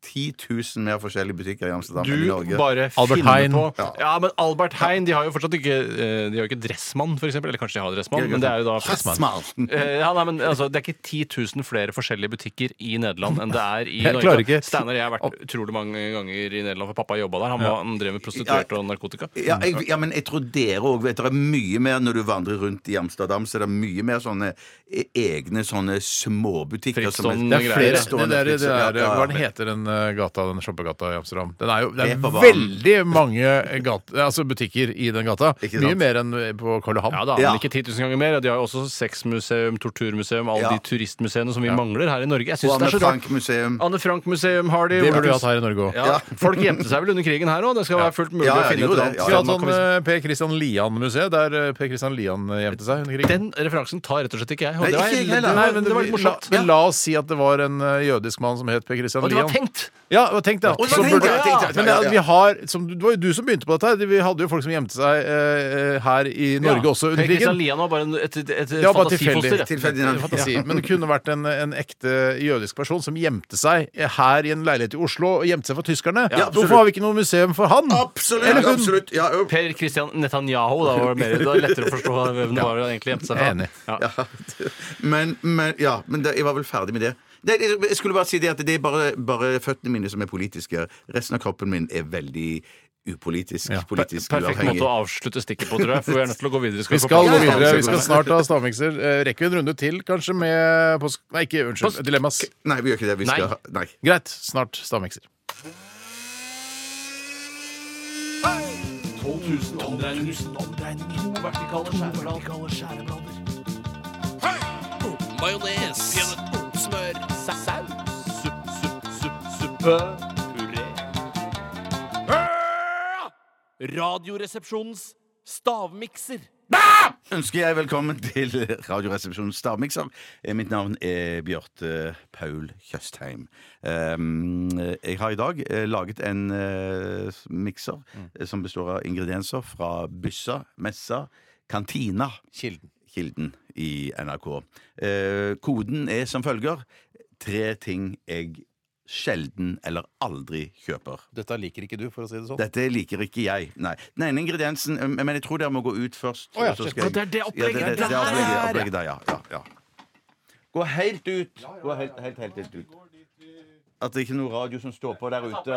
S3: 10 000 mer forskjellige butikker i Amsterdam enn i
S5: Du
S3: Norge.
S5: bare
S2: Albert
S5: finner
S2: Heijn.
S5: på. Ja. men Albert Hein De har jo fortsatt ikke eh, De har jo ikke Dressmann, for eksempel. Eller kanskje de har Dressmann, men det er jo da
S3: Smart.
S5: Eh, ja, nei, men altså, Det er ikke 10 000 flere forskjellige butikker i Nederland enn det er i
S2: Jeg klarer ikke.
S5: Steinar jeg har vært utrolig mange ganger i Nederland, for pappa jobba der. Han, var, han drev med prostituerte og narkotika.
S3: Ja, jeg, ja, men jeg tror dere òg vet det er mye mer når du vandrer rundt i Amsterdam, så er det mye mer sånne e- egne sånne småbutikker som
S5: Frittstående
S2: Det
S3: er
S2: er
S5: greier,
S2: flere
S5: ja.
S2: det der, det
S3: Ja,
S2: der,
S3: ja, ja.
S2: Hva den heter den eh, gata, den shoppegata i Amsterdam? Den er jo, det er
S3: Reeperbahn.
S2: veldig mange gat- altså butikker i den gata.
S3: Ikke
S2: Mye
S3: sant?
S2: mer enn på Karl Johan.
S5: Ja da, men
S3: Ja.
S5: ikke 10 000 ganger mer. og De har jo også sexmuseum, torturmuseum, alle
S3: Ja.
S5: de turistmuseene som vi mangler her i Norge. Jeg synes
S3: Og
S5: det er
S3: Anne
S5: så rart.
S3: Frank-museum.
S5: Anne Frank-museum har de.
S2: Det burde vi hatt her i Norge òg.
S5: Ja. Folk gjemte seg vel under krigen her òg. Det skal være fullt mulig
S3: Ja, ja,
S5: å finne
S3: jo,
S5: et
S3: det-
S5: annet
S3: ja,
S2: Vi
S5: sted
S2: har hatt
S5: man
S2: sånn
S5: kan
S2: eh, Per Christian Lian-museet, der eh, Per Christian Lian eh, gjemte seg under krigen.
S5: Den referansen tar rett og slett ikke jeg. Og
S3: Nei,
S5: det, var,
S3: ikke jeg heller.
S5: nei, men det var litt
S2: la,
S5: morsomt.
S2: men la oss si at det var en eh, jødisk mann som het Per Christian
S5: Og det
S2: Lian.
S5: var tenkt!
S2: Ja, det var tenkt, ja.
S3: Å, det
S2: Så
S3: var tenkt,
S2: burde-
S3: ja, tenkt, ja,
S2: Men
S3: ja, ja.
S2: eh, vi har, som, det var jo du som begynte på dette. her. Vi hadde jo folk som gjemte seg eh, her i Norge også
S5: Per
S2: under
S5: Christian
S2: krigen.
S5: Lian var bare en- et, et, et
S2: Det var bare
S5: fantasifoster. ja.
S3: Tilfeldig navn.
S2: Fantasi. Men det kunne vært en, en ekte jødisk person som gjemte seg eh, her i en leilighet i Oslo og gjemte seg for tyskerne.
S3: Ja, absolutt.
S2: Hvorfor har vi ikke noe museum for han?
S3: Absolutt! absolutt. Ja, jo.
S5: Per Christian Netanyahu. Da var det, mer, det var lettere å forstå hvem det var han egentlig gjemte seg fra.
S2: Enig.
S5: Ja.
S3: Men, men, ja, men det, jeg var vel ferdig med det. Nei, jeg skulle bare si det at det er bare, bare føttene mine som er politiske. Resten av kroppen min er veldig upolitisk. Politisk
S5: Perfekt måte å avslutte stikket på, tror jeg. For vi er nødt til å gå
S2: Vi
S5: videre.
S2: skal
S5: få-
S2: gå videre. Vi skal snart ha stavmikser. Eh, Rekker vi en runde til, kanskje, med påsk... Nei, ikke, unnskyld.
S5: Post-
S2: Dilemmas.
S3: Nei, vi gjør ikke det. Vi
S5: Nei.
S3: skal Nei.
S2: Greit. Snart stavmikser.
S5: Radioresepsjonens stavmikser.
S3: Ønsker jeg velkommen til Radioresepsjonens stavmikser. Eh, Mitt navn er Bjarte Paul Tjøstheim. Um, Jeg har i dag eh, laget en eh, mikser
S5: Mm.
S3: eh, som består av ingredienser fra byssa, messa, kantina Kilden. i NRK. Eh, Koden er som følger. Tre ting jeg sjelden eller aldri kjøper.
S2: Dette liker ikke du, for å si det sånn.
S3: Dette liker ikke jeg. Nei. Den ene ingrediensen eh, Men jeg tror dere må gå ut først.
S2: Å ja,
S3: og så
S2: shit.
S3: skal jeg-
S5: Det er det opplegget
S3: Ja, det, det, det
S5: der.
S3: er opplegget, opplegget der, ja, ja, ja. Gå helt ut. Gå helt, helt, helt, helt ut. At det ikke er noe radio som står på der ute.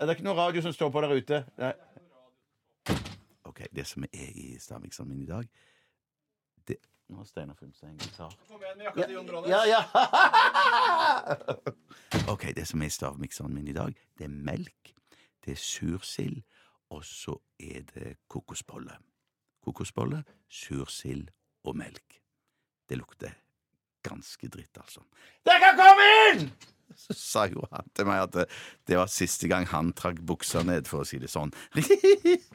S3: Er det ikke noe radio som står på der ute? Nei. OK, det som er i Stamiksen min i dag det, Nå har Steinar Fumstein gitar. Ja, ja. OK, det som er i stavmikseren min i dag, det er melk, det er sursild, og så er det kokosbolle. Kokosbolle, sursild og melk. Det lukter ganske dritt, altså. Dere kan komme inn! Så sa jo han til meg at det, det var siste gang han trakk buksa ned, for å si det sånn.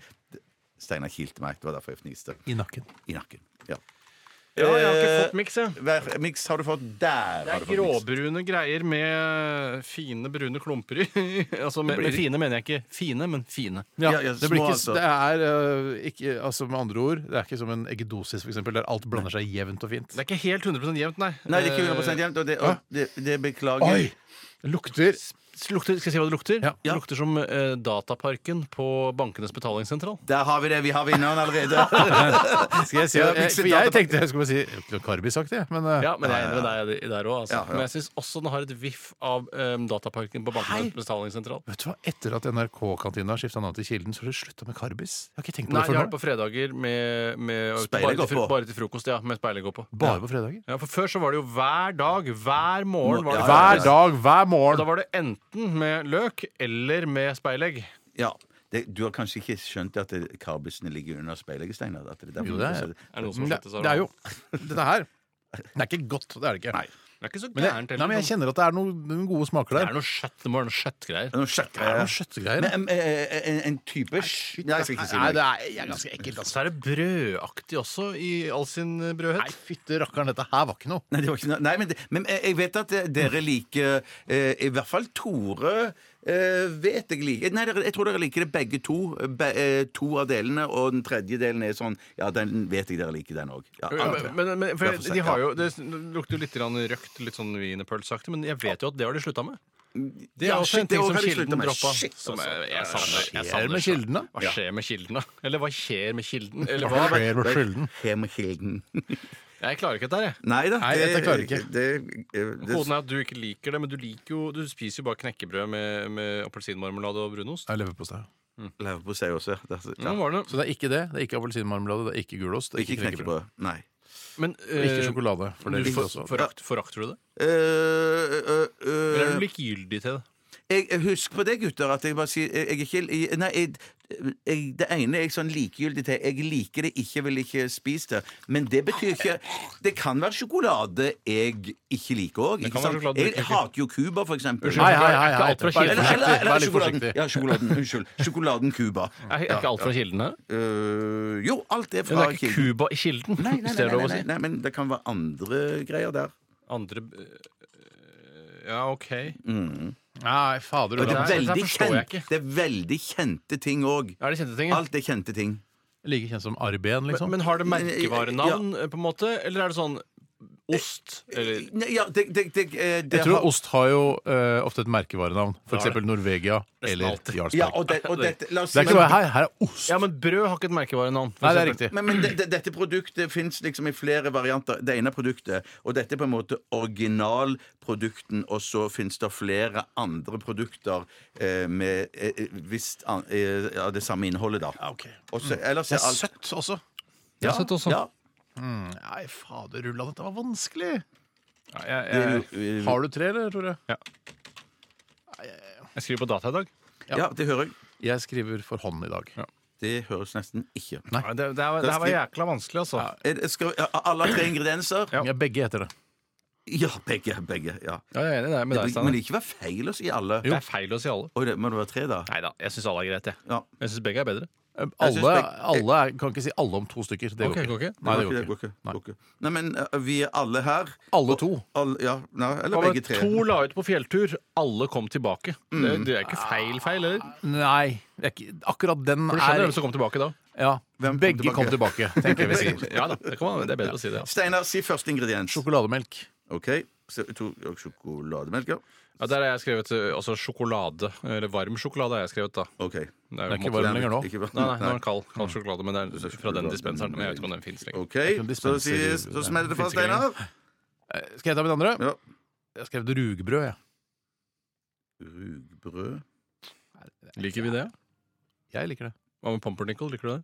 S3: Steinar kilte meg, det var derfor jeg fniste.
S2: I nakken.
S3: I nakken. Ja.
S5: Ja, jeg har ikke fått miks, jeg.
S3: Hver, miks har du fått der.
S5: Det
S3: har
S5: er
S3: du fått miks.
S5: gråbrune greier med fine, brune klumper i. altså, med, med fine mener jeg ikke fine, men fine.
S2: Ja,
S3: Ja, ja,
S2: det, blir
S3: små,
S2: ikke,
S3: altså.
S2: det er eh, ikke altså Med andre ord, det er ikke som en eggedosis, for eksempel, der alt blander seg jevnt og fint.
S5: Det er ikke helt 100 jevnt, nei.
S3: Nei, det er ikke 100 jevnt, og det, og det, det beklager
S2: Oi! Det lukter
S5: Eh, lukter, skal jeg si hva det lukter?
S2: Ja.
S5: Det lukter som eh, Dataparken på Bankenes betalingssentral.
S3: Der har vi det. Vi har vinneren allerede.
S2: Skal jeg si
S3: Ja,
S2: det? Jeg,
S3: mikset
S2: for jeg
S3: data-
S2: tenkte jeg skulle bare si det lukter karbisaktig, jeg, men eh,
S5: Ja, men jeg er enig med deg der òg. Altså.
S3: Ja, ja.
S5: Men jeg syns også den har et viff av eh, Dataparken på Bankenes betalingssentral.
S2: Vet du hva, Etter at NRK-kantina skifta navn til Kilden, så har de slutta med Karbis. Jeg har ikke tenkt på
S5: Nei,
S2: det
S5: jeg
S2: før
S5: har det
S2: nå.
S5: på fredager med, med
S3: Speilet
S5: bare, til,
S3: går på.
S5: fro- bare til frokost. Ja, med speilet går på.
S2: Bare på fredager.
S5: Ja, for Før så var det jo hver dag, hver morgen. Var det
S2: Hver dag, hver
S5: Og da
S2: morgen.
S5: var det enten med løk eller med speilegg.
S3: Ja. Det, du har kanskje ikke skjønt at det- karbisene ligger under speilegget, Steinar? at det er derfor-
S2: Jo, det er-
S5: Er det noen som
S2: Men
S5: har
S2: Det,
S5: slettet seg?
S2: det er jo Dette her Det er ikke godt. Det er det ikke.
S3: Nei.
S5: Det er ikke så
S2: Men,
S5: gærent
S2: jeg, nei, men jeg kjenner at det er noe- noen gode smaker
S5: det
S2: der.
S5: er noe skjøtt. Det må være noe skjøttgreier.
S3: Det er noe skjøtt-
S2: Det er noen kjøttgreier.
S3: Men, em, eh, en, en type sk- Nei, jeg skal ikke si
S2: Nei,
S3: noe.
S2: det er, jeg er ganske ekkelt. Altså.
S5: Så er det brødaktig også, i all sin
S2: Nei,
S5: brødhet.
S2: fytte rakkeren, dette her var ikke noe.
S3: eh, Nei, det var ikke noe. Nei, men, det, men jeg jeg vet at eh, dere liker eh, i hvert fall Tore Eh, vet jeg like Nei, dere- jeg tror dere liker det begge to. Be, eh, to av delene, og den tredje delen er sånn Ja, den vet jeg dere liker, den òg. Ja, alle tre.
S5: Men, men for
S3: Derfor sier
S5: de har
S3: jeg-
S5: jo, Det lukter jo litt grann røkt, litt sånn wienerpølseaktig, men jeg vet jo at det har de slutta med. Det er
S3: Ja,
S5: også
S3: shit,
S5: en ting
S3: det
S5: som
S3: har de sluttet
S5: Kilden
S3: med.
S5: droppa.
S3: Shit,
S5: Som
S3: altså.
S5: jeg, jeg savner.
S2: Hva
S5: Jeg
S2: skjer
S5: savner
S2: med
S5: seg.
S2: Kilden, da?
S5: Hva skjer med Kilden, da? Eller hva skjer med Kilden? Eller
S2: Hva
S5: hva?
S2: skjer med Kilden?
S3: Hem og Kilden.
S5: Jeg klarer ikke dette her, jeg.
S3: Nei da.
S2: Nei, dette klarer jeg ikke.
S3: det- eh, det-
S5: Koden er at du ikke liker det, men du liker jo Du spiser jo bare knekkebrød med, med appelsinmarmelade og brunost.
S2: Det er leverpostei.
S3: Leverpostei også. Det, ja.
S5: Nå var det
S2: Så det er ikke det. Det er ikke appelsinmarmelade, det er ikke gulost, det er
S3: Ikke
S2: ikke knekkebrød.
S3: knekkebrød. Nei.
S5: Men
S2: Og Ikke
S5: eh,
S2: sjokolade. For det
S5: du
S2: liker
S5: for,
S2: jeg også.
S5: forakt, forakter du det?
S3: Eh, eh, eh,
S5: Eller er du likegyldig til det?
S3: jeg, jeg- husk på det, gutter, at jeg bare sier Jeg, jeg er ikke jeg, Nei, jeg, jeg, det ene er jeg sånn likegyldig til. Jeg liker det ikke, vil ikke spise det. Men det betyr ikke Det kan være sjokolade jeg ikke liker òg.
S5: kan være sjokolade du
S3: Jeg
S5: ikke liker.
S3: hater jo Cuba, for eksempel.
S5: Unnskyld,
S2: hei, hei,
S5: Er
S2: hei.
S5: ikke alt fra
S2: Vær litt
S5: Kilden?
S3: Eller, eller,
S2: forsiktig.
S3: eller
S2: Vær litt
S3: sjokoladen.
S2: forsiktig.
S3: Ja, sjokoladen. Unnskyld. Sjokoladen Cuba.
S5: Er, er ikke alt fra Kilden her?
S3: Eh, jo, alt er
S5: Men det
S3: fra
S5: er ikke
S3: Kilden.
S5: Cuba i Kilden,
S3: Nei, nei,
S5: hvis
S3: nei,
S5: det er lov
S3: nei,
S5: å
S3: nei,
S5: si.
S3: nei, men det kan være andre greier der.
S5: Andre øh, øh, Ja, OK.
S2: Nei, fader.
S3: Og det,
S2: Olav.
S5: Nei,
S3: er
S5: dette
S3: veldig
S5: forstår jeg
S3: kjent, det er veldig kjente ting òg.
S5: Er det kjente ting? ja?
S3: Alt er kjente ting.
S2: Like kjent som Arben, liksom.
S5: Men har det merkevarenavn, eh, på en måte? Eller er det sånn ost? Eller
S3: Nei, Ja, det, det, det, eh, det
S2: Jeg tror
S3: har-
S2: ost har jo eh, ofte et merkevarenavn. For
S5: Har det.
S2: eksempel Norvegia eller
S5: alltid.
S2: Jarlsberg.
S3: ja, og det, og dette- la oss
S2: Det
S3: si-
S2: er ikke bare her, her er ost.
S5: Ja, men brød har ikke et merkevarenavn. for
S2: Nei, det er
S5: eksempel.
S2: riktig.
S3: Men, men det, det, dette produktet fins liksom i flere varianter. Det ene er produktet, og dette er på en måte originalprodukten, og så fins det flere andre produkter eh, med eh, eh, visst an, eh, ja, det samme innholdet, da.
S2: Ah,
S3: Og så- ellers
S2: Mm. Det
S3: er
S2: er
S3: alt
S2: søtt også.
S5: Det er søtt også.
S3: Ja.
S2: Nei, fader rulla, dette var vanskelig.
S5: Ja, jeg,
S3: Det er
S5: jeg,
S3: jo-
S2: Har du tre, eller, Tore?
S5: jeg skriver på data i dag.
S3: ja, det hører jeg.
S2: Jeg skriver for hånd i dag.
S3: Det høres nesten ikke.
S5: Ja, Det, det, er- det her var jækla vanskelig, altså.
S3: Er det- Skal, er alle har tre ingredienser?
S2: Ja. Begge heter det.
S3: Ja, begge. begge ja.
S5: Ja, jeg er enig det er med deg,
S3: Det, men
S5: Steinar.
S3: det ikke være feil å si alle.
S5: Det er feil å si alle.
S3: Oi, det, må det være tre, da?
S5: Nei da, jeg syns alle er greit, jeg.
S3: Ja.
S5: Jeg syns begge er bedre.
S2: Alle,
S3: synes begge-
S2: alle er, kan ikke si alle om to stykker. Det
S5: Ok,
S2: går
S5: går
S2: ikke.
S5: ikke.
S2: Nei,
S3: Det
S2: det
S3: går ikke. det går ikke. Nei, men eh, vi er alle her.
S2: Alle to.
S3: Alle, ja, nei, eller
S5: Hva med
S3: begge tre.
S5: To la ut på fjelltur, alle kom tilbake. Det, det er ikke feil feil, eller?
S2: Nei, det er ikke, akkurat den
S5: For
S2: er
S5: du skjønner hvem som kom tilbake da?
S2: ja,
S3: Hvem kom
S2: Begge kom tilbake, tenker jeg vi sier.
S5: Ja da, det, kan man, det er bedre å si det. Altså.
S3: Steinar, si første ingrediens.
S2: Sjokolademelk.
S3: OK. Så, to, og sjokolademelk, ja.
S5: Ja, der har jeg skrevet eh, altså sjokolade. Eller varm sjokolade har jeg skrevet, da.
S3: OK.
S5: Det er
S2: Den er
S5: jo på en
S2: ikke
S5: måte-
S2: varm lenger nå.
S3: Ikke bare-
S5: Nei, nei, nå er den kald. Mm. Kald sjokolade, men det er fra den
S3: sjokolade,
S5: dispenseren. Men jeg vet ikke om den fins lenger.
S3: OK,
S2: kan
S3: så,
S2: dispenser-
S3: sier- så smeller det fra
S5: Finnes ikke
S3: Steinar.
S2: Eh, Skal jeg ta mitt andre?
S3: Ja.
S2: Jeg skrev rugbrød. Jeg.
S3: Rugbrød
S5: Liker vi det?
S2: jeg liker det.
S5: Hva med pumpernickel? Liker du det?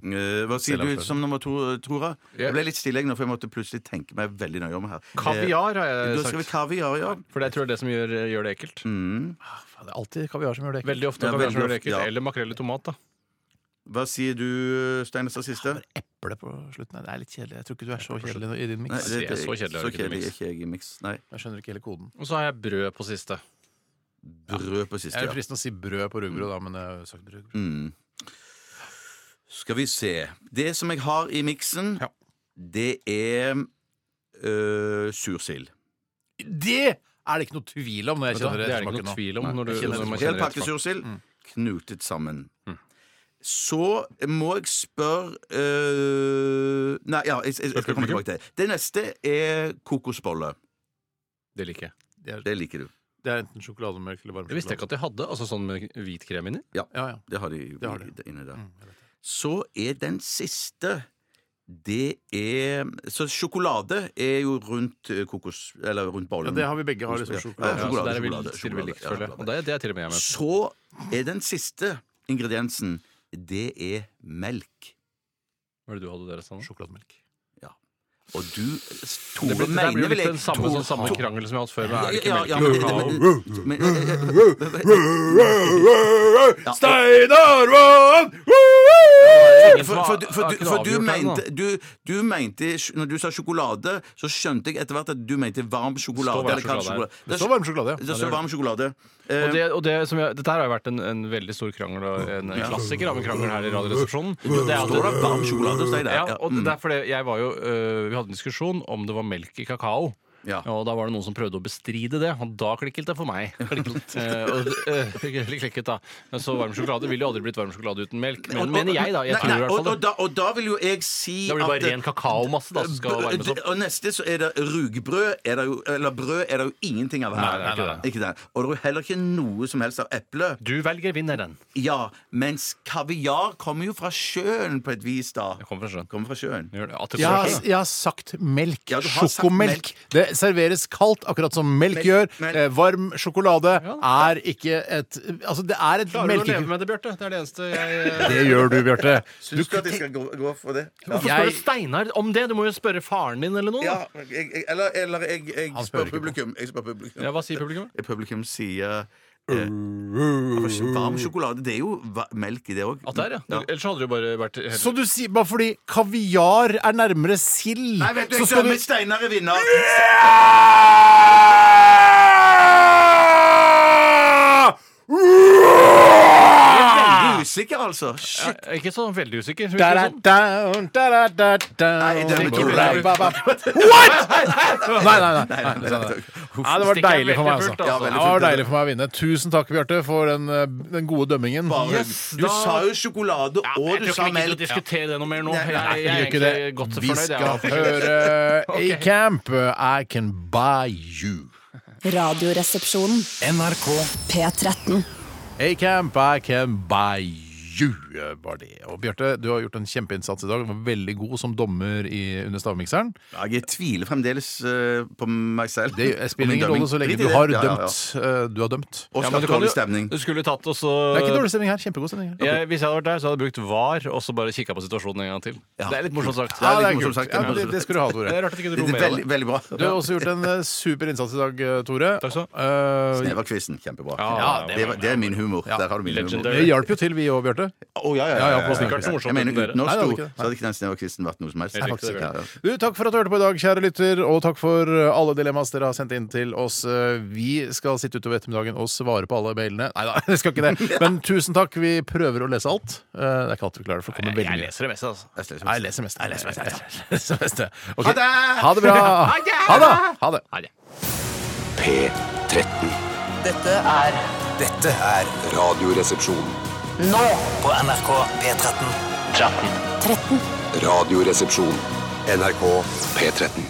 S3: Eh, Hva sier du som nummer to, eh, Tora?
S5: Ja.
S3: Jeg ble litt stille jeg nå, for jeg måtte plutselig tenke meg veldig nøye om her.
S5: Kaviar har
S3: Eh,
S5: jeg
S3: Da skal vi
S5: sagt.
S3: kaviar, ja.
S5: For det tror jeg er det som gjør, gjør det ekkelt.
S3: Mm.
S2: Faen, Det er alltid kaviar som gjør det.
S5: Veldig ofte
S3: Ja,
S5: kaviar som
S3: veldig
S5: gjør det
S3: ofte,
S5: ekkelt.
S3: ja.
S5: Eller makrell i tomat, da.
S3: Hva sier du, eh, Steinar, som siste?
S2: Eple på slutten. Nei, Det er litt kjedelig. Jeg tror ikke du er så kjedelig i din
S3: Nei,
S2: miks.
S5: det- så kjedelig er
S3: så
S5: det ikke i
S3: kjedelig er
S5: mix.
S3: ikke jeg i mix. Nei.
S2: Jeg skjønner ikke hele koden.
S5: Og så har jeg brød på siste.
S3: Brød på siste,
S2: Jeg er
S3: ja.
S2: fristende å si brød på rugbrød, da, men jeg
S5: eh,
S2: har jo sagt rugbrød.
S3: Mm. Skal vi se Det som jeg har i miksen,
S2: Ja.
S3: det er øh, sursild.
S2: Det er det ikke noe tvil om når jeg
S5: Vet du hva?
S2: kjenner
S5: Det er det ikke
S2: ettersmaken
S5: noe
S2: nå.
S5: tvil om. Når du,
S2: jeg kjenner
S5: når man
S2: det.
S5: kjenner
S3: Hel pakke
S5: ettersmak.
S3: sursild
S2: Mm.
S3: knutet sammen. Så må jeg spørre øh, Nei, ja, jeg, jeg, jeg skal komme tilbake til det. Det neste er kokosbolle.
S5: Det liker jeg.
S2: Det er,
S3: Det liker du.
S2: det er enten sjokolademelk eller varm
S5: Jeg visste ikke
S2: sjokolade.
S5: at de hadde. Altså sånn med hvit krem inni.
S2: Ja, ja.
S3: Det har de
S2: Det har de.
S3: inni der.
S2: Mm, jeg vet det.
S3: Så er den siste det er Så sjokolade er jo rundt eh, kokos... Eller rundt
S2: Ja,
S3: bollen.
S2: det har vi begge. har
S3: Ja,
S2: liksom
S3: ja.
S5: Ja,
S2: sjokolade.
S5: så
S3: sjokolade,
S5: der er vi
S3: sjokolade,
S5: litt til vi
S3: sjokolade,
S5: liker,
S3: ja,
S5: føler jeg. Og det er, det er til og med jeg med.
S3: Så er den siste ingrediensen Det er melk.
S5: Hva er det du hadde der, Steinar?
S2: Sjokolademelk.
S3: Og du
S5: Det
S3: Tore
S5: blir, det
S3: mener
S5: blir jo
S3: vel
S5: litt
S3: jeg
S5: den samme,
S3: Tore-
S5: sånn, samme
S3: Tore-
S5: krangel som jeg har hatt før. Men er det ikke
S3: Ja, ja,
S5: melk
S3: men-
S5: i kakao?
S3: men- men- Ja,
S2: Steinar Vann!
S5: Ingen som
S3: For,
S5: har-
S3: for, du- for,
S5: har
S3: du-
S5: ikke
S3: for du
S5: avgjort det ennå.
S3: mente, du, du mente Når du sa sjokolade, så skjønte jeg etter hvert at du mente varm sjokolade.
S5: Det står varm
S3: eller kald
S5: sjokolade her.
S3: sjokolade.
S2: Det står varm sjokolade, ja.
S3: Det står varm sjokolade. Eh,
S5: Og det, og det som jeg, dette her har jo vært en, en veldig stor krangel, og en klassiker av en krangel her i Radioresepsjonen. Det er at-
S3: står da varm sjokolade hos deg der.
S5: Ja,
S3: Ja,
S5: og
S3: mm.
S5: det er fordi jeg var jo, øh, Vi hadde en diskusjon om det var melk i kakao.
S3: Ja.
S5: Og da var det noen som prøvde å bestride det, og da klikket det for meg. Klikket, Eh, og, eh, klikket da. Men så varm sjokolade ville jo aldri blitt varm sjokolade uten melk. Men, mener jeg, da. Jeg
S3: Nei,
S5: tror i
S3: nei,
S5: hvert
S3: og,
S5: fall
S3: og,
S5: det.
S3: da, og da vil jo jeg si
S5: Da blir det
S3: at-
S5: bare ren kakaomasse da, som skal varmes opp.
S3: Og neste så er det rugbrød. Er det jo, eller brød er det jo ingenting av her.
S5: Nei, det er ikke
S3: Ikke det. Og det er jo heller ikke noe som helst av eple.
S5: Du velger vinneren.
S3: Ja, mens kaviar kommer jo fra sjøen på et vis, da.
S5: Jeg kommer fra sjøen.
S3: Kommer fra sjøen.
S5: Gjør det. At det
S2: Jeg har,
S5: kommer fra-
S2: jeg har sagt melk.
S3: Ja, du har sagt
S2: Sjokomelk. Det serveres kaldt, akkurat som melk gjør.
S3: melk.
S2: Eh, varm sjokolade er ikke et Altså, det er et
S5: Klarer du å leve
S2: melke...
S5: med det, Bjarte? Det er det eneste jeg
S2: Det gjør du, Bjarte.
S3: Syns du at jeg skal gå, gå for det? Ja.
S5: Hvorfor spør du Steinar om det? Du må jo spørre faren din eller noen.
S3: Ja,
S5: da.
S3: jeg, jeg, eller eller jeg, jeg,
S2: Han spør
S3: spør
S2: ikke på.
S3: publikum. jeg spør publikum.
S5: Ja, hva sier publikum?
S3: Publikum sier eh, Varm sjokolade. Det er jo va melk i det òg.
S5: At det er, ja. Ellers hadde det jo bare vært helt
S2: Så du sier bare fordi kaviar er nærmere sild,
S3: Nei, vet du,
S2: så
S3: jeg
S2: skal
S3: dømmer
S2: du Ah!
S3: Steinar er vinner. Jeg er veldig usikker, altså. Shit.
S5: Jeg er Ikke så veldig usikker. virker
S2: Da, da,
S5: det sånn. som.
S2: da, da, da, da, da.
S3: Nei, det er ikke
S5: veldig-
S2: Ba, ba, ba. What?! Nei, nei, nei.
S3: Nei, nei, nei, nei. Uff.
S2: Ja, det var
S5: Stikk er
S2: deilig for meg,
S5: veldig
S2: altså.
S5: fullt, altså.
S2: Ja, det var deilig for meg å vinne. Tusen takk, Bjarte, for den, eh, den gode dømmingen.
S3: Bare- du sa jo sjokolade, og
S5: Jeg
S3: du
S5: tror
S3: sa
S5: ikke vi gidder å
S3: melk.
S5: diskutere det noe mer nå.
S3: Nei, nei,
S5: Jeg,
S2: Vi
S5: jeg
S2: gjør
S5: er
S2: ikke det.
S5: egentlig godt
S2: Vi
S5: fornøyd. jeg,
S2: skal
S5: altså.
S2: høre
S5: Ok.
S2: A-Camp, I Can Buy You.
S8: Radioresepsjonen. NRK P13.
S2: A-Camp, I Can Buy You var det. Og Bjarte, du har gjort en kjempeinnsats i dag. Du var veldig god som dommer i, under stavmikseren.
S3: Ja, Jeg tviler fremdeles eh, på meg selv.
S2: Det
S5: Hm.
S2: spiller ingen rolle så lenge du har dømt. eh, Du har dømt.
S3: Og
S5: Ja, men
S3: skapt
S5: du kan
S3: dårlig
S5: jo-
S3: stemning.
S5: Du skulle tatt og
S2: Det er ikke
S5: så
S2: dårlig stemning her. Kjempegod stemning her.
S5: jeg, Hvis jeg hadde vært der, så hadde jeg brukt var og så bare kikka på situasjonen en gang til. Det er litt morsomt sagt.
S3: Ja, det er
S2: kult.
S3: morsomt sagt, det er
S2: Ja, det,
S3: morsomt.
S2: det skulle du ha, Tore.
S5: Det er rart at ikke
S3: Det
S5: du dro
S3: er
S5: mer av
S3: veldig,
S5: det.
S3: veldig bra.
S2: Du har også gjort en eh, super innsats i dag, eh, Tore.
S5: Takk skal
S3: Det
S2: Eh,
S3: var quizen. Kjempebra.
S5: Ja,
S3: det, var, det er min humor. Der har du min humor.
S5: Legendary.
S2: Det hjalp jo til, vi òg, Bjarte.
S3: Å, ja, ja,
S2: Ja,
S3: ja,
S2: ja,
S3: ja,
S2: på
S3: ja,
S2: snikker.
S3: ja.
S5: morsomt
S3: Jeg mener,
S5: enn dere.
S3: uten oss
S2: Nei, det
S3: to
S2: hadde ikke det.
S3: så hadde ikke den sneverkvisten vært noe som helst.
S5: Helt riktig, det er
S3: Ja, ja.
S2: Du, takk for at du hørte på i dag, kjære lytter, og takk for eh, alle dilemmas dere har sendt inn til oss. Eh, Vi skal sitte utover ettermiddagen og svare på alle mailene. Nei da, vi skal ikke det. Men tusen takk. Vi prøver å lese alt. Eh, Det er ikke alltid vi klarer det, for det kommer veldig
S5: Jeg
S2: mye.
S5: leser det meste, altså.
S3: Jeg ser-
S2: Nei, Jeg leser mest. Jeg leser mest. Jeg leser mest. Ok.
S3: Ha det!
S2: Ha det bra! Ha det! Ha det.
S5: Nei, det-
S6: P13.
S9: Dette er
S6: Dette er Radioresepsjon.
S9: nå på NRK P13. 13.
S8: 13.
S6: Radioresepsjon. NRK P13.